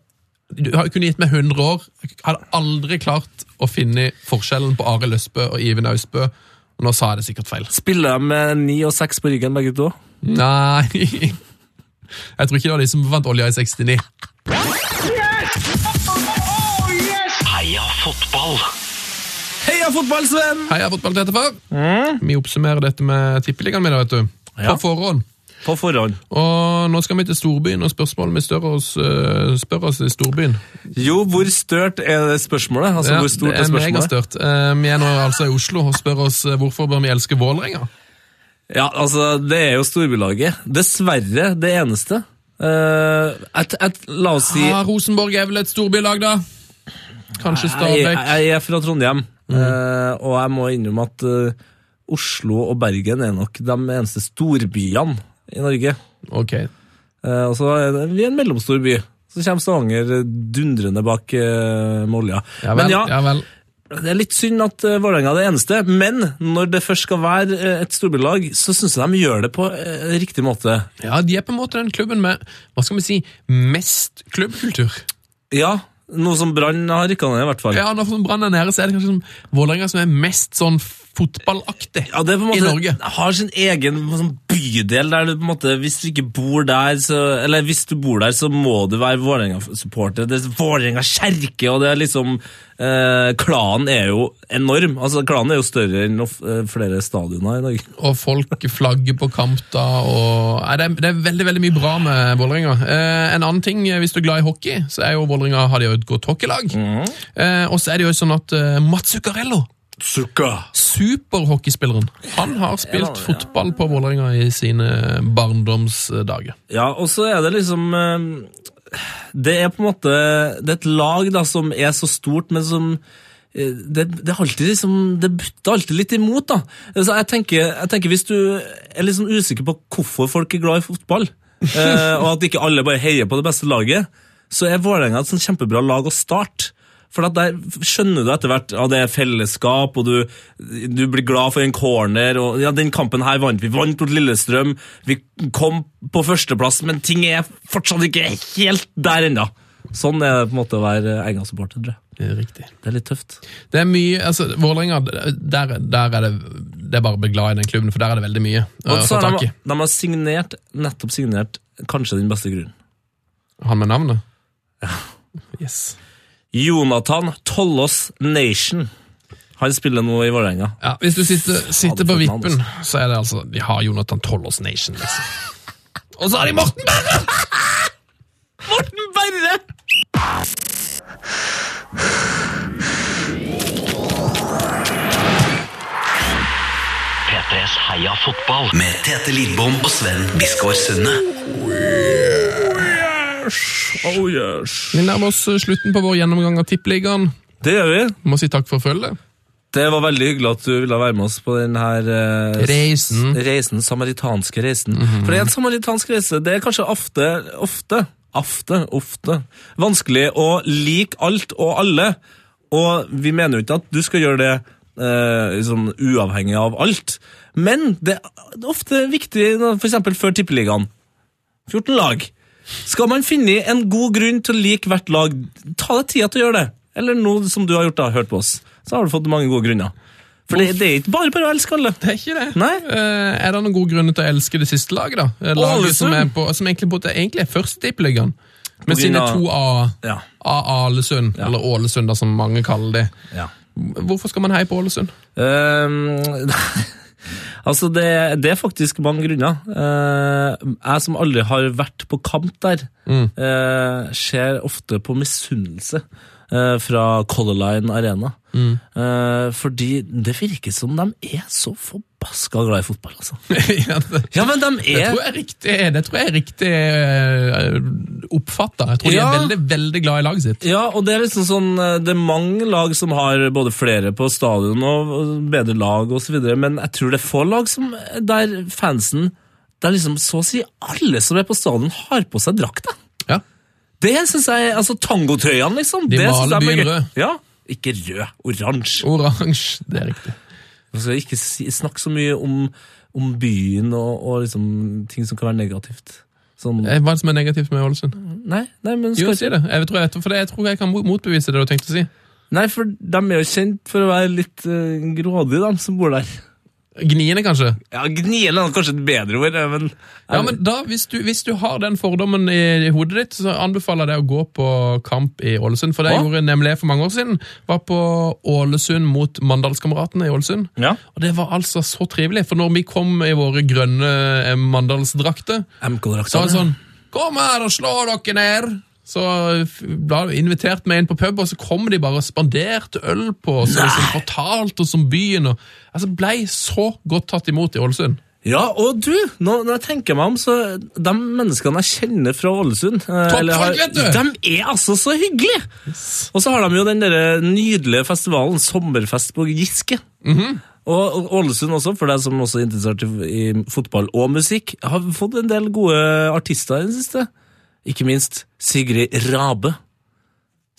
[SPEAKER 1] du har kunne gitt meg 100 år. Jeg hadde aldri klart å finne forskjellen på Arild Østbø og Iven Austbø. Og nå sa jeg det sikkert feil.
[SPEAKER 5] Spiller de med ni og seks på ryggen, begge to?
[SPEAKER 1] Nei Jeg tror ikke det var de som fant olja i 69.
[SPEAKER 4] Heia fotball!
[SPEAKER 5] Heia fotball, Sven!
[SPEAKER 1] Hei, jeg har fått ballet dette før. Vi oppsummerer dette med tippeligaen min, da, vet du.
[SPEAKER 5] Mm. Ja.
[SPEAKER 1] På forhånd.
[SPEAKER 5] På forhånd.
[SPEAKER 1] Og nå skal vi til storbyen, og spørsmålet vi stør oss, øh, spør oss i storbyen.
[SPEAKER 5] Jo, hvor størt er det spørsmålet? Altså,
[SPEAKER 1] Ja,
[SPEAKER 5] hvor stort
[SPEAKER 1] det
[SPEAKER 5] er
[SPEAKER 1] er
[SPEAKER 5] spørsmålet?
[SPEAKER 1] megastørt. Eh, Vi er nå altså i Oslo og spør oss eh, hvorfor bør vi elske Vålerenga.
[SPEAKER 5] Ja, altså, det er jo storbylaget. Dessverre det eneste. Eh, et, et, la oss si
[SPEAKER 1] Ja, Rosenborg er vel et storbylag, da? Kanskje
[SPEAKER 5] jeg,
[SPEAKER 1] Stabæk.
[SPEAKER 5] jeg er fra Trondheim,
[SPEAKER 1] Mm.
[SPEAKER 5] eh, og jeg må innrømme at eh, Oslo og Bergen er nok de eneste storbyene i Norge.
[SPEAKER 1] Ok.
[SPEAKER 5] Eh, og så er det, vi er en mellomstor by. Så kommer Stavanger dundrende bak eh, med olja.
[SPEAKER 1] Ja vel.
[SPEAKER 5] Men ja,
[SPEAKER 1] ja vel.
[SPEAKER 5] det er litt synd at eh, Vålerenga er det eneste, men når det først skal være eh, et storbylag, så syns jeg de gjør det på eh, riktig måte.
[SPEAKER 1] Ja, de er på en måte den klubben med hva skal vi si, mest klubbkultur.
[SPEAKER 5] Ja, noe som Brann har rykka ned, i hvert fall.
[SPEAKER 1] Ja, Når som Brann er nede, så er det kanskje som Vålerenga som er mest sånn fotballaktig
[SPEAKER 5] Ja, det er på en
[SPEAKER 1] i
[SPEAKER 5] måte,
[SPEAKER 1] Norge.
[SPEAKER 5] Har sin egen sånn, bydel der du på en måte Hvis du ikke bor der, så Eller hvis du bor der, så må du være Vålerenga-supporter. Det er Vålerenga kjerke, og det er liksom eh, Klanen er jo enorm. Altså, Klanen er jo større enn of- eh, flere stadioner i Norge.
[SPEAKER 1] Og folk flagger på kamp da. Og... Nei, det, er, det er veldig veldig mye bra med Vålerenga. Eh, en annen ting, eh, Hvis du er glad i hockey, så er jo Vålerenga har de jo et godt hockeylag.
[SPEAKER 5] Mhm.
[SPEAKER 1] Eh, og så er det jo sånn at eh, Mats Zuccarello, superhockeyspilleren, han har
[SPEAKER 5] Ja,
[SPEAKER 1] spilt
[SPEAKER 5] ja.
[SPEAKER 1] fotball på Vålerenga i sine barndomsdager.
[SPEAKER 5] Ja, og så er det liksom eh, Det er på en måte Det er et lag da som er så stort, men som eh, det, det er alltid liksom Det butter alltid litt imot, da. Så jeg tenker, jeg tenker Hvis du er litt sånn usikker på hvorfor folk er glad i fotball, eh, og at ikke alle bare heier på det beste laget, så er Vålerenga et sånn kjempebra lag å starte. For at der skjønner du etter hvert at ja, det er fellesskap, og du, du blir glad for en corner. og ja, Den kampen her vant vi. Vant mot Lillestrøm. Vi kom på førsteplass, men ting er fortsatt ikke helt der ennå. Sånn er det på en måte å være Enga-supporter, tror jeg.
[SPEAKER 1] Riktig.
[SPEAKER 5] Det er litt tøft.
[SPEAKER 1] Det er mye, altså Vålerenga, der, der er det det er bare å bli glad i den klubben, for der er det veldig mye eh,
[SPEAKER 5] Og
[SPEAKER 1] å
[SPEAKER 5] så
[SPEAKER 1] ta
[SPEAKER 5] har
[SPEAKER 1] tak
[SPEAKER 5] de,
[SPEAKER 1] i.
[SPEAKER 5] de har signert, nettopp signert kanskje den beste grunnen.
[SPEAKER 1] Han med navnet? Yes.
[SPEAKER 5] Jonathan Tollås Nation. Han spiller nå i Vålerenga.
[SPEAKER 1] Ja, hvis du sitter, sitter
[SPEAKER 5] Fader,
[SPEAKER 1] på
[SPEAKER 5] for et navn,
[SPEAKER 1] vippen, så er det altså De har Jonathan Tollås Nation, liksom. Og så har de Morten Berre!
[SPEAKER 5] Morten Berre!
[SPEAKER 4] Heia fotball med Tete Lidbom og Sven Biskår Sunne.
[SPEAKER 5] Oh yes.
[SPEAKER 1] Vi nærmer oss eh, slutten på vår gjennomgang av Tippeligaen.
[SPEAKER 5] Det gjør vi.
[SPEAKER 1] Må si takk for følget.
[SPEAKER 5] Det var veldig hyggelig at du ville være med oss på den her eh,
[SPEAKER 1] Reisen.
[SPEAKER 5] s- reisen, samaritanske reisen. For det er en samaritansk reise. Det er kanskje ofte, ofte, ofte, ofte vanskelig å like alt og alle. Og vi mener jo ikke at du skal gjøre det eh, sånn uavhengig av alt. Men det er ofte viktig, da, for eksempel før tippeligaen. 14 lag. Skal man finne en god grunn til å like hvert lag, ta deg tida til å gjøre det. Eller noe som du har gjort da, hørt på oss. Så har du fått mange gode grunner. For det, det er ikke bare bare å elske alle.
[SPEAKER 1] Det er ikke det.
[SPEAKER 5] Nei.
[SPEAKER 1] Eh, er det noen gode grunner til å elske det siste laget, da? Eh, Laget som, er
[SPEAKER 5] Ålesund.
[SPEAKER 1] på, som egentlig, på, egentlig er først i Tippeligaen.
[SPEAKER 5] På
[SPEAKER 1] Med
[SPEAKER 5] grunn
[SPEAKER 1] sine
[SPEAKER 5] av-
[SPEAKER 1] to A.
[SPEAKER 5] Ja.
[SPEAKER 1] A Ålesund, eller Ålesund, da, som mange kaller det.
[SPEAKER 5] ja.
[SPEAKER 1] Hvorfor skal man heie på Ålesund?
[SPEAKER 5] Ehm, altså, det, det er faktisk mange grunner. Ehm, jeg som aldri har vært på kamp der, eh, ser ofte på misunnelse eh, fra Color Line Arena. Eh, fordi det virker som de er så forbaska glad i fotball, altså.
[SPEAKER 1] ja, det,
[SPEAKER 5] Ja, men de
[SPEAKER 1] det
[SPEAKER 5] er
[SPEAKER 1] tror jeg er riktig, det tror jeg er riktig eh, oppfatta. Jeg tror de
[SPEAKER 5] Ja.
[SPEAKER 1] er veldig, veldig glad i laget sitt.
[SPEAKER 5] Ja, og det er liksom sånn eh, Det er mange lag som har både flere på stadion og og bedre lag osv., men jeg tror det er få lag som der fansen Der liksom så å si alle som er på stadion, har på seg drakta.
[SPEAKER 1] Ja.
[SPEAKER 5] Det syns jeg Altså tangotøyene, liksom.
[SPEAKER 1] De
[SPEAKER 5] det synes
[SPEAKER 1] maler
[SPEAKER 5] jeg er
[SPEAKER 1] byen
[SPEAKER 5] gøy.
[SPEAKER 1] rød.
[SPEAKER 5] Ja. Ikke rød, oransje.
[SPEAKER 1] Oransje, det er riktig.
[SPEAKER 5] Man skal ikke si, snakke så mye om, om byen og, og liksom ting som kan være negativt. Sånn,
[SPEAKER 1] Eh, Hva er det som er negativt med Ålesund?
[SPEAKER 5] nei, nei, men
[SPEAKER 1] Jo,
[SPEAKER 5] skal,
[SPEAKER 1] si det. Jeg tror jeg, for det, jeg tror jeg kan mo- motbevise det du tenkte å si.
[SPEAKER 5] nei, for de er jo kjent for å være litt eh, grådige, de som bor der.
[SPEAKER 1] Gniene, kanskje?
[SPEAKER 5] Ja, Gniele er kanskje et bedre ord, men
[SPEAKER 1] Ja, men da, hvis du, hvis du har den fordommen i, i hodet ditt, så anbefaler jeg deg å gå på kamp i Ålesund. For det
[SPEAKER 5] Hå?
[SPEAKER 1] gjorde jeg nemlig for mange år siden. Var på Ålesund mot Mandalskameratene i Ålesund.
[SPEAKER 5] Ja.
[SPEAKER 1] Og det var altså så trivelig, for når vi kom i våre grønne eh, Mandalsdrakter, så var det sånn Kom her og slå dere ned! Så f- ble vi invitert med inn på pub, og så kom de bare og spanderte øl på oss. Og liksom fortalte oss om byen. Og, altså, Blei så godt tatt imot i Ålesund.
[SPEAKER 5] Ja, og du, nå, når jeg tenker meg om, så de menneskene jeg kjenner fra Ålesund eh, eller har-
[SPEAKER 1] vet du!
[SPEAKER 5] De er altså så hyggelige! Og så har de jo den der nydelige festivalen, sommerfest på Giske.
[SPEAKER 1] Mhm.
[SPEAKER 5] Og og Ålesund også, for deg som også er interessert i, i fotball og musikk, har fått en del gode artister i det siste. Ikke minst Sigrid Rabe.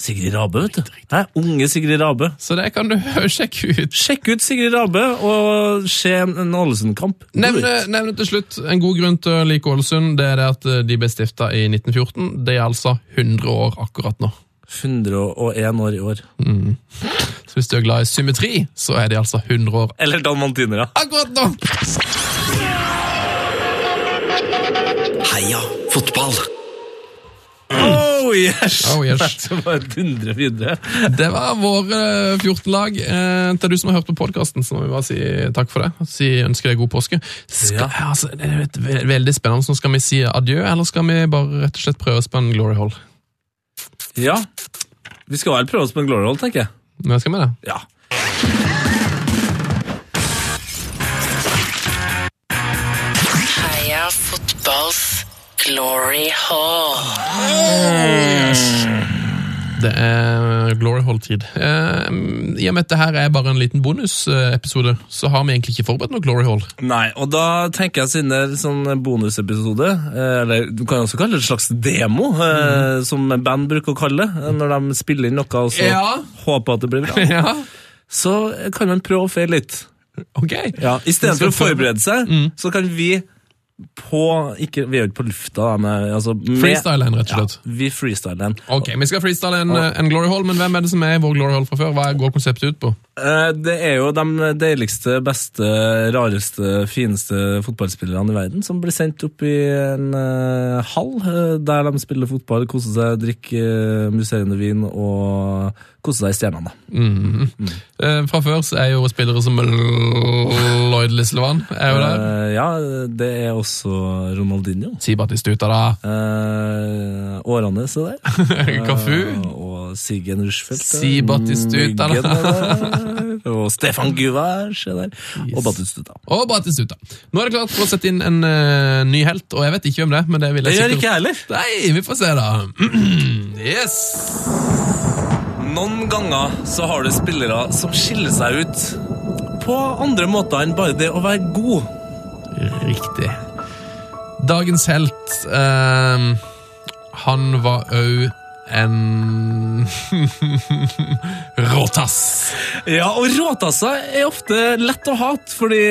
[SPEAKER 5] Sigrid Rabe, vet du. Nei, unge Sigrid Rabe.
[SPEAKER 1] Så det kan du sjekke ut.
[SPEAKER 5] Sjekk ut Sigrid Rabe og se en en Ålesund-kamp.
[SPEAKER 1] Nevne, nevne til slutt en god grunn til å like Ålesund. Det er det at eh, de ble stifta i 1914. Det er altså 100 år akkurat nå.
[SPEAKER 5] 101 år i år.
[SPEAKER 1] Så hvis du er glad i symmetri, så er de altså 100 år
[SPEAKER 5] Eller dalmantinere.
[SPEAKER 1] akkurat nå!
[SPEAKER 4] Heia fotball!
[SPEAKER 5] Oh yes!
[SPEAKER 1] Oh, yes.
[SPEAKER 5] Det var et dundre videre.
[SPEAKER 1] Det var våre 14 lag. Eh, til du som har hørt på podkasten, så må vi bare si takk for det. Si Ønsker deg god påske. Skal, altså, det er jo et ve- veldig spennende. Så skal vi si adjø, eller skal vi bare rett og slett prøve oss på en glory hall?
[SPEAKER 5] Ja. Vi skal vel prøve oss på en glory hole, tenker jeg.
[SPEAKER 1] Hva skal vi med det?
[SPEAKER 5] Ja.
[SPEAKER 7] Heia fotballs glory hall.
[SPEAKER 1] Det er glory hole-tid. Eh, I og med at det her er bare en liten bonusepisode, så har vi egentlig ikke forberedt noe glory hole.
[SPEAKER 5] Nei, og da tenker jeg siden det er en sånn bonusepisode, eh, eller du kan også kalle det en slags demo, eh, som band bruker å kalle det, eh, når de spiller inn noe og så
[SPEAKER 1] Ja.
[SPEAKER 5] håper at det blir bra.
[SPEAKER 1] Ja,
[SPEAKER 5] Så kan man prøve og feile litt.
[SPEAKER 1] ok.
[SPEAKER 5] Ja, I stedet
[SPEAKER 1] Vi Mm. skal
[SPEAKER 5] for å forberede seg, så kan vi på ikke, Vi er jo ikke på lufta, da, men altså med-
[SPEAKER 1] Freestyle en, rett og slett.
[SPEAKER 5] Ja, vi freestyler den.
[SPEAKER 1] Ok, Vi skal freestyle en, eh, en glory hole, men hvem er det som er i vår glory hole fra før? Hva går konseptet ut på?
[SPEAKER 5] Eh, Det er jo de deiligste, beste, rareste, fineste fotballspillerne i verden som blir sendt opp i en eh, hall eh, der de spiller fotball, koser seg, drikker eh, musserende vin og koser seg i stjernene.
[SPEAKER 1] Eh, fra før så er jo spillere som Lloyd Lislevan er jo der.
[SPEAKER 5] Eh, Ja, det er også Ronaldinho.
[SPEAKER 1] Si Batistuta, da.
[SPEAKER 5] Eh, Årene er der.
[SPEAKER 1] Kafu.
[SPEAKER 5] Og Siggen Rushfeldt. eh,
[SPEAKER 1] Si Batistuta, da.
[SPEAKER 5] Myggen er der. og Stefan Guvers er der, og Batistuta.
[SPEAKER 1] Og bare til slutt, da. Nå er det klart for å sette inn en eh, ny helt, og jeg vet ikke hvem det er. men det vil
[SPEAKER 5] Det
[SPEAKER 1] jeg
[SPEAKER 5] gjør
[SPEAKER 1] sikkert-
[SPEAKER 5] ikke jeg heller.
[SPEAKER 1] Nei, vi får se, da. yes!
[SPEAKER 5] Noen ganger så har du spillere som skiller seg ut på andre måter enn bare det å være god.
[SPEAKER 1] Riktig. Dagens helt eh, Han var òg en råtass.
[SPEAKER 5] Ja, og råtasser er ofte lett å hate, fordi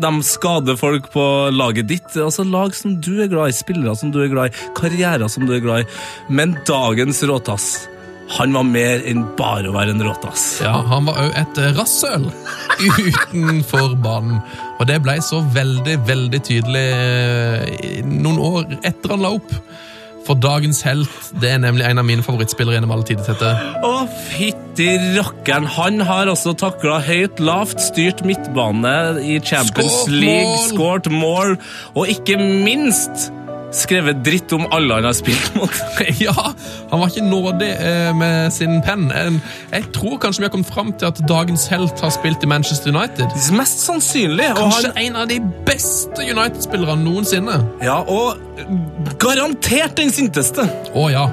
[SPEAKER 5] de skader folk på laget ditt. Altså lag som du er glad i, spillere som du er glad i, karrierer som du er glad i. Men dagens råtass, han var mer enn bare å være en råtass.
[SPEAKER 1] Ja, han var òg et eh, rasshøl utenfor banen. Og det ble så veldig, veldig tydelig eh, noen år etter han la opp. For dagens helt det er nemlig en av mine favorittspillere gjennom alle tider. Tete.
[SPEAKER 5] Å, fytti rakkeren. Han har altså takla høyt, lavt, styrt midtbane i Champions
[SPEAKER 1] Skåret
[SPEAKER 5] League,
[SPEAKER 1] mål!
[SPEAKER 5] skåret mål, og ikke minst skrevet dritt om alle han har spilt mot.
[SPEAKER 1] Ja, han var ikke nådig eh, med sin penn. En- Jeg tror kanskje vi har kommet fram til at dagens helt har spilt i Manchester United.
[SPEAKER 5] Mest sannsynlig. Og
[SPEAKER 1] Kanskje
[SPEAKER 5] han,
[SPEAKER 1] en av de beste United-spillerne noensinne.
[SPEAKER 5] ja, og garantert den sinteste.
[SPEAKER 1] Å ja.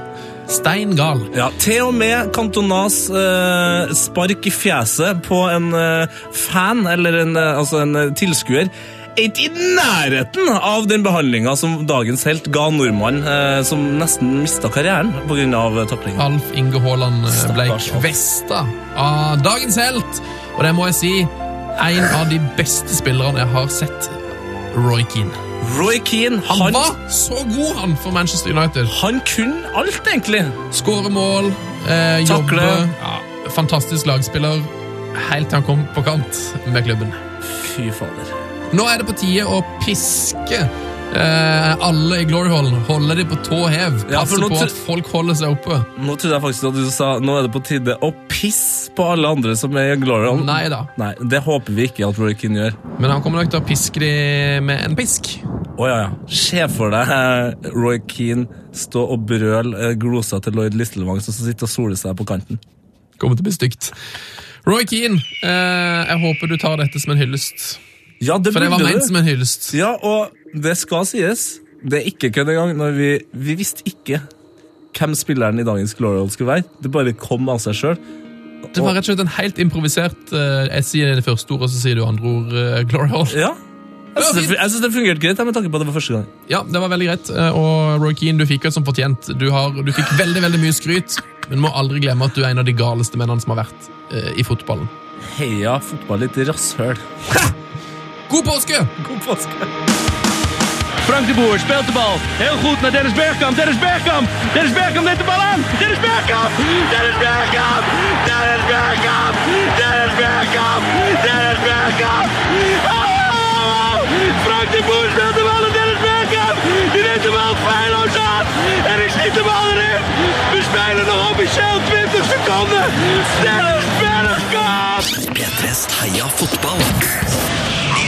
[SPEAKER 1] Steingal.
[SPEAKER 5] Ja, til og med Cantonas eh, spark i fjeset på en eh, fan, eller en, eh, altså en eh, tilskuer, er ikke i nærheten av den behandlinga som dagens helt ga nordmannen, eh, som nesten mista karrieren pga. taklinga.
[SPEAKER 1] Alf Inge Haaland eh, ble
[SPEAKER 5] Stakkars Alf.
[SPEAKER 1] kvesta av dagens helt. Og det må jeg si, en av de beste spillerne jeg har sett. Roy Keane.
[SPEAKER 5] Roy Keane,
[SPEAKER 1] Han
[SPEAKER 5] han,
[SPEAKER 1] var så god, han, for Manchester United.
[SPEAKER 5] han kunne alt, egentlig.
[SPEAKER 1] Skåre mål, eh, jobbe
[SPEAKER 5] Takle.
[SPEAKER 1] ja, Fantastisk lagspiller. Helt til han kom på kant med klubben.
[SPEAKER 5] Fy fader.
[SPEAKER 1] Nå er det på tide å piske eh, alle i Glory Hall. Holde dem på tå hev.
[SPEAKER 5] Ja, for
[SPEAKER 1] Passe
[SPEAKER 5] nå
[SPEAKER 1] på
[SPEAKER 5] tr-
[SPEAKER 1] at folk holder seg oppe.
[SPEAKER 5] Nå trodde jeg faktisk at du sa nå er det på tide å pisse på alle andre som er i Glorion.
[SPEAKER 1] Nei da.
[SPEAKER 5] Nei, det håper vi ikke at Roy Keane gjør.
[SPEAKER 1] Men han kommer nok til å piske dem med en pisk.
[SPEAKER 5] Å ja, ja. Se for deg eh, Roy Keane stå og brøle eh, glosa til Lloyd Listelvang som sitter og soler seg på kanten.
[SPEAKER 1] Kommer til å bli stygt. Roy Keane, eh, jeg håper du tar dette som en hyllest.
[SPEAKER 5] Ja, det
[SPEAKER 1] For det var
[SPEAKER 5] burde
[SPEAKER 1] ment
[SPEAKER 5] du.
[SPEAKER 1] som en hyllest.
[SPEAKER 5] Ja, og det skal sies. Det er ikke kødd engang. Når vi, vi visste ikke hvem spilleren i dagens Glory Hole skulle være. Det bare kom av seg sjøl.
[SPEAKER 1] Det var rett og slett en helt improvisert eh, Jeg sier det første ordet, og så sier du andre ord. eh, Glory Hall.
[SPEAKER 5] Ja. Jeg
[SPEAKER 1] Ja,
[SPEAKER 5] syns
[SPEAKER 1] fint.
[SPEAKER 5] det, jeg synes det fungerte greit, jeg, med tanke på at det var første gang.
[SPEAKER 1] Ja, det var veldig greit. Eh, Og Roy Keane, du fikk jo et som fortjent. Du, har, du fikk veldig veldig mye skryt, men må aldri glemme at du er en av de galeste mennene som har vært eh, i fotballen.
[SPEAKER 5] Heia fotball litt rasshøl.
[SPEAKER 1] God påske!
[SPEAKER 5] God påske.
[SPEAKER 3] Frank de Boer speelt de bal. Heel goed naar Dennis Bergkamp. Dennis Bergkamp. Dennis Bergkamp neemt de bal aan. Dennis Bergkamp. Dennis Bergkamp. Dennis Bergkamp. Dennis Bergkamp. Dennis Bergkamp. Oh! Frank de Boer speelt de bal aan Dennis Bergkamp. Die neemt de bal feilloos aan. En is niet de bal erin. We spelen nog officieel 20 seconden. Dennis Bergkamp.
[SPEAKER 4] P3s Heia fotball. Ny